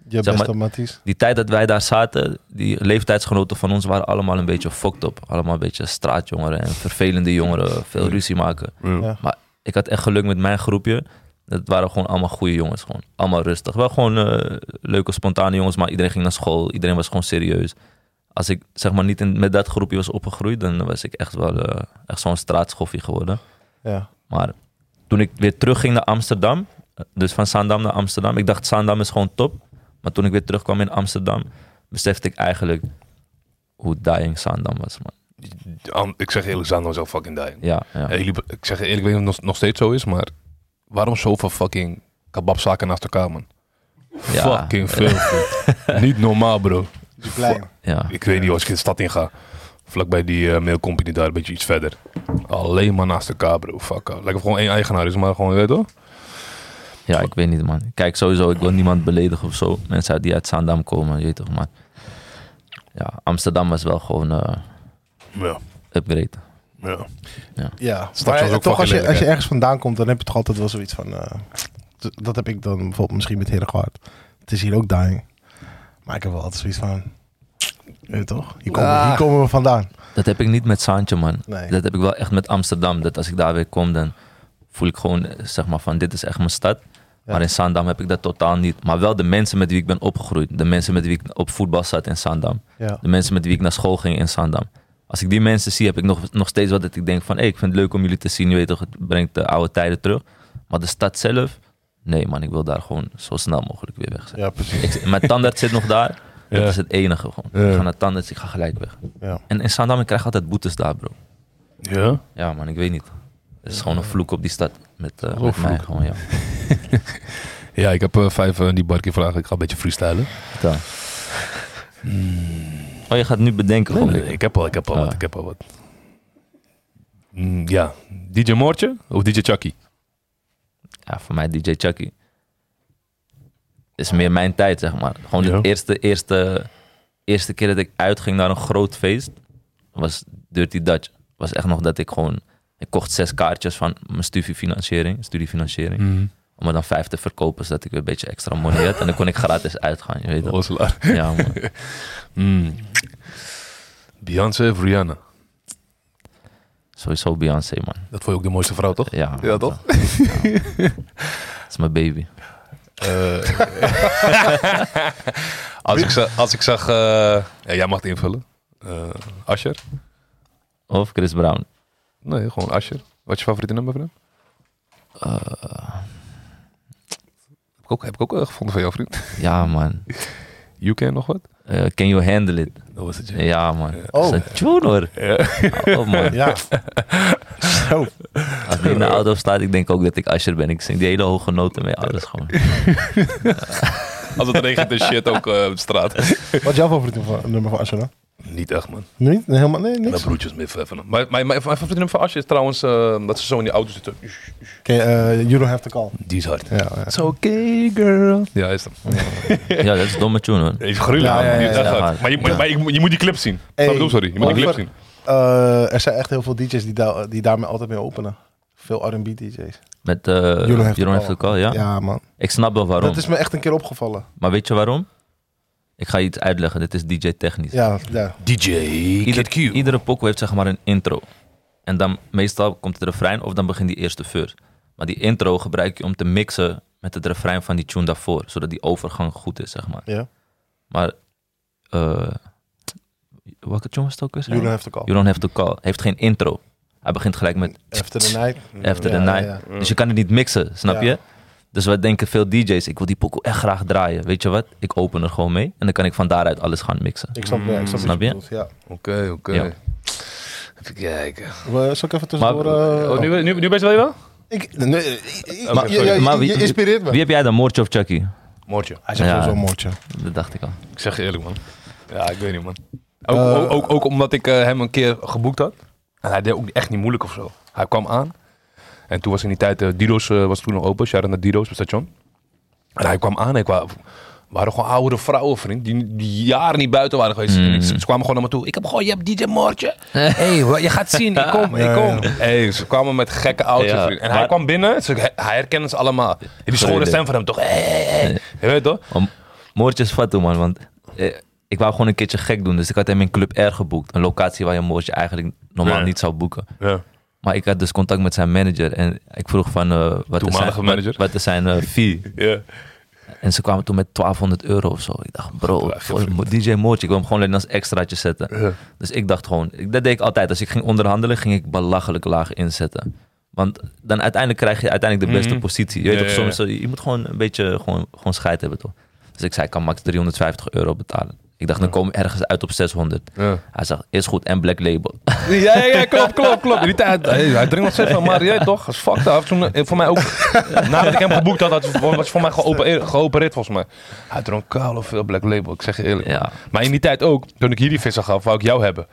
[SPEAKER 2] Je
[SPEAKER 3] Zeg
[SPEAKER 2] best
[SPEAKER 3] maar-
[SPEAKER 2] op Mathies.
[SPEAKER 3] Die tijd dat wij daar zaten, die leeftijdsgenoten van ons waren allemaal een beetje fucked up. Allemaal een beetje straatjongeren en vervelende jongeren, veel ruzie maken.
[SPEAKER 2] Ja.
[SPEAKER 3] Maar ik had echt geluk met mijn groepje. Dat waren gewoon allemaal goede jongens. Gewoon. Allemaal rustig. Wel gewoon eh, leuke, spontane jongens. Maar iedereen ging naar school. Iedereen was gewoon serieus. Als ik zeg maar niet in, met dat groepje was opgegroeid, dan was ik echt wel eh, echt zo'n straatschoffie geworden.
[SPEAKER 2] Ja.
[SPEAKER 3] Maar toen ik weer terugging naar Amsterdam, eh, dus van Zaandam naar Amsterdam, ik dacht Zaandam is gewoon top. Maar toen ik weer terugkwam in Amsterdam, besefte ik eigenlijk hoe dying Zaandam was, man.
[SPEAKER 1] Am- Ik zeg eerlijk, Zandam is al fucking dying.
[SPEAKER 3] Ja, ja.
[SPEAKER 1] Hey, jullie- ik zeg eerlijk, ik weet niet of het nog- nog steeds zo is, maar waarom zoveel fucking kebabzaken naast elkaar, man?
[SPEAKER 3] Ja. eh,
[SPEAKER 1] Fucking veel. vriend. niet normaal, bro.
[SPEAKER 2] Die klein.
[SPEAKER 3] ja.
[SPEAKER 1] Ik weet niet, als ik in de stad inga, vlakbij die eh mail company daar, een beetje iets verder. Alleen maar naast elkaar, bro. Fuck, out. Lijkt of gewoon één eigenaar is, maar gewoon, je weet toch?
[SPEAKER 3] Ja, ik weet niet, man. Kijk, sowieso, ik wil niemand beledigen of zo. Mensen uit- die uit Zaandam komen, je weet toch, maar... Ja, Amsterdam was wel gewoon eh,
[SPEAKER 2] Ja.
[SPEAKER 3] upgrade.
[SPEAKER 2] Ja.
[SPEAKER 3] Ja.
[SPEAKER 2] ja.
[SPEAKER 5] Straks
[SPEAKER 2] Maar
[SPEAKER 5] was ook
[SPEAKER 2] toch als
[SPEAKER 5] fucking
[SPEAKER 2] je, als je
[SPEAKER 5] lelijk,
[SPEAKER 2] ergens vandaan komt, dan heb je toch altijd wel zoiets van... eh, d- dat heb ik dan bijvoorbeeld misschien met Herengewaard. Het is hier ook dying. Maar ik heb wel altijd zoiets van... je Weet toch? Hier komen,
[SPEAKER 3] Ah.
[SPEAKER 2] hier komen we vandaan.
[SPEAKER 3] Dat heb ik niet met Saantje, man.
[SPEAKER 2] Nee.
[SPEAKER 3] Dat heb ik wel echt met Amsterdam. Dat als ik daar weer kom, dan voel ik gewoon, eh, zeg maar, van dit is echt mijn stad. Maar in Zaandam heb ik dat totaal niet. Maar wel de mensen met wie ik ben opgegroeid. De mensen met wie ik op voetbal zat in Zaandam.
[SPEAKER 2] Ja.
[SPEAKER 3] De mensen met wie ik naar school ging in Zaandam. Als ik die mensen zie, heb ik nog, nog steeds wat dat ik denk van... Hey, ik vind het leuk om jullie te zien. Je weet toch, het brengt de oude tijden terug. Maar de stad zelf... Nee man, ik wil daar gewoon zo snel mogelijk weer weg zijn.
[SPEAKER 2] ja, precies.
[SPEAKER 3] Ik, mijn tandarts zit nog daar. Dat
[SPEAKER 5] Ja.
[SPEAKER 3] is het enige gewoon.
[SPEAKER 5] Ja.
[SPEAKER 3] Ik ga naar tandarts, ik ga gelijk weg.
[SPEAKER 2] Ja.
[SPEAKER 3] En in Zaandam, ik krijg altijd boetes daar bro.
[SPEAKER 5] Ja.
[SPEAKER 3] Ja man, ik weet niet. Het is gewoon een vloek op die stad. Met, eh,
[SPEAKER 5] Oh,
[SPEAKER 3] met mij
[SPEAKER 5] vloek.
[SPEAKER 3] gewoon, ja.
[SPEAKER 5] Ja, ik heb eh, vijf eh, die barkie vragen. Ik ga een beetje freestylen.
[SPEAKER 3] Vertel. Oh, je gaat nu bedenken gewoon.
[SPEAKER 5] ik heb al, ik heb al
[SPEAKER 3] Ah.
[SPEAKER 5] wat, ik heb al wat. Mm, ja, DJ Moortje of DJ Chucky?
[SPEAKER 3] Ja, voor mij DJ Chucky. Is meer mijn tijd, zeg maar. Gewoon de
[SPEAKER 5] Ja.
[SPEAKER 3] eerste, eerste, eerste keer dat ik uitging naar een groot feest, was Dirty Dutch. Was echt nog dat ik gewoon... Ik kocht zes kaartjes van mijn studiefinanciering, studiefinanciering. Om er dan vijf te verkopen, zodat ik weer een beetje extra money had. En dan kon ik gratis uitgaan, je weet
[SPEAKER 5] Dat
[SPEAKER 3] wel.
[SPEAKER 5] was laar.
[SPEAKER 3] Ja, man.
[SPEAKER 5] Mm. Beyoncé of Rihanna?
[SPEAKER 3] Sowieso Beyoncé, man.
[SPEAKER 5] Dat vond je ook de mooiste vrouw, toch?
[SPEAKER 3] Ja,
[SPEAKER 5] Ja, toch?
[SPEAKER 3] dat is mijn baby.
[SPEAKER 5] Eh, Als ik, za- als ik zag... eh, ja, jij mag het invullen. Eh Asher?
[SPEAKER 3] Of Chris Brown.
[SPEAKER 5] Nee, gewoon Asher. Wat is je favoriete nummer van hem?
[SPEAKER 3] Eh.
[SPEAKER 5] Heb ik ook, heb ik ook eh, gevonden van jouw vriend.
[SPEAKER 3] Ja, man.
[SPEAKER 5] UK nog wat?
[SPEAKER 3] Eh, can you handle it?
[SPEAKER 5] Dat was het,
[SPEAKER 3] Ja, man.
[SPEAKER 2] Oh.
[SPEAKER 3] Dat is een tune, hoor. Oh, man.
[SPEAKER 2] Ja. Zo.
[SPEAKER 3] Als die in de auto staat, ik denk ook dat ik Asher ben. Ik zing die hele hoge noten mee, alles gewoon.
[SPEAKER 5] Als het regent is shit ook eh, op straat.
[SPEAKER 2] Wat is jouw favoriete va- nummer van Arsenal?
[SPEAKER 5] Niet echt, man.
[SPEAKER 2] Niet? Nee, helemaal, nee,
[SPEAKER 5] Mijn
[SPEAKER 2] niks.
[SPEAKER 5] broertjes meer van hem. Maar mijn, mijn, mijn favoriete nummer van Asher is trouwens eh, dat ze zo in die auto zitten.
[SPEAKER 2] Oké, eh, you don't have to call.
[SPEAKER 5] Die is hard.
[SPEAKER 2] Ja, ja.
[SPEAKER 5] It's okay, girl. Ja, is dat.
[SPEAKER 3] Ja, dat is een domme tune hoor.
[SPEAKER 5] Even gruwelijk.
[SPEAKER 2] Ja, ja,
[SPEAKER 5] man. Die
[SPEAKER 2] ja,
[SPEAKER 5] is
[SPEAKER 3] ja,
[SPEAKER 5] echt
[SPEAKER 3] ja.
[SPEAKER 5] hard. Maar, je, maar-
[SPEAKER 3] Ja.
[SPEAKER 5] maar je, moet- je moet die clip zien.
[SPEAKER 2] Hey,
[SPEAKER 5] Ik bedoel, sorry. Je moet die
[SPEAKER 2] over-
[SPEAKER 5] clip zien.
[SPEAKER 2] Eh, er zijn echt heel veel DJ's die, daar die daarmee altijd mee openen. Veel R&B DJ's.
[SPEAKER 3] Met eh
[SPEAKER 2] Don't Have
[SPEAKER 3] You
[SPEAKER 2] to
[SPEAKER 3] Don't Have To Call, ja?
[SPEAKER 2] man.
[SPEAKER 3] Ik snap wel waarom.
[SPEAKER 2] Dat is me echt een keer opgevallen.
[SPEAKER 3] Maar weet je waarom? Ik ga je iets uitleggen, dit is DJ technisch.
[SPEAKER 2] Ja, ja.
[SPEAKER 5] DJ
[SPEAKER 3] Ieder- iedere pokoe heeft zeg maar een intro. En dan meestal komt het refrein of dan begint die eerste verse. Maar die intro gebruik je om te mixen met het refrein van die tune daarvoor. Zodat die overgang goed is, zeg maar.
[SPEAKER 2] ja.
[SPEAKER 3] Maar, eh welke tune was het ook weer?
[SPEAKER 2] You don't have to call.
[SPEAKER 3] You Don't Have To Call. Heeft geen intro. Hij begint gelijk met
[SPEAKER 2] After the night.
[SPEAKER 3] After
[SPEAKER 2] Ja,
[SPEAKER 3] the Night.
[SPEAKER 2] ja,
[SPEAKER 3] Dus je kan het niet mixen, snap
[SPEAKER 2] Ja.
[SPEAKER 3] je? Dus wat denken veel DJ's? Ik wil die pokoe echt graag draaien. Weet je wat? Ik open er gewoon mee en dan kan ik van daaruit alles gaan mixen.
[SPEAKER 2] Ik snap, ja, ik snap,
[SPEAKER 3] Mm, Snap
[SPEAKER 2] wat je?
[SPEAKER 3] je?
[SPEAKER 2] bedoelt, Ja.
[SPEAKER 5] Oké, oké.
[SPEAKER 3] Ja.
[SPEAKER 5] Even kijken.
[SPEAKER 2] We- Zal ik even tussendoor... eh,
[SPEAKER 5] Oh, nu, nu, nu ben je wel?
[SPEAKER 2] ik, nee, ik- ik-
[SPEAKER 5] Oké,
[SPEAKER 2] Ah, je, je,
[SPEAKER 5] sorry.
[SPEAKER 3] Maar wie-
[SPEAKER 2] je inspireert me.
[SPEAKER 3] Wie heb jij dan, Moortje of Chucky?
[SPEAKER 5] Moortje.
[SPEAKER 2] Hij zegt
[SPEAKER 3] Ja.
[SPEAKER 2] sowieso een moordje.
[SPEAKER 3] Dat dacht ik al.
[SPEAKER 5] Ik zeg je eerlijk, man. Ja, ik weet niet, man. Ook, ook, ook, ook omdat ik eh, hem een keer geboekt had. En hij deed ook echt niet moeilijk of zo. Hij kwam aan. En toen was in die tijd, eh, Dido's eh, was toen nog open. Shout-out naar Dido's op het station. En hij kwam aan. en Ik wa- waren gewoon oudere vrouwen, vriend. Die, die jaren niet buiten waren geweest.
[SPEAKER 3] Mhm.
[SPEAKER 5] Ze, ze kwamen gewoon naar me toe. Ik heb gewoon, je hebt DJ Moortje. Hé, hey, wa- je gaat zien. Ik kom, ik kom. Hey, ze kwamen met gekke oudjes,
[SPEAKER 3] Ja,
[SPEAKER 5] vriend. En hij
[SPEAKER 3] maar-
[SPEAKER 5] kwam binnen. Ze, hij hij herkende ze allemaal. Die schone
[SPEAKER 3] Vrede.
[SPEAKER 5] stem van hem, toch? Hey, hey, hey. Je weet toch?
[SPEAKER 3] Om, Moortje is fat, hoor, man, want eh, ik wou gewoon een keertje gek doen. Dus ik had hem in Club R geboekt. Een locatie waar je Moortje eigenlijk normaal
[SPEAKER 5] Ja.
[SPEAKER 3] niet zou boeken.
[SPEAKER 5] Ja.
[SPEAKER 3] Maar ik had dus contact met zijn manager en ik vroeg van eh, wat, is
[SPEAKER 5] Toenmalige
[SPEAKER 3] zijn,
[SPEAKER 5] manager.
[SPEAKER 3] wat, wat is zijn eh, fee?
[SPEAKER 5] Ja.
[SPEAKER 3] En ze kwamen toen met 1200 euro of zo. Ik dacht, bro,
[SPEAKER 5] Echt
[SPEAKER 3] voor DJ Moortje, ik wil hem gewoon alleen als extraatje zetten.
[SPEAKER 5] Ja.
[SPEAKER 3] Dus ik dacht gewoon, ik- dat deed ik altijd. Als ik ging onderhandelen, ging ik belachelijk laag inzetten. Want dan uiteindelijk krijg je uiteindelijk de beste positie. Je weet
[SPEAKER 5] Mhm. Ja,
[SPEAKER 3] toch,
[SPEAKER 5] ja, ja.
[SPEAKER 3] soms, eh, je moet gewoon een beetje gewoon, gewoon scheid hebben, toch? Dus ik zei, ik kan max 350 euro betalen. Ik dacht, dan komen we ergens uit op 600.
[SPEAKER 5] Ja.
[SPEAKER 3] Hij zag, is goed, en Black Label.
[SPEAKER 5] Ja, ja, ja, klopt, klopt, klopt. In Die tijd, hey, hij drinkt nog steeds van Marie, toch? Dat is fucked up. Toen, eh, voor mij ook, nadat ik hem geboekt had, had hij voor- was hij voor mij geopereerd, geopereerd volgens mij. Hij dronk kaal of veel Black Label, ik zeg je eerlijk.
[SPEAKER 3] Ja.
[SPEAKER 5] Maar in die tijd ook, toen ik hier die visser gaf, wou ik jou hebben.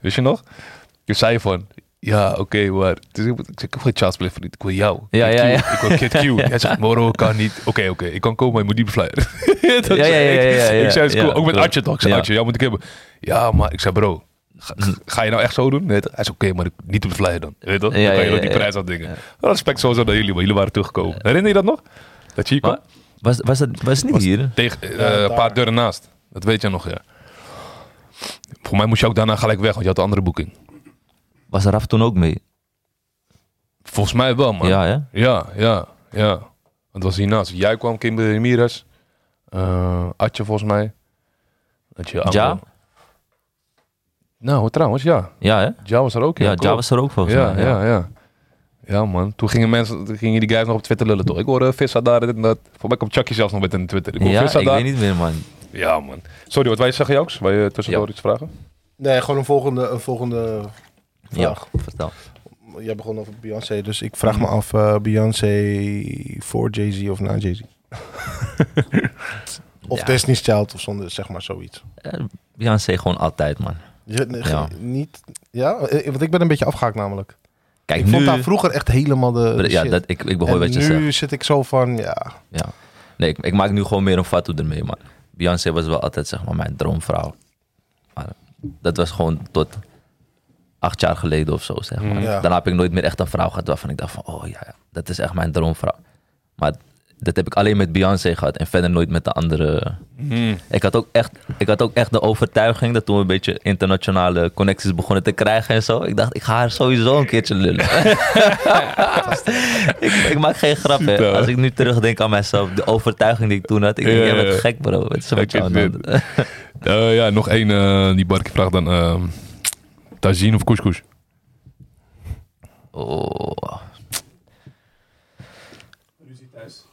[SPEAKER 5] Wist je nog? Je zei van, Ja, oké, maar... het is- ik zeg, ik heb geen Charles Play vriend. Ik wil jou.
[SPEAKER 3] Ja,
[SPEAKER 5] Kid
[SPEAKER 3] ja,
[SPEAKER 5] Q.
[SPEAKER 3] ja.
[SPEAKER 5] Ik wil Kid Q. Hij zegt, Moro kan niet. Oké, oké. Ik kan komen, maar je moet niet bevlijen.
[SPEAKER 3] Ja, ja, ja, ja, ja,
[SPEAKER 5] Ik zei, het is
[SPEAKER 3] ja,
[SPEAKER 5] cool. Ook met
[SPEAKER 3] klopt.
[SPEAKER 5] Artje toch. Ik zei,
[SPEAKER 3] Ja. Hm.
[SPEAKER 5] Artje, jou moet ik hebben. Ja, maar ik zei, bro... Ga, ga je nou echt zo doen? Nee, hij zei, oké, maar ik- niet te bevlijen dan. Weet je toch?
[SPEAKER 3] Ja,
[SPEAKER 5] dan kan
[SPEAKER 3] ja,
[SPEAKER 5] je nog
[SPEAKER 3] ja,
[SPEAKER 5] die
[SPEAKER 3] ja.
[SPEAKER 5] prijs aan dingen. Respect sowieso naar jullie, maar jullie waren teruggekomen. Herinner je dat nog? Dat je hier kwam?
[SPEAKER 3] Maar was, was, dat, was het niet hier?
[SPEAKER 5] Tegen, eh,
[SPEAKER 2] Ja,
[SPEAKER 5] een paar
[SPEAKER 2] daar.
[SPEAKER 5] deuren naast. Dat weet jij nog, ja. Voor mij moest je ook daarna gelijk weg, want je had de andere boeking.
[SPEAKER 3] Was Raf toen ook mee?
[SPEAKER 5] Volgens mij wel,
[SPEAKER 2] Oh,
[SPEAKER 5] man.
[SPEAKER 3] Ja, hè?
[SPEAKER 5] Ja, ja, ja. Want Het was hiernaast. Jij kwam, Kimber Ramirez. eh Atje volgens mij. Dat je
[SPEAKER 3] Ja?
[SPEAKER 5] aankwam. Nou, trouwens, ja.
[SPEAKER 3] Ja, hè?
[SPEAKER 5] Ja was er ook.
[SPEAKER 3] Ja, Ja
[SPEAKER 5] klopt.
[SPEAKER 3] was er ook volgens
[SPEAKER 5] ja,
[SPEAKER 3] mij.
[SPEAKER 5] ja, ja. Ja, man. Toen gingen mensen, toen gingen die guys nog op Twitter lullen, toch? Ik hoorde eh, Vissa daar, dit en dat. Voor mij komt Chucky zelfs nog met een Twitter. Ik hoor
[SPEAKER 3] Ja,
[SPEAKER 5] Vissa
[SPEAKER 3] ik
[SPEAKER 5] daar.
[SPEAKER 3] weet niet meer, man.
[SPEAKER 5] Ja, man. Sorry, wat wij zeggen, Jooks? Wij eh, tussendoor
[SPEAKER 3] Ja.
[SPEAKER 5] iets vragen?
[SPEAKER 2] Nee, gewoon een volgende, een volgende
[SPEAKER 3] Ja,
[SPEAKER 2] vraag.
[SPEAKER 3] vertel.
[SPEAKER 2] Jij begon over Beyoncé, dus ik
[SPEAKER 3] Mm.
[SPEAKER 2] vraag me af, eh, Beyoncé voor Jay-Z of na Jay-Z? of
[SPEAKER 3] Ja.
[SPEAKER 2] Destiny's Child of zonder, zeg maar, zoiets.
[SPEAKER 3] Eh, Beyoncé gewoon altijd, man.
[SPEAKER 2] Je- ne- ge-
[SPEAKER 3] Ja.
[SPEAKER 2] Niet, ja? Eh, Want ik ben een beetje afgehaakt namelijk.
[SPEAKER 3] Kijk,
[SPEAKER 2] ik
[SPEAKER 3] nu...
[SPEAKER 2] vond daar vroeger echt helemaal de, de
[SPEAKER 3] ja,
[SPEAKER 2] shit.
[SPEAKER 3] dat, ik, ik behoor
[SPEAKER 2] En
[SPEAKER 3] wat je
[SPEAKER 2] nu
[SPEAKER 3] zegt.
[SPEAKER 2] zit ik zo van, ja,
[SPEAKER 3] Ja. Nee, ik, ik maak nu gewoon meer een fatu ermee, man. Beyoncé was wel altijd, zeg maar, mijn droomvrouw. Maar dat was gewoon tot acht jaar geleden of zo, zeg maar.
[SPEAKER 5] Mm.
[SPEAKER 2] Ja.
[SPEAKER 3] Daarna heb ik nooit meer echt een vrouw gehad waarvan ik dacht van... Oh ja, ja, dat is echt mijn droomvrouw. Maar dat heb ik alleen met Beyoncé gehad en verder nooit met de andere... Ik had, ook echt, ik had ook echt de overtuiging dat toen we een beetje internationale connecties begonnen te krijgen en zo. Ik dacht, ik ga haar sowieso een keertje lullen. ik, ik maak geen grap,
[SPEAKER 5] Ziet
[SPEAKER 3] hè.
[SPEAKER 5] wel.
[SPEAKER 3] Als ik nu terugdenk aan mezelf, de overtuiging die ik toen had. Ik denk,
[SPEAKER 5] Ja,
[SPEAKER 3] jij
[SPEAKER 5] ja,
[SPEAKER 3] bent
[SPEAKER 5] ja.
[SPEAKER 3] gek, bro. Het is een
[SPEAKER 5] Kijk
[SPEAKER 3] beetje
[SPEAKER 5] eens dit. Eh, ja, nog één eh, die Barkie vraagt dan. ehm tagine of couscous?
[SPEAKER 3] Oh,
[SPEAKER 6] Ruzie thuis.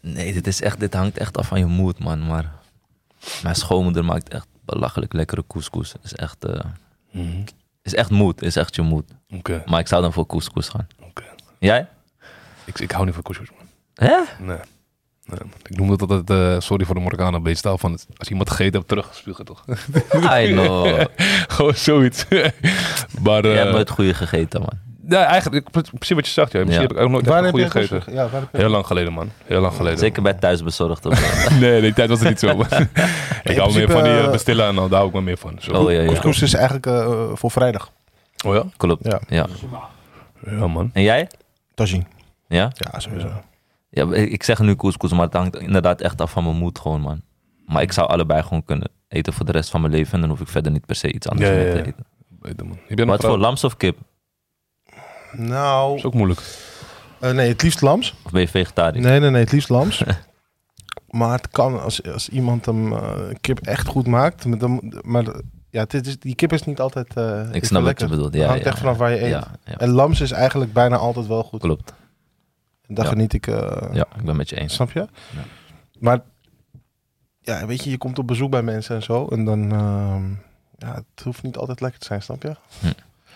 [SPEAKER 3] nee, dit, is echt, dit hangt echt af van je moed, man. Maar mijn schoonmoeder maakt echt belachelijk lekkere couscous. Is echt, eh, is echt moed, is echt je moed.
[SPEAKER 5] Oké.
[SPEAKER 3] Maar ik zou dan voor couscous gaan.
[SPEAKER 5] Oké.
[SPEAKER 3] Jij?
[SPEAKER 5] Ik, ik hou niet van couscous, man.
[SPEAKER 3] Hè?
[SPEAKER 5] Nee. Nee, man. Ik noem dat altijd, eh, sorry voor de Morgana, beestaal van het, als iemand gegeten hebt, terugspugen toch?
[SPEAKER 3] I know.
[SPEAKER 5] Gewoon zoiets. maar eh,
[SPEAKER 3] Jij hebt me het goede gegeten, man.
[SPEAKER 5] ja, eigenlijk, ik- precies wat je zegt, ja. Misschien
[SPEAKER 3] Ja.
[SPEAKER 5] heb ik ook nooit
[SPEAKER 2] waar
[SPEAKER 5] echt
[SPEAKER 2] heb
[SPEAKER 5] een
[SPEAKER 2] je
[SPEAKER 5] goede
[SPEAKER 2] het op
[SPEAKER 5] gegeten.
[SPEAKER 2] zich? Ja, waar heb je
[SPEAKER 5] Heel lang geleden, man. Heel lang geleden.
[SPEAKER 3] Zeker bij thuisbezorgd of zo.
[SPEAKER 5] Nee, die tijd was het niet zo. man. ik hou meer
[SPEAKER 2] principe,
[SPEAKER 5] van die eh,
[SPEAKER 2] eh,
[SPEAKER 5] bestillen en al, daar hou ik me meer van. Zo.
[SPEAKER 3] Oh ja, ja.
[SPEAKER 2] Couscous is eigenlijk eh, voor vrijdag.
[SPEAKER 5] Oh ja?
[SPEAKER 3] Klopt.
[SPEAKER 2] Ja,
[SPEAKER 3] Ja.
[SPEAKER 6] Shema.
[SPEAKER 5] Ja, man.
[SPEAKER 3] En jij?
[SPEAKER 2] tagine.
[SPEAKER 3] Ja?
[SPEAKER 2] Ja, sowieso.
[SPEAKER 3] ja? Ik ik zeg nu couscous, maar het hangt inderdaad echt af van mijn moed gewoon, man. Maar ik zou allebei gewoon kunnen eten voor de rest van mijn leven. En dan hoef ik verder niet per se iets anders
[SPEAKER 5] Ja,
[SPEAKER 3] meer
[SPEAKER 5] ja,
[SPEAKER 3] te
[SPEAKER 5] ja.
[SPEAKER 3] eten.
[SPEAKER 5] Weet je, man. Je bent een
[SPEAKER 3] Wat
[SPEAKER 5] vrouw.
[SPEAKER 3] voor, lams of kip?
[SPEAKER 2] Nou,
[SPEAKER 5] is ook moeilijk.
[SPEAKER 2] eh, nee, het liefst lams.
[SPEAKER 3] Of ben je vegetariër?
[SPEAKER 2] Nee, nee, nee, het liefst lams. maar het kan, als, als iemand hem eh, kip echt goed maakt, met hem, maar ja, het is, die kip is niet altijd eh,
[SPEAKER 3] ik
[SPEAKER 2] even
[SPEAKER 3] snap wat
[SPEAKER 2] lekker.
[SPEAKER 3] je bedoelt.
[SPEAKER 2] Het
[SPEAKER 3] Ja,
[SPEAKER 2] hangt
[SPEAKER 3] ja,
[SPEAKER 2] echt vanaf waar je eet.
[SPEAKER 3] ja, ja,
[SPEAKER 2] En lams is eigenlijk bijna altijd wel goed.
[SPEAKER 3] klopt.
[SPEAKER 2] En Daar
[SPEAKER 3] Ja.
[SPEAKER 2] geniet ik, eh,
[SPEAKER 3] Ja, ik ben met je eens.
[SPEAKER 2] snap je? Maar ja, weet je, je komt op bezoek bij mensen en zo, en dan, ehm, ja, het hoeft niet altijd lekker te zijn, snap je?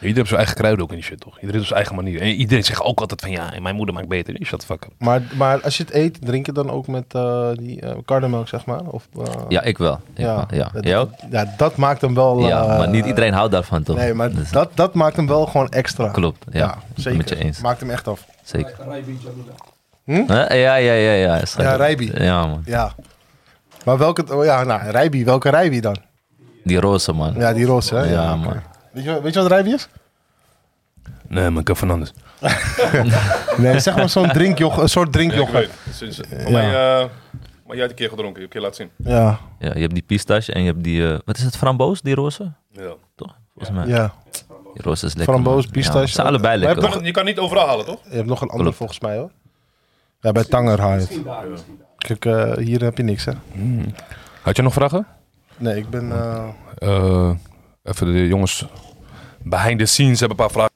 [SPEAKER 5] Iedereen heeft zijn eigen kruiden ook in die shit, toch? Iedereen heeft zijn eigen manier. En iedereen zegt ook altijd van ja, en mijn moeder maakt beter. Nee, Shut the fuck up.
[SPEAKER 2] Maar, maar als je het eet, drink je dan ook met eh, die eh kardemelk, zeg maar? Of, eh,
[SPEAKER 3] Ja, ik wel. Ik ja, wel. ja.
[SPEAKER 2] dat,
[SPEAKER 3] Jij ook?
[SPEAKER 2] ja, dat maakt hem wel...
[SPEAKER 3] Ja,
[SPEAKER 2] eh,
[SPEAKER 3] maar niet iedereen houdt daarvan, toch?
[SPEAKER 2] Nee, maar
[SPEAKER 3] Dus-
[SPEAKER 2] dat, dat maakt hem wel gewoon extra.
[SPEAKER 3] Klopt, ja.
[SPEAKER 2] zeker.
[SPEAKER 3] Met je eens,
[SPEAKER 2] Maakt hem echt af.
[SPEAKER 3] zeker.
[SPEAKER 6] Rijbi Jalula.
[SPEAKER 3] Hè? Ja, ja, ja, ja. schijt.
[SPEAKER 2] Ja, Rijbi.
[SPEAKER 3] Ja, man.
[SPEAKER 2] Ja. Maar welke... oh ja, nou, Rijbi. Welke Rijbi dan?
[SPEAKER 3] Die roze, man.
[SPEAKER 2] Ja, die roze, hè?
[SPEAKER 3] Ja,
[SPEAKER 2] oké.
[SPEAKER 3] man.
[SPEAKER 2] Weet je, weet je wat Rijbi is?
[SPEAKER 5] Nee, maar ik heb Fernandes.
[SPEAKER 2] Nee, zeg maar zo'n drinkjoch, een soort drinkjoch.
[SPEAKER 5] Sinds,
[SPEAKER 2] mij,
[SPEAKER 5] maar jij hebt een keer gedronken. Je hebt een keer laten zien.
[SPEAKER 2] Ja,
[SPEAKER 3] Ja, je hebt die pistache en je hebt die... eh, wat is het, framboos, die roze?
[SPEAKER 5] Ja.
[SPEAKER 3] Toch? Volgens mij.
[SPEAKER 2] ja.
[SPEAKER 3] Die roze is lekker.
[SPEAKER 2] Framboos,
[SPEAKER 3] man.
[SPEAKER 2] pistache.
[SPEAKER 3] Ja, ze zijn allebei
[SPEAKER 2] Maar
[SPEAKER 3] lekker.
[SPEAKER 5] Je kan niet overal halen, toch?
[SPEAKER 2] Je hebt nog een ander
[SPEAKER 3] Klopt.
[SPEAKER 2] volgens mij, hoor. Ja, bij Tanger haal je het.
[SPEAKER 6] Misschien daar, misschien daar.
[SPEAKER 2] Kijk, eh, hier heb je niks, hè?
[SPEAKER 5] Had je nog vragen?
[SPEAKER 2] Nee, ik ben... eh,
[SPEAKER 5] Eh, even de jongens behind the scenes hebben een paar vragen.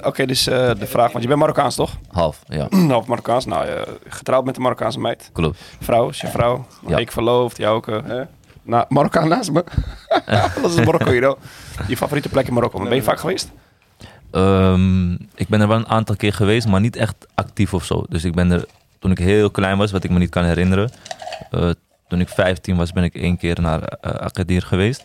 [SPEAKER 7] Eh, Oké, dus eh, de vraag, want je bent Marokkaans toch?
[SPEAKER 3] Half, ja.
[SPEAKER 7] Half Marokkaans. Nou, eh, getrouwd met een Marokkaanse meid.
[SPEAKER 3] Klopt.
[SPEAKER 7] Vrouw, is je vrouw.
[SPEAKER 3] Ja.
[SPEAKER 7] Ik verloofd, jou ook. eh, hè? Nou, Marokkaan naast me. dat is Marokko, you know. Je favoriete plek in Marokko. Maar ben je vaak geweest?
[SPEAKER 3] Ehm, ik ben er wel een aantal keer geweest, maar niet echt actief of zo. Dus ik ben er toen ik heel klein was, wat ik me niet kan herinneren. eh, toen ik 15 was, ben ik één keer naar eh, Agadir geweest.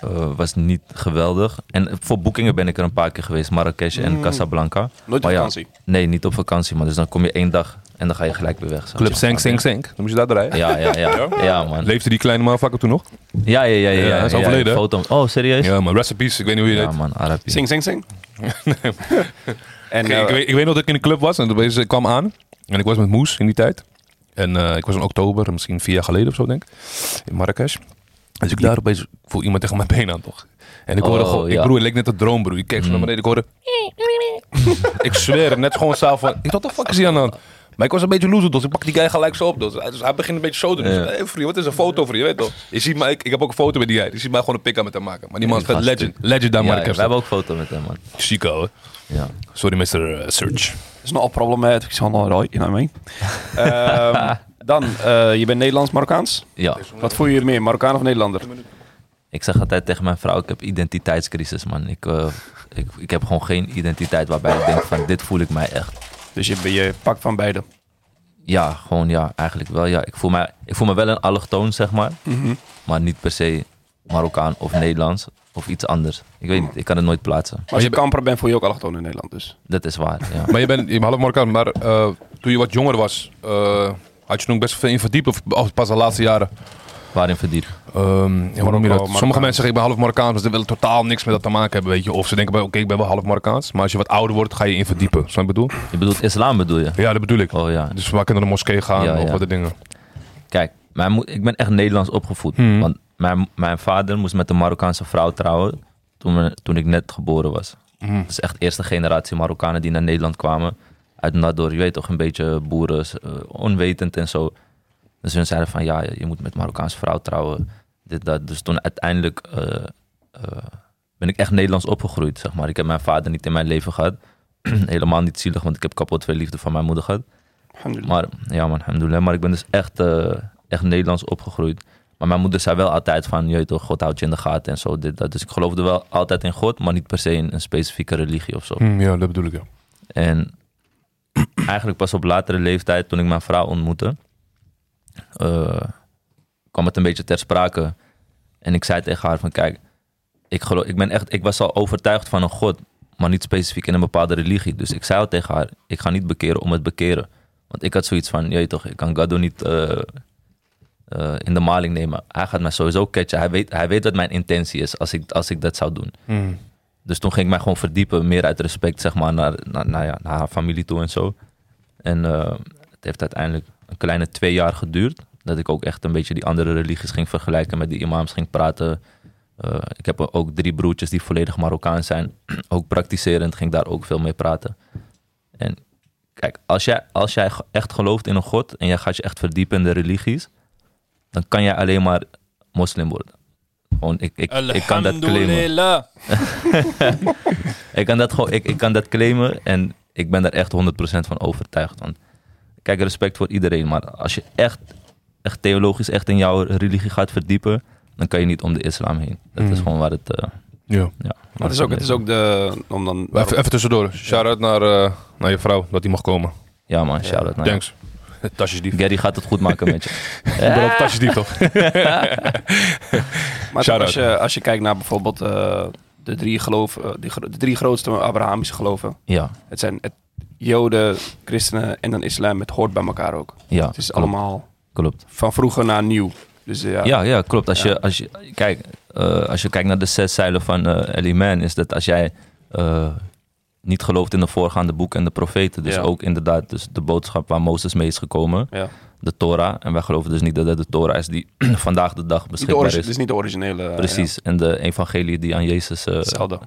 [SPEAKER 3] eh, was niet geweldig. En voor boekingen ben ik er een paar keer geweest. Marrakesh
[SPEAKER 2] Mm.
[SPEAKER 3] en Casablanca.
[SPEAKER 7] Nooit op
[SPEAKER 3] Maar ja,
[SPEAKER 7] vakantie.
[SPEAKER 3] Nee, niet op vakantie, maar dus dan kom je één dag en dan ga je gelijk weer weg. zo.
[SPEAKER 5] Club Senk, Senk, Senk. Dan moest je daar draaien.
[SPEAKER 3] Ja, ja, ja. Ja, man.
[SPEAKER 5] Leefde die kleine motherfucker toen nog?
[SPEAKER 3] Ja, ja, ja. ja,
[SPEAKER 5] Ja,
[SPEAKER 3] ja,
[SPEAKER 5] hij is
[SPEAKER 3] ja,
[SPEAKER 5] overleden, hè?
[SPEAKER 3] Foto. Oh, serieus?
[SPEAKER 5] Ja, maar recipes, ik weet niet hoe je
[SPEAKER 3] Ja,
[SPEAKER 5] dat...
[SPEAKER 3] man, Arabi.
[SPEAKER 7] Zing, zing, zing. en
[SPEAKER 5] Ik,
[SPEAKER 3] Nou,
[SPEAKER 5] ik,
[SPEAKER 7] eh,
[SPEAKER 5] weet, ik weet nog dat ik in de club was en opeens eh, kwam aan. En ik was met Moes in die tijd. En eh, ik was in oktober, misschien vier jaar geleden of zo, denk ik. In Marrakesh. Dus ik daar opeens voel iemand tegen mijn been aan, toch? En ik hoorde
[SPEAKER 3] Oh,
[SPEAKER 5] gewoon, ik
[SPEAKER 3] ja. Mm.
[SPEAKER 5] broer, het leek net een droombroer. Ik keek zo naar beneden, ik hoorde... ik zweer hem, net gewoon zelf van... Ik dacht, wat de fuck is die aan de hand? Maar ik was een beetje loser, dus ik pak die guy gelijk zo op. Dus, Hij- dus hij begint een beetje zo te doen. Dus,
[SPEAKER 3] Ja.
[SPEAKER 5] hey, vriend, wat is een foto voor je, weet toch? Je ziet mij, ik, ik heb ook een foto met die guy. Je ziet mij gewoon een pick-up met hem maken. Maar die man is
[SPEAKER 3] Die
[SPEAKER 5] vet
[SPEAKER 3] gast,
[SPEAKER 5] legend. Legend daar
[SPEAKER 3] Ja,
[SPEAKER 5] Marrakesh.
[SPEAKER 3] we hebben ook foto met hem, man.
[SPEAKER 5] Chico, hè?
[SPEAKER 3] Ja.
[SPEAKER 5] Sorry, Mr. eh, Search.
[SPEAKER 7] is nog een probleem met Xander Roy, you know what I mean? Ehm, dan, eh, je bent Nederlands-Marokkaans.
[SPEAKER 3] ja.
[SPEAKER 7] Wat voel je meer, Marokkaan of Nederlander?
[SPEAKER 3] Ik zeg altijd tegen mijn vrouw, ik heb identiteitscrisis, man. Ik, eh, ik, ik heb gewoon geen identiteit waarbij ik denk van, dit voel ik mij echt.
[SPEAKER 7] Dus je, je pakt van beide.
[SPEAKER 3] Ja, gewoon ja, eigenlijk wel. Ja. Ik, voel mij, ik voel me wel een allochtoon, zeg maar.
[SPEAKER 5] Mhm.
[SPEAKER 3] Maar niet per se Marokkaan of Nederlands of iets anders. Ik weet niet, ik kan het nooit plaatsen.
[SPEAKER 7] Maar als je kamper bent, voel je ook allochtoon in Nederland. Dus.
[SPEAKER 3] Dat is waar, ja.
[SPEAKER 5] Maar je bent je bent half Marokkaan, maar eh, toen je wat jonger was, eh, had je nog best veel in verdiepen, of of pas de laatste jaren?
[SPEAKER 3] Waarin verdiept.
[SPEAKER 5] Ehm, ja, hoe noem je dat?
[SPEAKER 7] Marokkaans.
[SPEAKER 5] Sommige mensen zeggen ik ben half Marokkaans, maar ze willen totaal niks met dat te maken hebben, weet je. Of ze denken, bij, oké, ik ben wel half Marokkaans, maar als je wat ouder wordt, ga je in verdiepen. Snap je wat ik bedoel?
[SPEAKER 3] Je bedoelt islam bedoel je?
[SPEAKER 5] Ja, dat bedoel ik.
[SPEAKER 3] Oh ja.
[SPEAKER 5] Dus we kunnen naar de moskee gaan
[SPEAKER 3] Ja,
[SPEAKER 5] of
[SPEAKER 3] ja.
[SPEAKER 5] wat de dingen.
[SPEAKER 3] Kijk, mijn moe- ik ben echt Nederlands opgevoed. Want mijn, mijn vader moest met een Marokkaanse vrouw trouwen toen, we- toen ik net geboren was. Dus echt eerste generatie Marokkanen die naar Nederland kwamen. Uit Nador, je weet toch, een beetje boeren, eh, onwetend en zo. Dus hun zeiden van, ja, je moet met Marokkaanse vrouw trouwen. Dit, dat. Dus toen uiteindelijk eh, eh, ben ik echt Nederlands opgegroeid, zeg maar. Ik heb mijn vader niet in mijn leven gehad. Helemaal niet zielig, want ik heb kapot veel liefde van mijn moeder gehad.
[SPEAKER 7] Alhamdulillah.
[SPEAKER 3] Maar ja, man, alhamdulillah. Maar ik ben dus echt, eh, echt Nederlands opgegroeid. Maar mijn moeder zei wel altijd van, je weet toch, God houdt je in de gaten en zo. Dit, dat. Dus ik geloofde wel altijd in God, maar niet per se in een specifieke religie of zo.
[SPEAKER 5] Hm, ja, dat bedoel ik, ja.
[SPEAKER 3] En eigenlijk pas op latere leeftijd, toen ik mijn vrouw ontmoette, eh, kwam het een beetje ter sprake. En ik zei tegen haar van, kijk, ik, geloof, ik, ben echt, ik was al overtuigd van een God, maar niet specifiek in een bepaalde religie. Dus ik zei al tegen haar, ik ga niet bekeren om het bekeren. Want ik had zoiets van, je weet toch, ik kan Gado niet eh, eh, in de maling nemen. Hij gaat mij sowieso catchen. Hij weet, hij weet wat mijn intentie is als ik, als ik dat zou doen. Dus toen ging ik mij gewoon verdiepen, meer uit respect, zeg maar, naar, naar, nou ja, naar haar familie toe en zo. En eh, het heeft uiteindelijk een kleine twee jaar geduurd. Dat ik ook echt een beetje die andere religies ging vergelijken, met die imams ging praten. Eh, ik heb ook drie broertjes die volledig Marokkaan zijn. ook praktiserend ging ik daar ook veel mee praten. En kijk, als jij, als jij ge- echt gelooft in een God en jij gaat je echt verdiepen in de religies, dan kan jij alleen maar moslim worden. Gewoon, ik, ik, ik kan dat claimen. Ik kan dat gewoon, ik, ik kan dat claimen en ik ben daar echt 100% van overtuigd. Want kijk, respect voor iedereen, maar als je echt, echt theologisch echt in jouw religie gaat verdiepen, dan kan je niet om de islam heen. Dat is gewoon waar het. eh,
[SPEAKER 5] ja.
[SPEAKER 3] ja,
[SPEAKER 7] Maar het is ook, het is ook de... Om dan,
[SPEAKER 5] Even, even tussendoor. Shout-out naar, eh, naar je vrouw, dat die mag komen.
[SPEAKER 3] Ja, man, shout out.
[SPEAKER 5] Thanks. Tasjesdief.
[SPEAKER 3] Gary gaat het goed maken met je.
[SPEAKER 5] Ik ben ook tasjesdief, toch?
[SPEAKER 7] maar
[SPEAKER 5] Shout-out.
[SPEAKER 7] als je, als je kijkt naar bijvoorbeeld eh, de, drie geloof, eh, die gro- de drie grootste Abrahamische geloven.
[SPEAKER 3] Ja,
[SPEAKER 7] Het zijn het, Joden, christenen en dan islam. Het hoort bij elkaar ook.
[SPEAKER 3] ja.
[SPEAKER 7] Het is
[SPEAKER 3] klopt,
[SPEAKER 7] allemaal
[SPEAKER 3] Klopt.
[SPEAKER 7] van vroeger naar nieuw. Dus eh, ja,
[SPEAKER 3] Ja, ja klopt. Als, Je, als, je, kijk, eh, als je kijkt naar de zes zeilen van eh El Iman, is dat als jij eh, niet gelooft in de voorgaande boeken en de profeten, dus
[SPEAKER 7] Ja.
[SPEAKER 3] ook inderdaad dus de boodschap waar Mozes mee is gekomen,
[SPEAKER 7] Ja.
[SPEAKER 3] de Torah, en wij geloven dus niet dat dat de Torah is die vandaag de dag
[SPEAKER 7] Niet de
[SPEAKER 3] beschikbaar
[SPEAKER 7] origi-
[SPEAKER 3] is.
[SPEAKER 7] het is niet de originele. eh,
[SPEAKER 3] Precies, en de evangelie die aan Jezus, eh,
[SPEAKER 7] ja, hetzelfde.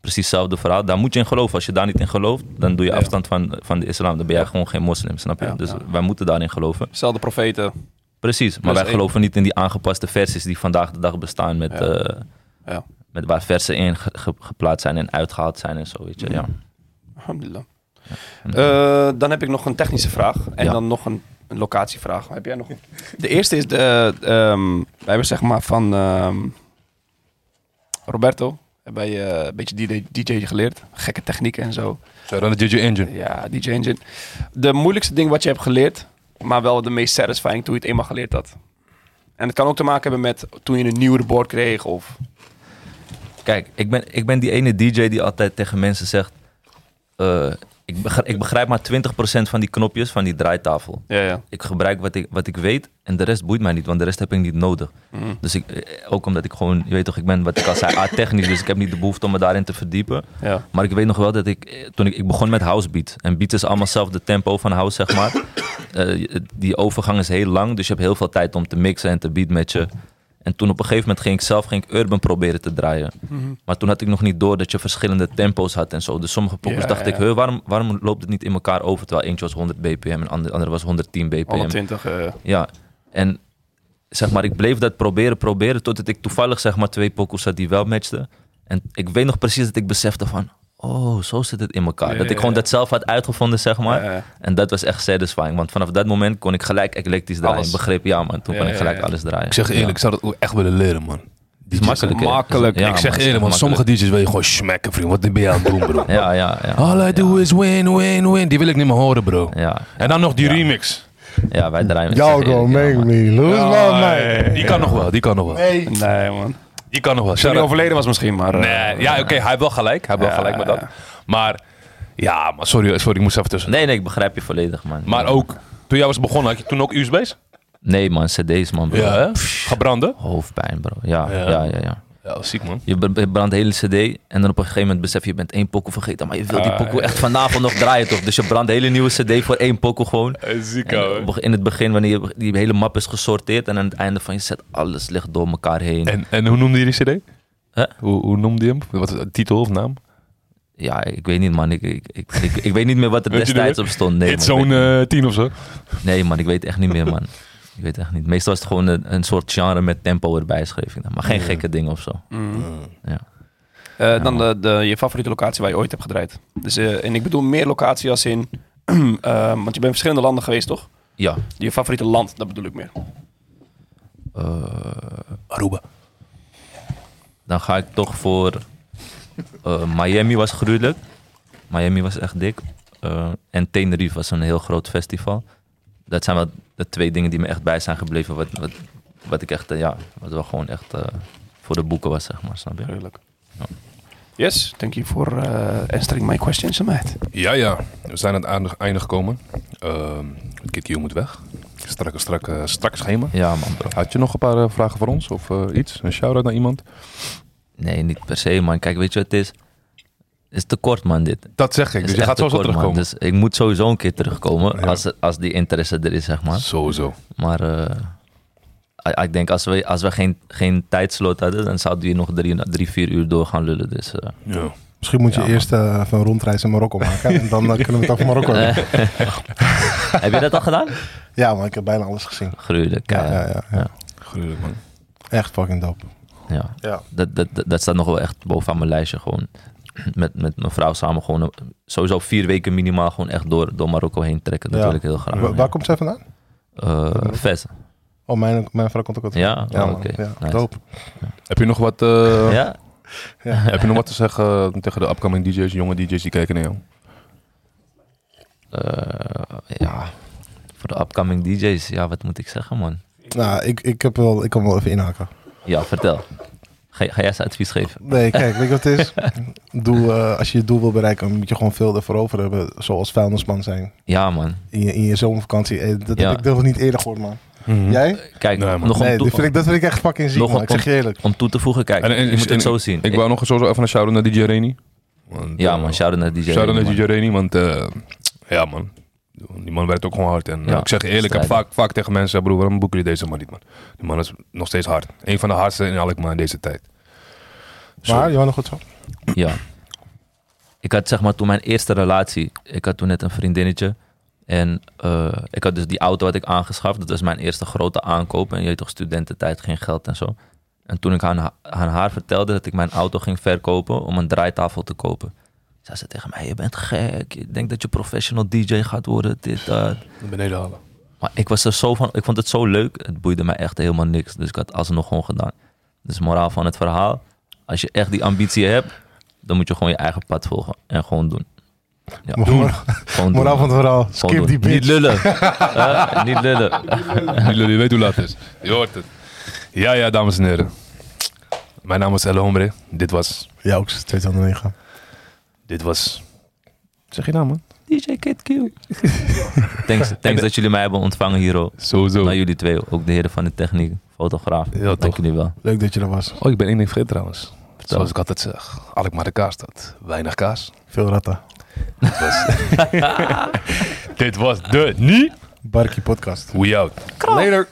[SPEAKER 3] precies hetzelfde verhaal, daar moet je in geloven. Als je daar niet in gelooft, dan doe je
[SPEAKER 7] Ja.
[SPEAKER 3] afstand van, van de islam, dan ben jij gewoon geen moslim, snap je?
[SPEAKER 7] Ja,
[SPEAKER 3] dus
[SPEAKER 7] ja.
[SPEAKER 3] wij moeten daarin geloven.
[SPEAKER 7] Hetzelfde profeten.
[SPEAKER 3] Precies, maar
[SPEAKER 7] Dus
[SPEAKER 3] wij
[SPEAKER 7] één-
[SPEAKER 3] geloven niet in die aangepaste versies die vandaag de dag bestaan met,
[SPEAKER 7] Ja.
[SPEAKER 3] eh,
[SPEAKER 7] Ja.
[SPEAKER 3] met waar versen in ge- ge- geplaatst zijn en uitgehaald zijn en zo, weet je. Ja.
[SPEAKER 7] Mm. Alhamdulillah. Eh, dan heb ik nog een technische vraag en
[SPEAKER 3] Ja.
[SPEAKER 7] dan nog een, een locatievraag. Heb jij nog? De eerste is de, ehm, wij hebben zeg maar van ehm, Roberto hebben wij eh, een beetje DJ, DJ geleerd, gekke technieken en zo.
[SPEAKER 5] Shout-out naar DJ Engine.
[SPEAKER 7] Ja, DJ Engine. De moeilijkste ding wat je hebt geleerd, maar wel de meest satisfying toen je het eenmaal geleerd had. En het kan ook te maken hebben met toen je een nieuwe board kreeg of
[SPEAKER 3] Kijk, ik ben, ik ben die ene DJ die altijd tegen mensen zegt... eh, ik, begrijp, ik begrijp maar 20% van die knopjes van die draaitafel.
[SPEAKER 7] Ja, ja.
[SPEAKER 3] Ik gebruik wat ik, wat ik weet en de rest boeit mij niet, want de rest heb ik niet nodig.
[SPEAKER 7] Mm.
[SPEAKER 3] Dus ik, eh, ook omdat ik gewoon, je weet toch, ik ben wat ik al zei, technisch, dus ik heb niet de behoefte om me daarin te verdiepen.
[SPEAKER 7] ja.
[SPEAKER 3] Maar ik weet nog wel dat ik, eh, toen ik, ik begon met house beat. En beat is allemaal zelf de tempo van house, zeg maar. Eh, je- die overgang is heel lang, dus je hebt heel veel tijd om te mixen en te beatmatchen. En toen op een gegeven moment ging ik zelf ging ik urban proberen te draaien.
[SPEAKER 7] Mhm.
[SPEAKER 3] Maar toen had ik nog niet door dat je verschillende tempo's had en zo. Dus sommige poppers
[SPEAKER 7] Ja,
[SPEAKER 3] dacht
[SPEAKER 7] ja.
[SPEAKER 3] ik, "Huh, waarom, waarom loopt het niet in elkaar over? Terwijl eentje was 100 bpm en de ander- andere was 110 bpm.
[SPEAKER 7] 120. eh,
[SPEAKER 3] Ja, en zeg maar, ik bleef dat proberen, proberen, totdat ik toevallig zeg maar twee pokoes had die wel matchten. En ik weet nog precies dat ik besefte van, oh, zo zit het in elkaar.
[SPEAKER 7] Ja,
[SPEAKER 3] dat
[SPEAKER 7] ja,
[SPEAKER 3] ik gewoon
[SPEAKER 7] ja.
[SPEAKER 3] dat zelf had uitgevonden, zeg maar.
[SPEAKER 7] Ja, ja.
[SPEAKER 3] En dat was echt satisfying, want vanaf dat moment kon ik gelijk eclectisch draaien.
[SPEAKER 7] Alles.
[SPEAKER 3] Begreep, ja man, toen
[SPEAKER 7] Ja,
[SPEAKER 3] kon ik
[SPEAKER 7] ja,
[SPEAKER 3] gelijk
[SPEAKER 7] ja.
[SPEAKER 3] alles draaien.
[SPEAKER 1] Ik zeg eerlijk, ik
[SPEAKER 3] Ja.
[SPEAKER 1] zou dat ook echt willen leren, man.
[SPEAKER 3] Het is makkelijk. hè?
[SPEAKER 7] makkelijk.
[SPEAKER 3] Ja,
[SPEAKER 1] ik zeg
[SPEAKER 3] man,
[SPEAKER 1] eerlijk, want
[SPEAKER 3] het is
[SPEAKER 1] sommige DJ's wil je gewoon smacken, vriend. Wat ben je aan het doen, bro?
[SPEAKER 3] makkelijk. Ja, ja, ja.
[SPEAKER 1] All I do is win, win, win. Die wil ik niet meer horen, bro.
[SPEAKER 3] Ja,
[SPEAKER 1] En dan nog die remix.
[SPEAKER 3] ja, wij draaien. ik zeg
[SPEAKER 2] Y'all
[SPEAKER 3] eerlijk,
[SPEAKER 2] go
[SPEAKER 3] ja,
[SPEAKER 2] make
[SPEAKER 3] man.
[SPEAKER 2] me lose my mind.
[SPEAKER 1] Die kan nog wel, die kan nog wel.
[SPEAKER 2] Hey.
[SPEAKER 7] Nee, man.
[SPEAKER 1] Die kan nog wel.
[SPEAKER 7] Toen
[SPEAKER 1] Shout
[SPEAKER 7] hij
[SPEAKER 1] out-
[SPEAKER 7] overleden was misschien, maar... eh,
[SPEAKER 1] Nee, ja, oké, hij heeft wel gelijk. Hij heeft wel
[SPEAKER 7] Ja,
[SPEAKER 1] gelijk met
[SPEAKER 7] ja.
[SPEAKER 1] dat. Maar, ja, maar sorry, sorry, ik moest even tussen.
[SPEAKER 3] Nee, nee, ik begrijp je volledig, man.
[SPEAKER 1] Maar ook, toen jij was begonnen, had je toen ook USB's?
[SPEAKER 3] Nee, man, CD's, man, bro.
[SPEAKER 1] hè? Gebrande?
[SPEAKER 3] Hoofdpijn, bro. Ja,
[SPEAKER 1] Ja.
[SPEAKER 3] ja, ja, ja.
[SPEAKER 1] Ja, dat is ziek, man.
[SPEAKER 3] Je br- je brandt de hele cd en dan op een gegeven moment besef je, je bent één pokoe vergeten. Maar je wilt
[SPEAKER 1] Ah,
[SPEAKER 3] die pokoe echt vanavond nog draaien toch? Dus je brandt de hele nieuwe cd voor één pokoe gewoon.
[SPEAKER 1] Ziek,
[SPEAKER 3] En op- in het begin, wanneer je- die hele map is gesorteerd en aan het einde van je set, alles ligt door elkaar heen.
[SPEAKER 1] En, en hoe noemde je die cd?
[SPEAKER 3] Huh?
[SPEAKER 1] Hoe, hoe noemde je hem? Wat is de titel of naam?
[SPEAKER 3] Ja, ik weet niet man, ik, ik, ik, ik, ik weet niet meer wat er
[SPEAKER 1] Weet je
[SPEAKER 3] destijds
[SPEAKER 1] niet
[SPEAKER 3] op stond. Nee,
[SPEAKER 1] Hit
[SPEAKER 3] man, ik
[SPEAKER 1] zo'n
[SPEAKER 3] weet-
[SPEAKER 1] eh, 10 of zo.
[SPEAKER 3] nee man, ik weet echt niet meer man. Ik weet echt niet. Meestal is het gewoon een, een soort genre met tempo erbij, schreef ik dan. Maar geen gekke dingen of zo.
[SPEAKER 1] Mm.
[SPEAKER 3] Ja.
[SPEAKER 7] Eh, dan de, de, je favoriete locatie waar je ooit hebt gedraaid. Dus, eh, en ik bedoel meer locatie als in... ehm, want je bent in verschillende landen geweest, toch?
[SPEAKER 3] ja.
[SPEAKER 7] Je favoriete land, dat bedoel ik meer.
[SPEAKER 1] Aruba.
[SPEAKER 3] dan ga ik toch voor. eh, Miami was gruwelijk. Miami was echt dik. Eh, en Tenerife was een heel groot festival. Dat zijn wel de twee dingen die me echt bij zijn gebleven. Wat, wat, wat ik echt, eh, ja, wat wel gewoon echt eh, voor de boeken was, zeg maar. Snap je?
[SPEAKER 7] Heerlijk. Yes, thank you for eh, answering my questions, mate.
[SPEAKER 1] Ja, ja. We zijn aan het einde- einde gekomen. Ehm het Kid Q moet weg. Strakke, strakke, strak schema.
[SPEAKER 3] Ja, man, bro.
[SPEAKER 1] Had je nog een paar eh, vragen voor ons of eh, iets? Een shout-out naar iemand?
[SPEAKER 3] Nee, niet per se, man. Kijk, weet je wat het is? Het is te kort, man, dit.
[SPEAKER 1] Dat zeg ik,
[SPEAKER 3] Het is
[SPEAKER 1] dus je
[SPEAKER 3] echt
[SPEAKER 1] gaat
[SPEAKER 3] te
[SPEAKER 1] sowieso
[SPEAKER 3] kort, man.
[SPEAKER 1] terugkomen.
[SPEAKER 3] Dus ik moet sowieso een keer terugkomen.
[SPEAKER 1] Ja.
[SPEAKER 3] Als, als die interesse er is, zeg maar.
[SPEAKER 1] Sowieso.
[SPEAKER 3] Maar eh, ik- ik denk als we, als we geen, geen tijdslot hadden, dan zouden we hier nog drie, drie vier uur door gaan lullen. Dus eh,
[SPEAKER 1] Ja.
[SPEAKER 2] Misschien moet je
[SPEAKER 3] Ja, man.
[SPEAKER 2] eerst eh, even een rondreis in Marokko maken. En dan eh, kunnen we het over Marokko hebben.
[SPEAKER 3] heb je dat al gedaan?
[SPEAKER 2] Ja, maar ik heb bijna alles gezien.
[SPEAKER 3] Gruwelijk. eh,
[SPEAKER 2] Ja,
[SPEAKER 3] Ja,
[SPEAKER 2] ja, ja, ja.
[SPEAKER 1] Gruwelijk, man.
[SPEAKER 2] Echt fucking dope.
[SPEAKER 3] ja.
[SPEAKER 2] Ja.
[SPEAKER 3] Dat, dat, dat, dat staat nog wel echt bovenaan mijn lijstje. Gewoon met, met mijn vrouw samen gewoon eh, sowieso vier weken minimaal gewoon echt door, door Marokko heen trekken. Dat
[SPEAKER 2] Ja.
[SPEAKER 3] wil ik heel graag.
[SPEAKER 2] Wa-
[SPEAKER 3] ja.
[SPEAKER 2] Waar komt zij vandaan?
[SPEAKER 3] Eh, Ves.
[SPEAKER 2] Oh, mijn, mijn vrouw komt ook uit.
[SPEAKER 3] Ja,
[SPEAKER 2] man.
[SPEAKER 3] Oh, oké.
[SPEAKER 2] Ja,
[SPEAKER 3] Nice.
[SPEAKER 2] dope.
[SPEAKER 1] Heb je nog wat, eh,
[SPEAKER 3] Ja?
[SPEAKER 1] heb je nog wat te zeggen tegen de upcoming DJ's, jonge DJ's die kijken naar jou?
[SPEAKER 3] Eh, ja. Voor de upcoming DJ's, ja, wat moet ik zeggen, man?
[SPEAKER 2] Nou, ik, ik, heb wel, ik kan wel even inhaken.
[SPEAKER 3] Ja, vertel. Ga, ga jij ze advies geven?
[SPEAKER 2] Nee, kijk, weet je wat het is? Doe, eh, als je je doel wil bereiken, moet je gewoon veel ervoor over hebben. Zoals vuilnisman zijn.
[SPEAKER 3] Ja, man.
[SPEAKER 2] In je, in je zomervakantie. Eh, dat
[SPEAKER 3] Ja.
[SPEAKER 2] heb ik nog niet eerder gehoord, man. Jij?
[SPEAKER 3] Kijk,
[SPEAKER 1] Nee, man.
[SPEAKER 3] nog, om
[SPEAKER 2] Nee,
[SPEAKER 3] toe-
[SPEAKER 2] dat vind, ik, dat vind ik echt fucking ziek,
[SPEAKER 3] Nog
[SPEAKER 2] man.
[SPEAKER 3] een
[SPEAKER 2] Ik zeg je eerlijk.
[SPEAKER 3] om toe te voegen, kijk,
[SPEAKER 1] En- en-
[SPEAKER 3] je moet
[SPEAKER 1] en-
[SPEAKER 3] het zo zien.
[SPEAKER 1] Ik wou nog sowieso even een shout-out naar DJ Reni. Want,
[SPEAKER 3] ja
[SPEAKER 1] eh,
[SPEAKER 3] man, shout-out naar DJ.
[SPEAKER 1] Shout-out naar
[SPEAKER 3] man.
[SPEAKER 1] DJ Reni, want eh, ja man, die man werkt ook gewoon hard. En eh,
[SPEAKER 3] Ja,
[SPEAKER 1] ik zeg je eerlijk, ik heb
[SPEAKER 3] strijder.
[SPEAKER 1] vaak, vaak tegen mensen, broer, waarom boeken jullie deze man niet man? Die man is nog steeds hard. Een van de hardste in Alkmaar in deze tijd.
[SPEAKER 2] Maar, je wou nog wat zo?
[SPEAKER 3] Ja. Ik had zeg maar toen mijn eerste relatie, ik had toen net een vriendinnetje. En eh, ik had dus die auto had ik aangeschaft. Dat was mijn eerste grote aankoop. En je weet toch, studententijd, geen geld en zo. En toen ik aan, ha- aan haar vertelde dat ik mijn auto ging verkopen om een draaitafel te kopen. Zei ze tegen mij, je bent gek. Je denkt dat je professional DJ gaat worden. Dit, dat.
[SPEAKER 1] Beneden halen.
[SPEAKER 3] Maar ik was er zo van, ik vond het zo leuk. Het boeide mij echt helemaal niks. Dus ik had alsnog gewoon gedaan. Dus moraal van het verhaal. Als je echt die ambitie hebt, dan moet je gewoon je eigen pad volgen. En gewoon doen. Ja,
[SPEAKER 2] Doen.
[SPEAKER 3] Gewoon doen.
[SPEAKER 2] Moraal van het verhaal.
[SPEAKER 3] Gewoon
[SPEAKER 2] Skip
[SPEAKER 3] doen.
[SPEAKER 2] die
[SPEAKER 3] Niet
[SPEAKER 2] bitch.
[SPEAKER 3] lullen. Hè? niet lullen.
[SPEAKER 1] Jullie weten hoe laat het is. Je hoort het. Ja, ja, dames en heren.
[SPEAKER 5] Mijn naam was El Hombre. Dit was...
[SPEAKER 2] Ja, ook 2009.
[SPEAKER 5] Dit was... Zeg je naam, man?
[SPEAKER 3] DJ Kid Q. thanks thanks dat jullie mij hebben ontvangen hier. hoor.
[SPEAKER 5] Sowieso.
[SPEAKER 3] Naar jullie twee, ook de heren van de techniek, fotograaf.
[SPEAKER 5] Ja,
[SPEAKER 3] Dank
[SPEAKER 5] toch.
[SPEAKER 3] jullie wel.
[SPEAKER 2] Leuk dat je er was.
[SPEAKER 5] Oh, ik ben één ding vergeten trouwens.
[SPEAKER 3] Vertel.
[SPEAKER 5] Zoals ik altijd zeg. Alkmaar de kaas dat. Weinig kaas.
[SPEAKER 2] Veel ratten.
[SPEAKER 5] Dit was de Nie.
[SPEAKER 2] Barkie podcast.
[SPEAKER 5] We out.
[SPEAKER 2] Later.